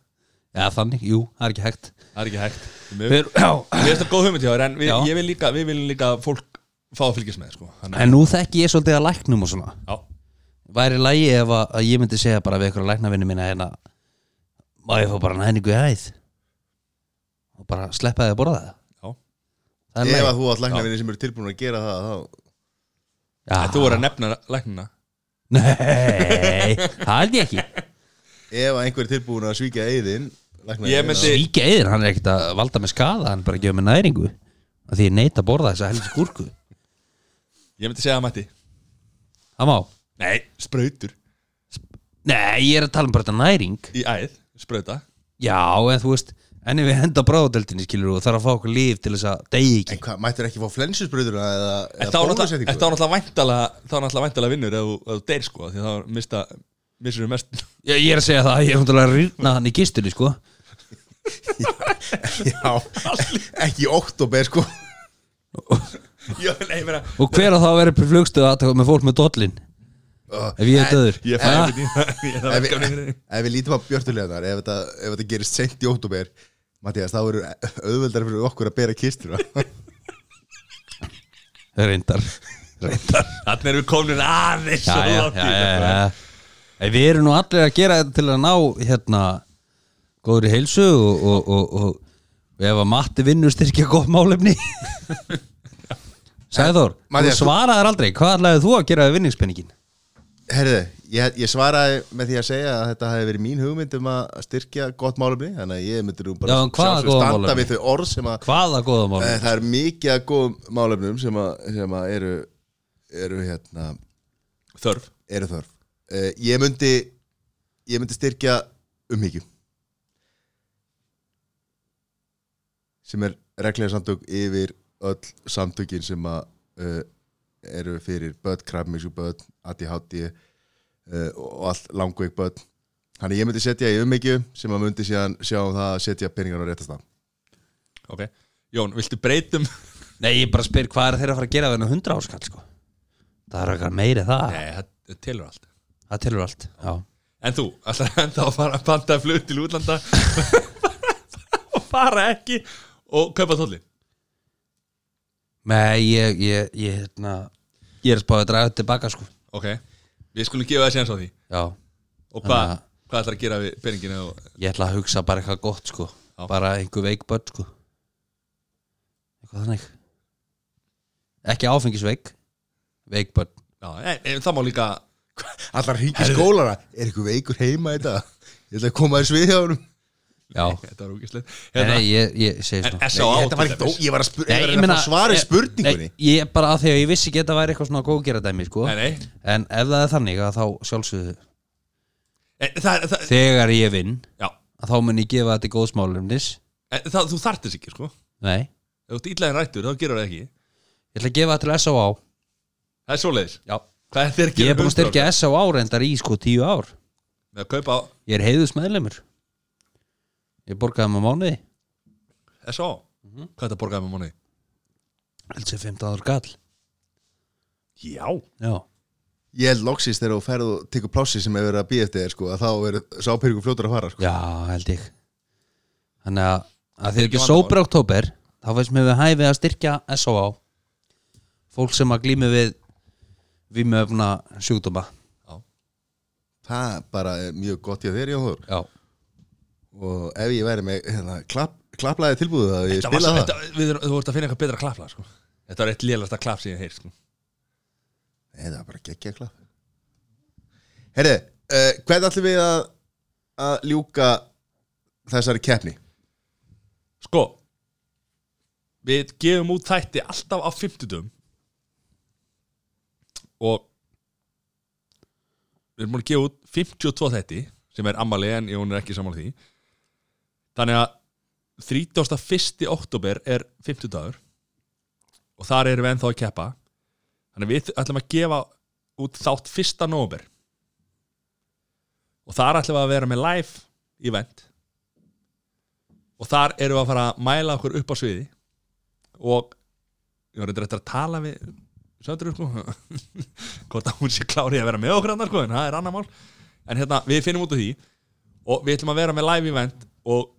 Speaker 3: Já, þannig, jú, það er ekki hægt
Speaker 1: Það er ekki hægt Við
Speaker 3: Fyr, já.
Speaker 1: erum þetta góð hugmynd hjá þér en við,
Speaker 3: Já.
Speaker 1: ég vil líka, við viljum líka að fólk fá að fylgjast með sko. Þannig-
Speaker 3: En nú þekki ég svolítið að læknum og svona
Speaker 1: Já,
Speaker 3: væri lægi ef að, að ég myndi segja bara við ykkur læknavinni mína hérna má ég fá bara næningu í hæð og bara sleppa þið að borða það
Speaker 1: Já.
Speaker 3: það
Speaker 2: Ef
Speaker 3: er
Speaker 2: að þú átt læknavinni sem eru tilbúin að gera það þá...
Speaker 1: En þú voru að nefna læknina
Speaker 3: Nei, það held ég ekki
Speaker 2: Ef að einhver er tilbúin að svíkja eigðin
Speaker 1: Ég myndi-
Speaker 3: Svíkja eður, hann er ekkert að valda með skada Hann er bara að gefa með næringu að Því ég neita að borða þessa helviti gúrku
Speaker 1: Ég myndi segja að mætti
Speaker 3: Það má
Speaker 1: Nei, sprautur
Speaker 3: Nei, ég er að tala um bara þetta næring
Speaker 1: Í æð, sprauta
Speaker 3: Já, en þú veist En ef við henda bráðadeldinni skilur og þarf að fá okkur líf til þess að degi ekki
Speaker 2: En hvað, mættur ekki fá flensusbröðuna eða,
Speaker 1: En
Speaker 2: eða
Speaker 1: þá er náttúrulega
Speaker 2: bólusetningu?
Speaker 1: þá er náttúrulega væntalega Þá er náttúrulega væntalega vinnur ef þú- ef þú deyr sko Því þá er mista Missur við mest
Speaker 3: ég, ég er að segja það, ég er hundarlega að rýrna hann í kistunni sko
Speaker 1: (laughs)
Speaker 2: Já, ekki í oktober sko
Speaker 1: Já, nei, ég meina
Speaker 3: Og hver að þá að vera upp í flugstöðu aðtöku með fólk með dollin Ef ég er döður
Speaker 1: Ég fæ einhvern í það (laughs) Ég er það
Speaker 2: Ef við-
Speaker 1: (laughs) verkefni fyrir
Speaker 2: ef við lítum á björtulegarnar ef þetta, ef þetta gerist sent í óttúber Mattias, þá eru auðveldar fyrir okkur að bera kistur
Speaker 1: (laughs)
Speaker 3: Reyndar Reyndar
Speaker 1: Þannig erum við komin aðeins
Speaker 3: já,
Speaker 1: og
Speaker 3: já,
Speaker 1: langt í
Speaker 3: já, já,
Speaker 1: þetta.
Speaker 3: já. Ei, Við erum nú allir að gera þetta til að ná hérna góðri heilsu og, og, og, og ef að Matti vinnur styrkja gott málefni Sæður, þú
Speaker 2: Matthías, þú-
Speaker 3: svaraðar aldrei hvað ætlaði þú að gera við vinningspenningin?
Speaker 2: Herðu, ég, ég svaraði með því að segja að þetta hefði verið mín hugmynd um að styrkja gott málumni þannig að ég myndir nú bara
Speaker 3: Já, en hvaða
Speaker 2: sjálfsögðu
Speaker 3: góða
Speaker 2: standa
Speaker 3: málefni?
Speaker 2: við þau orð sem að
Speaker 3: Hvaða góða
Speaker 2: e,
Speaker 3: málefni?
Speaker 2: það er mikið að góðum málumnum sem að, sem að eru, eru, hérna,
Speaker 1: Þörf
Speaker 2: eru þörf e, ég, myndi, ég myndi styrkja umhyggju sem er reglega samtök yfir öll samtökin sem að uh, eru fyrir börn, krafmísu börn, ADHD uh, og allt langveik börn Þannig ég myndi setja í umhyggju sem að myndi síðan sjá um það að setja peningarna á réttast það
Speaker 1: Ok Jón, viltu um-
Speaker 3: (laughs)
Speaker 1: breytum
Speaker 3: Nei, ég bara spyr hvað er þeirra að fara að gera við hennar hundra áskall sko? Það er eitthvað meiri en það
Speaker 1: Nei, það það telur allt
Speaker 3: Það telur allt Já,
Speaker 1: En þú, ætlar enda að fara að panta flug til útlanda og (laughs) fara ekki og kaupa tóli
Speaker 3: Nei, ég, ég, ég, hérna, ég er spáðið að draga þetta tilbaka sko
Speaker 1: Ok, við skulum gefa það séns á því
Speaker 3: Já,
Speaker 1: og hva,
Speaker 3: Þannig að-
Speaker 1: hvað ætlar að gera við peninginu og,
Speaker 3: Ég ætla að hugsa bara eitthvað gott sko
Speaker 1: Já.
Speaker 3: Bara einhver veikbörn sko Eitthvað þannig Ekki áfengisveik Veikbörn
Speaker 1: já, en, en það má líka
Speaker 2: Allar hringi skólana, er ykkur veikur heima þetta? Ég ætla að koma þér svið hjá honum
Speaker 3: Já
Speaker 1: (laughs) Þetta var úkislega
Speaker 3: Nei,
Speaker 1: hérna,
Speaker 3: nei, ég, ég segi svona
Speaker 1: S.A.
Speaker 2: Nei, þetta var ekki, ó, ég var að spur,
Speaker 3: Nei,
Speaker 2: ég var
Speaker 3: ég
Speaker 2: að reyna
Speaker 3: meina-
Speaker 2: að svara
Speaker 3: ég-
Speaker 2: spurningunni
Speaker 3: Nei, ég bara að því að ég vissi ekki að þetta væri eitthvað svona góðgera dæmi sko
Speaker 1: Nei, nei,
Speaker 3: En ef það er þannig að þá sjálfsögðu
Speaker 1: en, það, það,
Speaker 3: Þegar ég vinn
Speaker 1: já,
Speaker 3: að Þá mun ég gefa þetta í góðsmálumnis
Speaker 1: en, það, þú þarft þess ekki sko ef
Speaker 3: Nei Ég
Speaker 1: þú ert íllaðin rættur þá gerur það ekki
Speaker 3: ætla að gefa þetta til S.A.
Speaker 1: það er svoleiðis
Speaker 3: Já
Speaker 1: hvað er þér
Speaker 3: Ég er búin að styrkja S.A. reyndar í sko tíu ár
Speaker 1: með að kaupa
Speaker 3: Ég er heiðus meðlemur Ég borgaði maður mánuði
Speaker 1: S.A. hvað er það borgaði með mánuði?
Speaker 3: Held sér 15 áður gall
Speaker 1: Já,
Speaker 3: Já
Speaker 2: Ég held loksist þegar þú ferð og tekur plássi sem hefur verið að býja eftir þér sko, að þá verður sápyrjum fljótur að fara sko.
Speaker 3: Já, held ég Þannig að, að þegar
Speaker 1: ekki
Speaker 3: ekki
Speaker 1: vandamál.
Speaker 3: sópar oktober þá veist mér við hæfið að styrkja S.O.A. Fólk sem að glými við vímöfna sjúkdóma
Speaker 2: Það bara er mjög gott hjá þér Jón Þór
Speaker 3: Já
Speaker 2: og ef ég væri með hérna, klapp, klapplaði tilbúðu það ég
Speaker 1: þetta var,
Speaker 2: spila það
Speaker 1: þetta, við, erum- þú ert að finna eitthvað betra klapla sko. þetta var eitt lélasta klap sem ég heyr sko.
Speaker 2: Nei, það var bara geggja klapp Herri, uh, hvernig ætlum við að, að ljúka þessari keppni?
Speaker 1: sko við gefum út þætti alltaf á 50 og við erum búin að gefa út 52 þætti sem er ammali en Jón er ekki sammála því þannig að 31. oktober er 50 dagur og þar erum við ennþá að keppa þannig að við ætlum að gefa út þátt 1. november og þar ætlum við að vera með live event og þar erum við að fara að mæla okkur upp á sviði og ég var reyndar eftir að tala við Söndru sko (laughs) hvort að hún sé klárið að vera með okkur annar sko en það er annar mál en hérna við finnum út af því og við ætlum að vera með live event og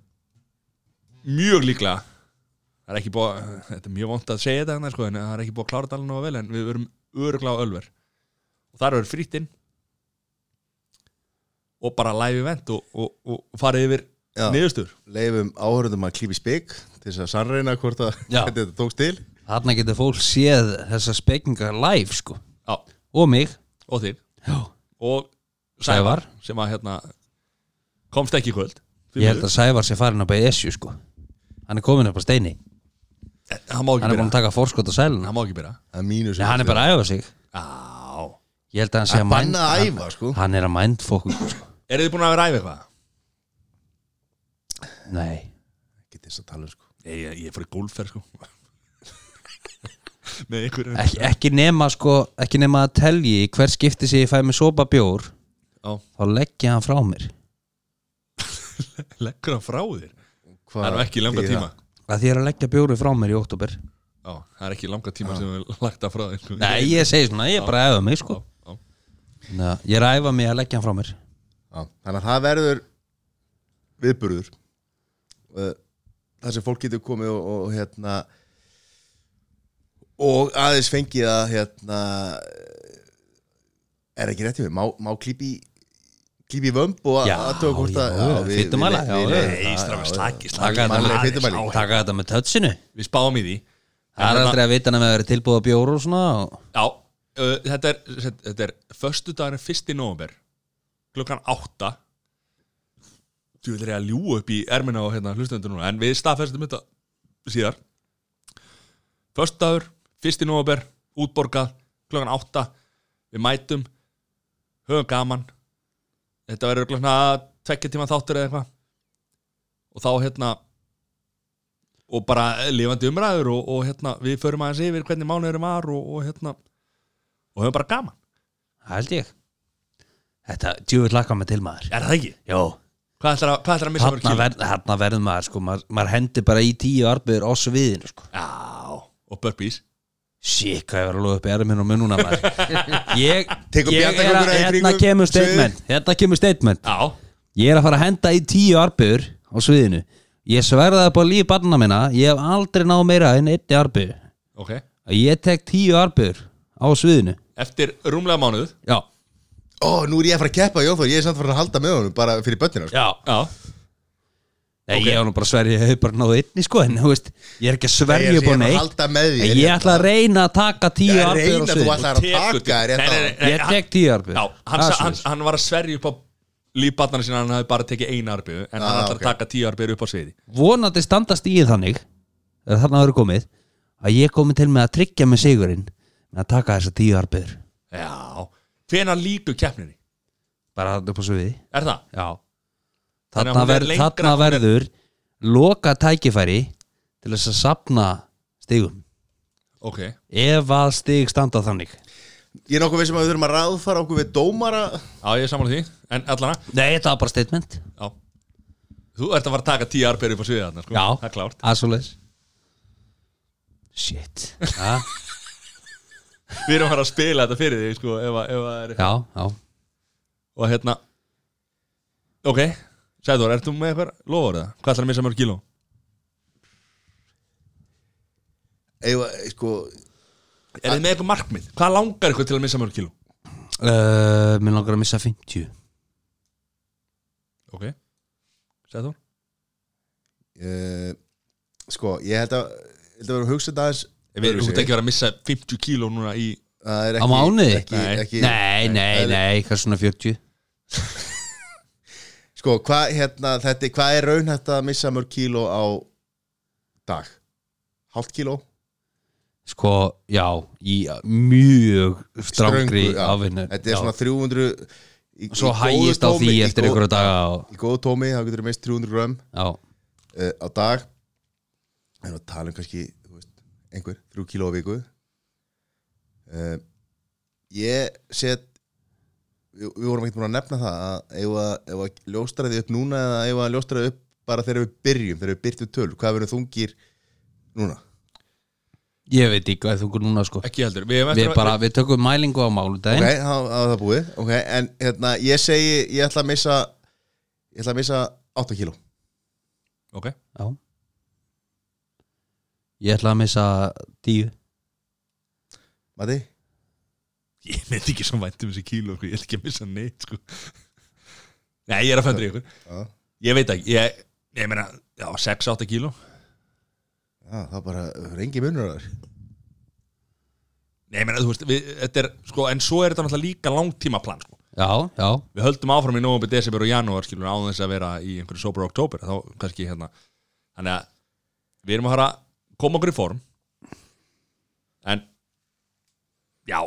Speaker 1: mjög líklega það er ekki búið að- þetta er mjög vont að segja þetta hérna sko en það er ekki búið að klára þetta alveg nógu vel en við verum öruglega á Ölver og þar verður frýttinn og bara live event og, og, og farið yfir
Speaker 2: Já.
Speaker 1: niðurstur
Speaker 2: leifum áhörðum að klífi spik til þess að sannreina hvort að
Speaker 3: Já.
Speaker 2: hvernig (laughs) þetta tókst til
Speaker 3: Þarna getur fólk séð þessar spekingar live sko
Speaker 1: Já,
Speaker 3: Og mig
Speaker 1: og þig
Speaker 3: Já.
Speaker 1: Og Sævar,
Speaker 3: Sævar.
Speaker 1: sem að hérna komst ekki í kvöld
Speaker 3: Ég held að Sævar sé farin upp að ESU sko Hann er komin upp á steini
Speaker 1: Hann má ekki
Speaker 3: Hann er búin
Speaker 1: byrja
Speaker 3: að taka fórskot á sæluna
Speaker 1: Hann má ekki byrja
Speaker 2: að mínu
Speaker 3: Nei, hann er bara að æfa sig
Speaker 1: Já
Speaker 3: Ég held að hann sé að mind-
Speaker 2: banna að
Speaker 3: hann-
Speaker 2: æfa, sko.
Speaker 3: Hann er að mindfókus sko.
Speaker 1: Eru þið búin að ræfa eitthvað?
Speaker 3: Nei
Speaker 2: ekki þess að tala um, sko
Speaker 1: Nei, ég, ég fór í gólfer sko (laughs) Með einhverjum
Speaker 3: ekki, ekki nema sko Ekki nema að telji í Hver skipti sig ég fæ með sopa bjór
Speaker 1: Já.
Speaker 3: Þá leggja hann frá mér
Speaker 1: Leggur hann frá þér?
Speaker 2: Hva,
Speaker 1: Það er nú ekki í langa tíma
Speaker 3: að Því ég er að leggja bjóri frá mér í óttúber
Speaker 1: Já, það er ekki í langa tíma sem við lagt að frá þér sko.
Speaker 3: Nei, ég segi svona, ég er bara að æfa mig sko
Speaker 1: Já, já.
Speaker 3: Ná, Ég er að æfa mig að leggja hann frá mér
Speaker 2: Já, þannig að það verður viðburður Eh, þar sem fólk getur komið og, og hérna og aðeins fengið að hérna er ekki rétt hjá mér, má, má klípi klípi vömb og að
Speaker 3: Já,
Speaker 2: aðtöga hvort að
Speaker 3: já, fitumæla, já, já.
Speaker 1: Nei, strákar, slakið, slakið.
Speaker 3: Taka þetta
Speaker 2: Mannleg
Speaker 3: með-
Speaker 2: fitumæli.
Speaker 3: taka þetta með tötsinu
Speaker 1: Við spáum í því
Speaker 3: Það er
Speaker 1: En hérna-
Speaker 3: aldrei að vita nefn að vera tilbúið að bjóru og svona og...
Speaker 1: Já, uh, þetta er, þetta- þetta er Föstu dagarinn 1. november Klukkan 8 Þú vil reyða að ljú upp í ermina og hérna hlustendur núna En við staðfestum þetta síðar Föstu dagur, 1. november Útborgað, klukkan 8 Við mætum Höfum gaman Þetta verður örugglega svona tvekja tíma þáttur eða eitthvað Og þá hérna og bara lifandi umræður og, og hérna, við förum aðeins yfir hvernig mánuðurum var og, og hérna og höfum bara gaman,
Speaker 3: Það held ég Þetta djúvill lakka með til maður
Speaker 1: er það ekki?
Speaker 3: Jó,
Speaker 1: Hvað ætlar að, hvað ætlar að missa
Speaker 3: þarna, ver, þarna verður maður sko, maður, maður hendir bara í tíu arbeigur á sviðinu sko.
Speaker 1: Já, og burpees
Speaker 3: Shit, hvað ég var alveg upp í hérna erminn og
Speaker 2: (laughs)
Speaker 3: mununa maður Ég,
Speaker 2: Tekur
Speaker 3: ég er að,
Speaker 2: bjarnargönguna í
Speaker 3: hérna
Speaker 2: kringum
Speaker 3: kemur
Speaker 2: sviðið.
Speaker 3: statement Hérna kemur statement
Speaker 1: Já,
Speaker 3: Ég er að fara að henda í tíu arbeigur á sviðinu Ég sverða upp á líf barna minna Ég hef aldrei náð meira en einni arbeigur
Speaker 1: ok
Speaker 3: Ég tek tíu arbeigur á sviðinu
Speaker 1: Eftir rúmlega mánuð
Speaker 3: Já,
Speaker 2: Ó, nú er ég að fara að keppa, Jóþór, ég er samt að fara að halda með honum bara fyrir bönnina, sko.
Speaker 3: já
Speaker 1: Já,
Speaker 3: Nei,
Speaker 1: Ok.
Speaker 3: ég var nú bara að sverja, ég hef bara náðu einni sko En þú veist, ég er ekki að
Speaker 2: Ég
Speaker 3: sverja
Speaker 2: er-
Speaker 3: upp á
Speaker 2: ég er að
Speaker 3: neitt
Speaker 2: halda með því,
Speaker 3: En
Speaker 2: ég
Speaker 3: Ég
Speaker 1: hérna.
Speaker 2: er
Speaker 3: ætla að reyna að taka tíu
Speaker 2: Ég
Speaker 3: arbeigur á
Speaker 2: reyna, þú
Speaker 3: sviðinu
Speaker 2: ætlar að
Speaker 1: Tekur-
Speaker 2: taka þér hérna.
Speaker 1: Nei, nei, nei,
Speaker 2: rétt á.
Speaker 1: nei,
Speaker 3: Ég
Speaker 1: hann-
Speaker 3: tek tíu arbeigur
Speaker 1: Já, hann, sa, hann, hann var að sverja upp á lífbarnarna sína hann hafði bara tekið eina arbiðu en hann
Speaker 2: Ah,
Speaker 1: ætlar
Speaker 2: ok.
Speaker 1: að taka tíu arbiður upp á sviði
Speaker 3: Vonandi standast í þannig Þegar þarna verður komið Að ég komi til með að tryggja með sigurinn Með að taka þessa tíu arbeigur
Speaker 1: Já, hvenær líku keppninni?
Speaker 3: Bara hann upp á sviði
Speaker 1: Er það?
Speaker 3: Já
Speaker 1: Þannig að
Speaker 3: Þarna,
Speaker 1: hún er
Speaker 3: ver,
Speaker 1: lengra-
Speaker 3: þarna
Speaker 1: hún er-
Speaker 3: verður Loka tækifæri Til þess að sapna stigum
Speaker 1: Ok,
Speaker 3: Ef að stig standa þannig
Speaker 2: Ég er nokkuð við sem að við þurfum að ráðfara okkur við dómara.
Speaker 1: já ég er saman því En allana,
Speaker 3: Nei, þetta var bara statement
Speaker 1: já Þú ert að fara að taka tíu arbiður upp á sviði þarna sko.
Speaker 3: Já,
Speaker 1: Það er klárt
Speaker 3: Aðsvoleiðis Shit Já,
Speaker 1: Við erum að fara að spila þetta fyrir þig sko, ef, að- ef að er...
Speaker 3: já, já
Speaker 1: Og hérna Ok, Sæður, ert þú með eitthvað lofur það? Hvað ætlar að missa mörg kíló?
Speaker 2: Eða, sko,
Speaker 1: Er þið með eitthvað markmið? Hvað langar ykkur til að missa mörg kíló?
Speaker 3: uh, Mér langar að missa 50
Speaker 1: Ok, Sæður
Speaker 2: uh, sko, ég held að, ég held að vera að hugsa þetta aðeins.
Speaker 1: Við erum
Speaker 2: öðruvísi.
Speaker 1: út ekki að vera að missa 50 kíló núna í
Speaker 2: Það er
Speaker 3: Á mánuði?
Speaker 2: Ekki,
Speaker 1: Nei.
Speaker 2: ekki,
Speaker 3: Nei, nei,
Speaker 2: það er-
Speaker 3: nei, hvað svona 40
Speaker 2: Sko, hvað hérna, þetta, hvað er raunhætt að missa mörg kíló á dag? Hálft kíló?
Speaker 3: Sko, já, í mjög strangri
Speaker 2: Ströngu, já.
Speaker 3: afvinnu
Speaker 2: Þetta er svona 300 í, í
Speaker 3: Svo
Speaker 2: góðu
Speaker 3: hægist á
Speaker 2: tómi-
Speaker 3: því
Speaker 2: í
Speaker 3: eftir
Speaker 2: góð-
Speaker 3: einhverju daga og,
Speaker 2: Í góðu tómi, þá getur þú mist 300 grömm
Speaker 3: Já,
Speaker 2: uh, á dag en að tala um kannski þú veist, einhver, þrjú kíló á viku uh, ég set við, við vorum ekkert múin að nefna það að ef að, ef að ljóstra því upp núna eða ef að ljóstra því upp bara þegar við byrjum þegar við byrjum töl, hvað verður þungir núna?
Speaker 3: ég veit ekki hvað þú ykkur núna sko
Speaker 1: Ekki heldur Við,
Speaker 3: Við, bara, við tökum mælingu á
Speaker 2: Ok,
Speaker 3: máludaginn
Speaker 2: þá þá er það búið ok, en hérna, ég segi, ég ætla að missa ég ætla að missa 8 kíló
Speaker 1: Ok,
Speaker 3: Já Ég ætla að missa 10
Speaker 2: Mati?
Speaker 1: ég veit ekki svo vænt um þessi kíló sko. Ég ætla ekki að missa neitt sko. Nei, ég er að föndra ykkur
Speaker 2: Já.
Speaker 1: Ég veit ekki, ég, ég meina, já, 6-8 kíló
Speaker 2: Já, það bara rengi munur þar
Speaker 1: Nei, ég meina, þú veist, við, þetta er, sko, en svo er þetta náttúrulega líka langtímaplan, sko
Speaker 3: já, já,
Speaker 1: Við höldum áfram í nóvember, desember og janúar, skilur, áðan þess að vera í einhverju sober oktober, þá kannski hérna Þannig að við erum að fara að koma okkur í form En, já,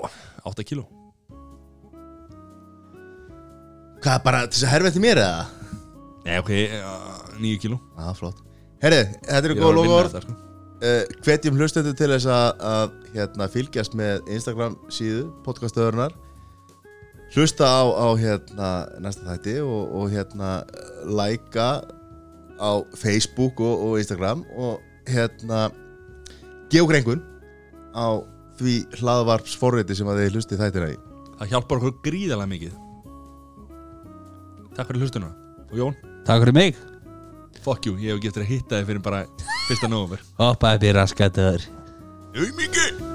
Speaker 1: 8 kíló
Speaker 2: Hvað, bara til þess að herfa eftir mér eða?
Speaker 1: Nei, ok, uh, 9 kíló
Speaker 2: Já, flott Herri, þetta eru
Speaker 1: Ég var
Speaker 2: góð
Speaker 1: að vinna
Speaker 2: lokaord
Speaker 1: þetta, sko.
Speaker 2: uh, Hvetjum hlustendur til þess að, að hérna, fylgjast með Instagram síðu podcastöðurnar Hlusta á, á hérna, næsta þætti og, og hérna, læka á Facebook og, og Instagram og hérna geogrengun á því hlaðvarpsforriti sem að þið hlusti þættina í
Speaker 1: Það hjálpar okkur gríðalega mikið Takk fyrir hlustuna Og Jón,
Speaker 3: takk fyrir mig
Speaker 1: fuck you, ég hef ekki eftir að hitta þig fyrir bara fyrsta nógumver
Speaker 3: hoppaði býr raskatur
Speaker 1: Þau mikið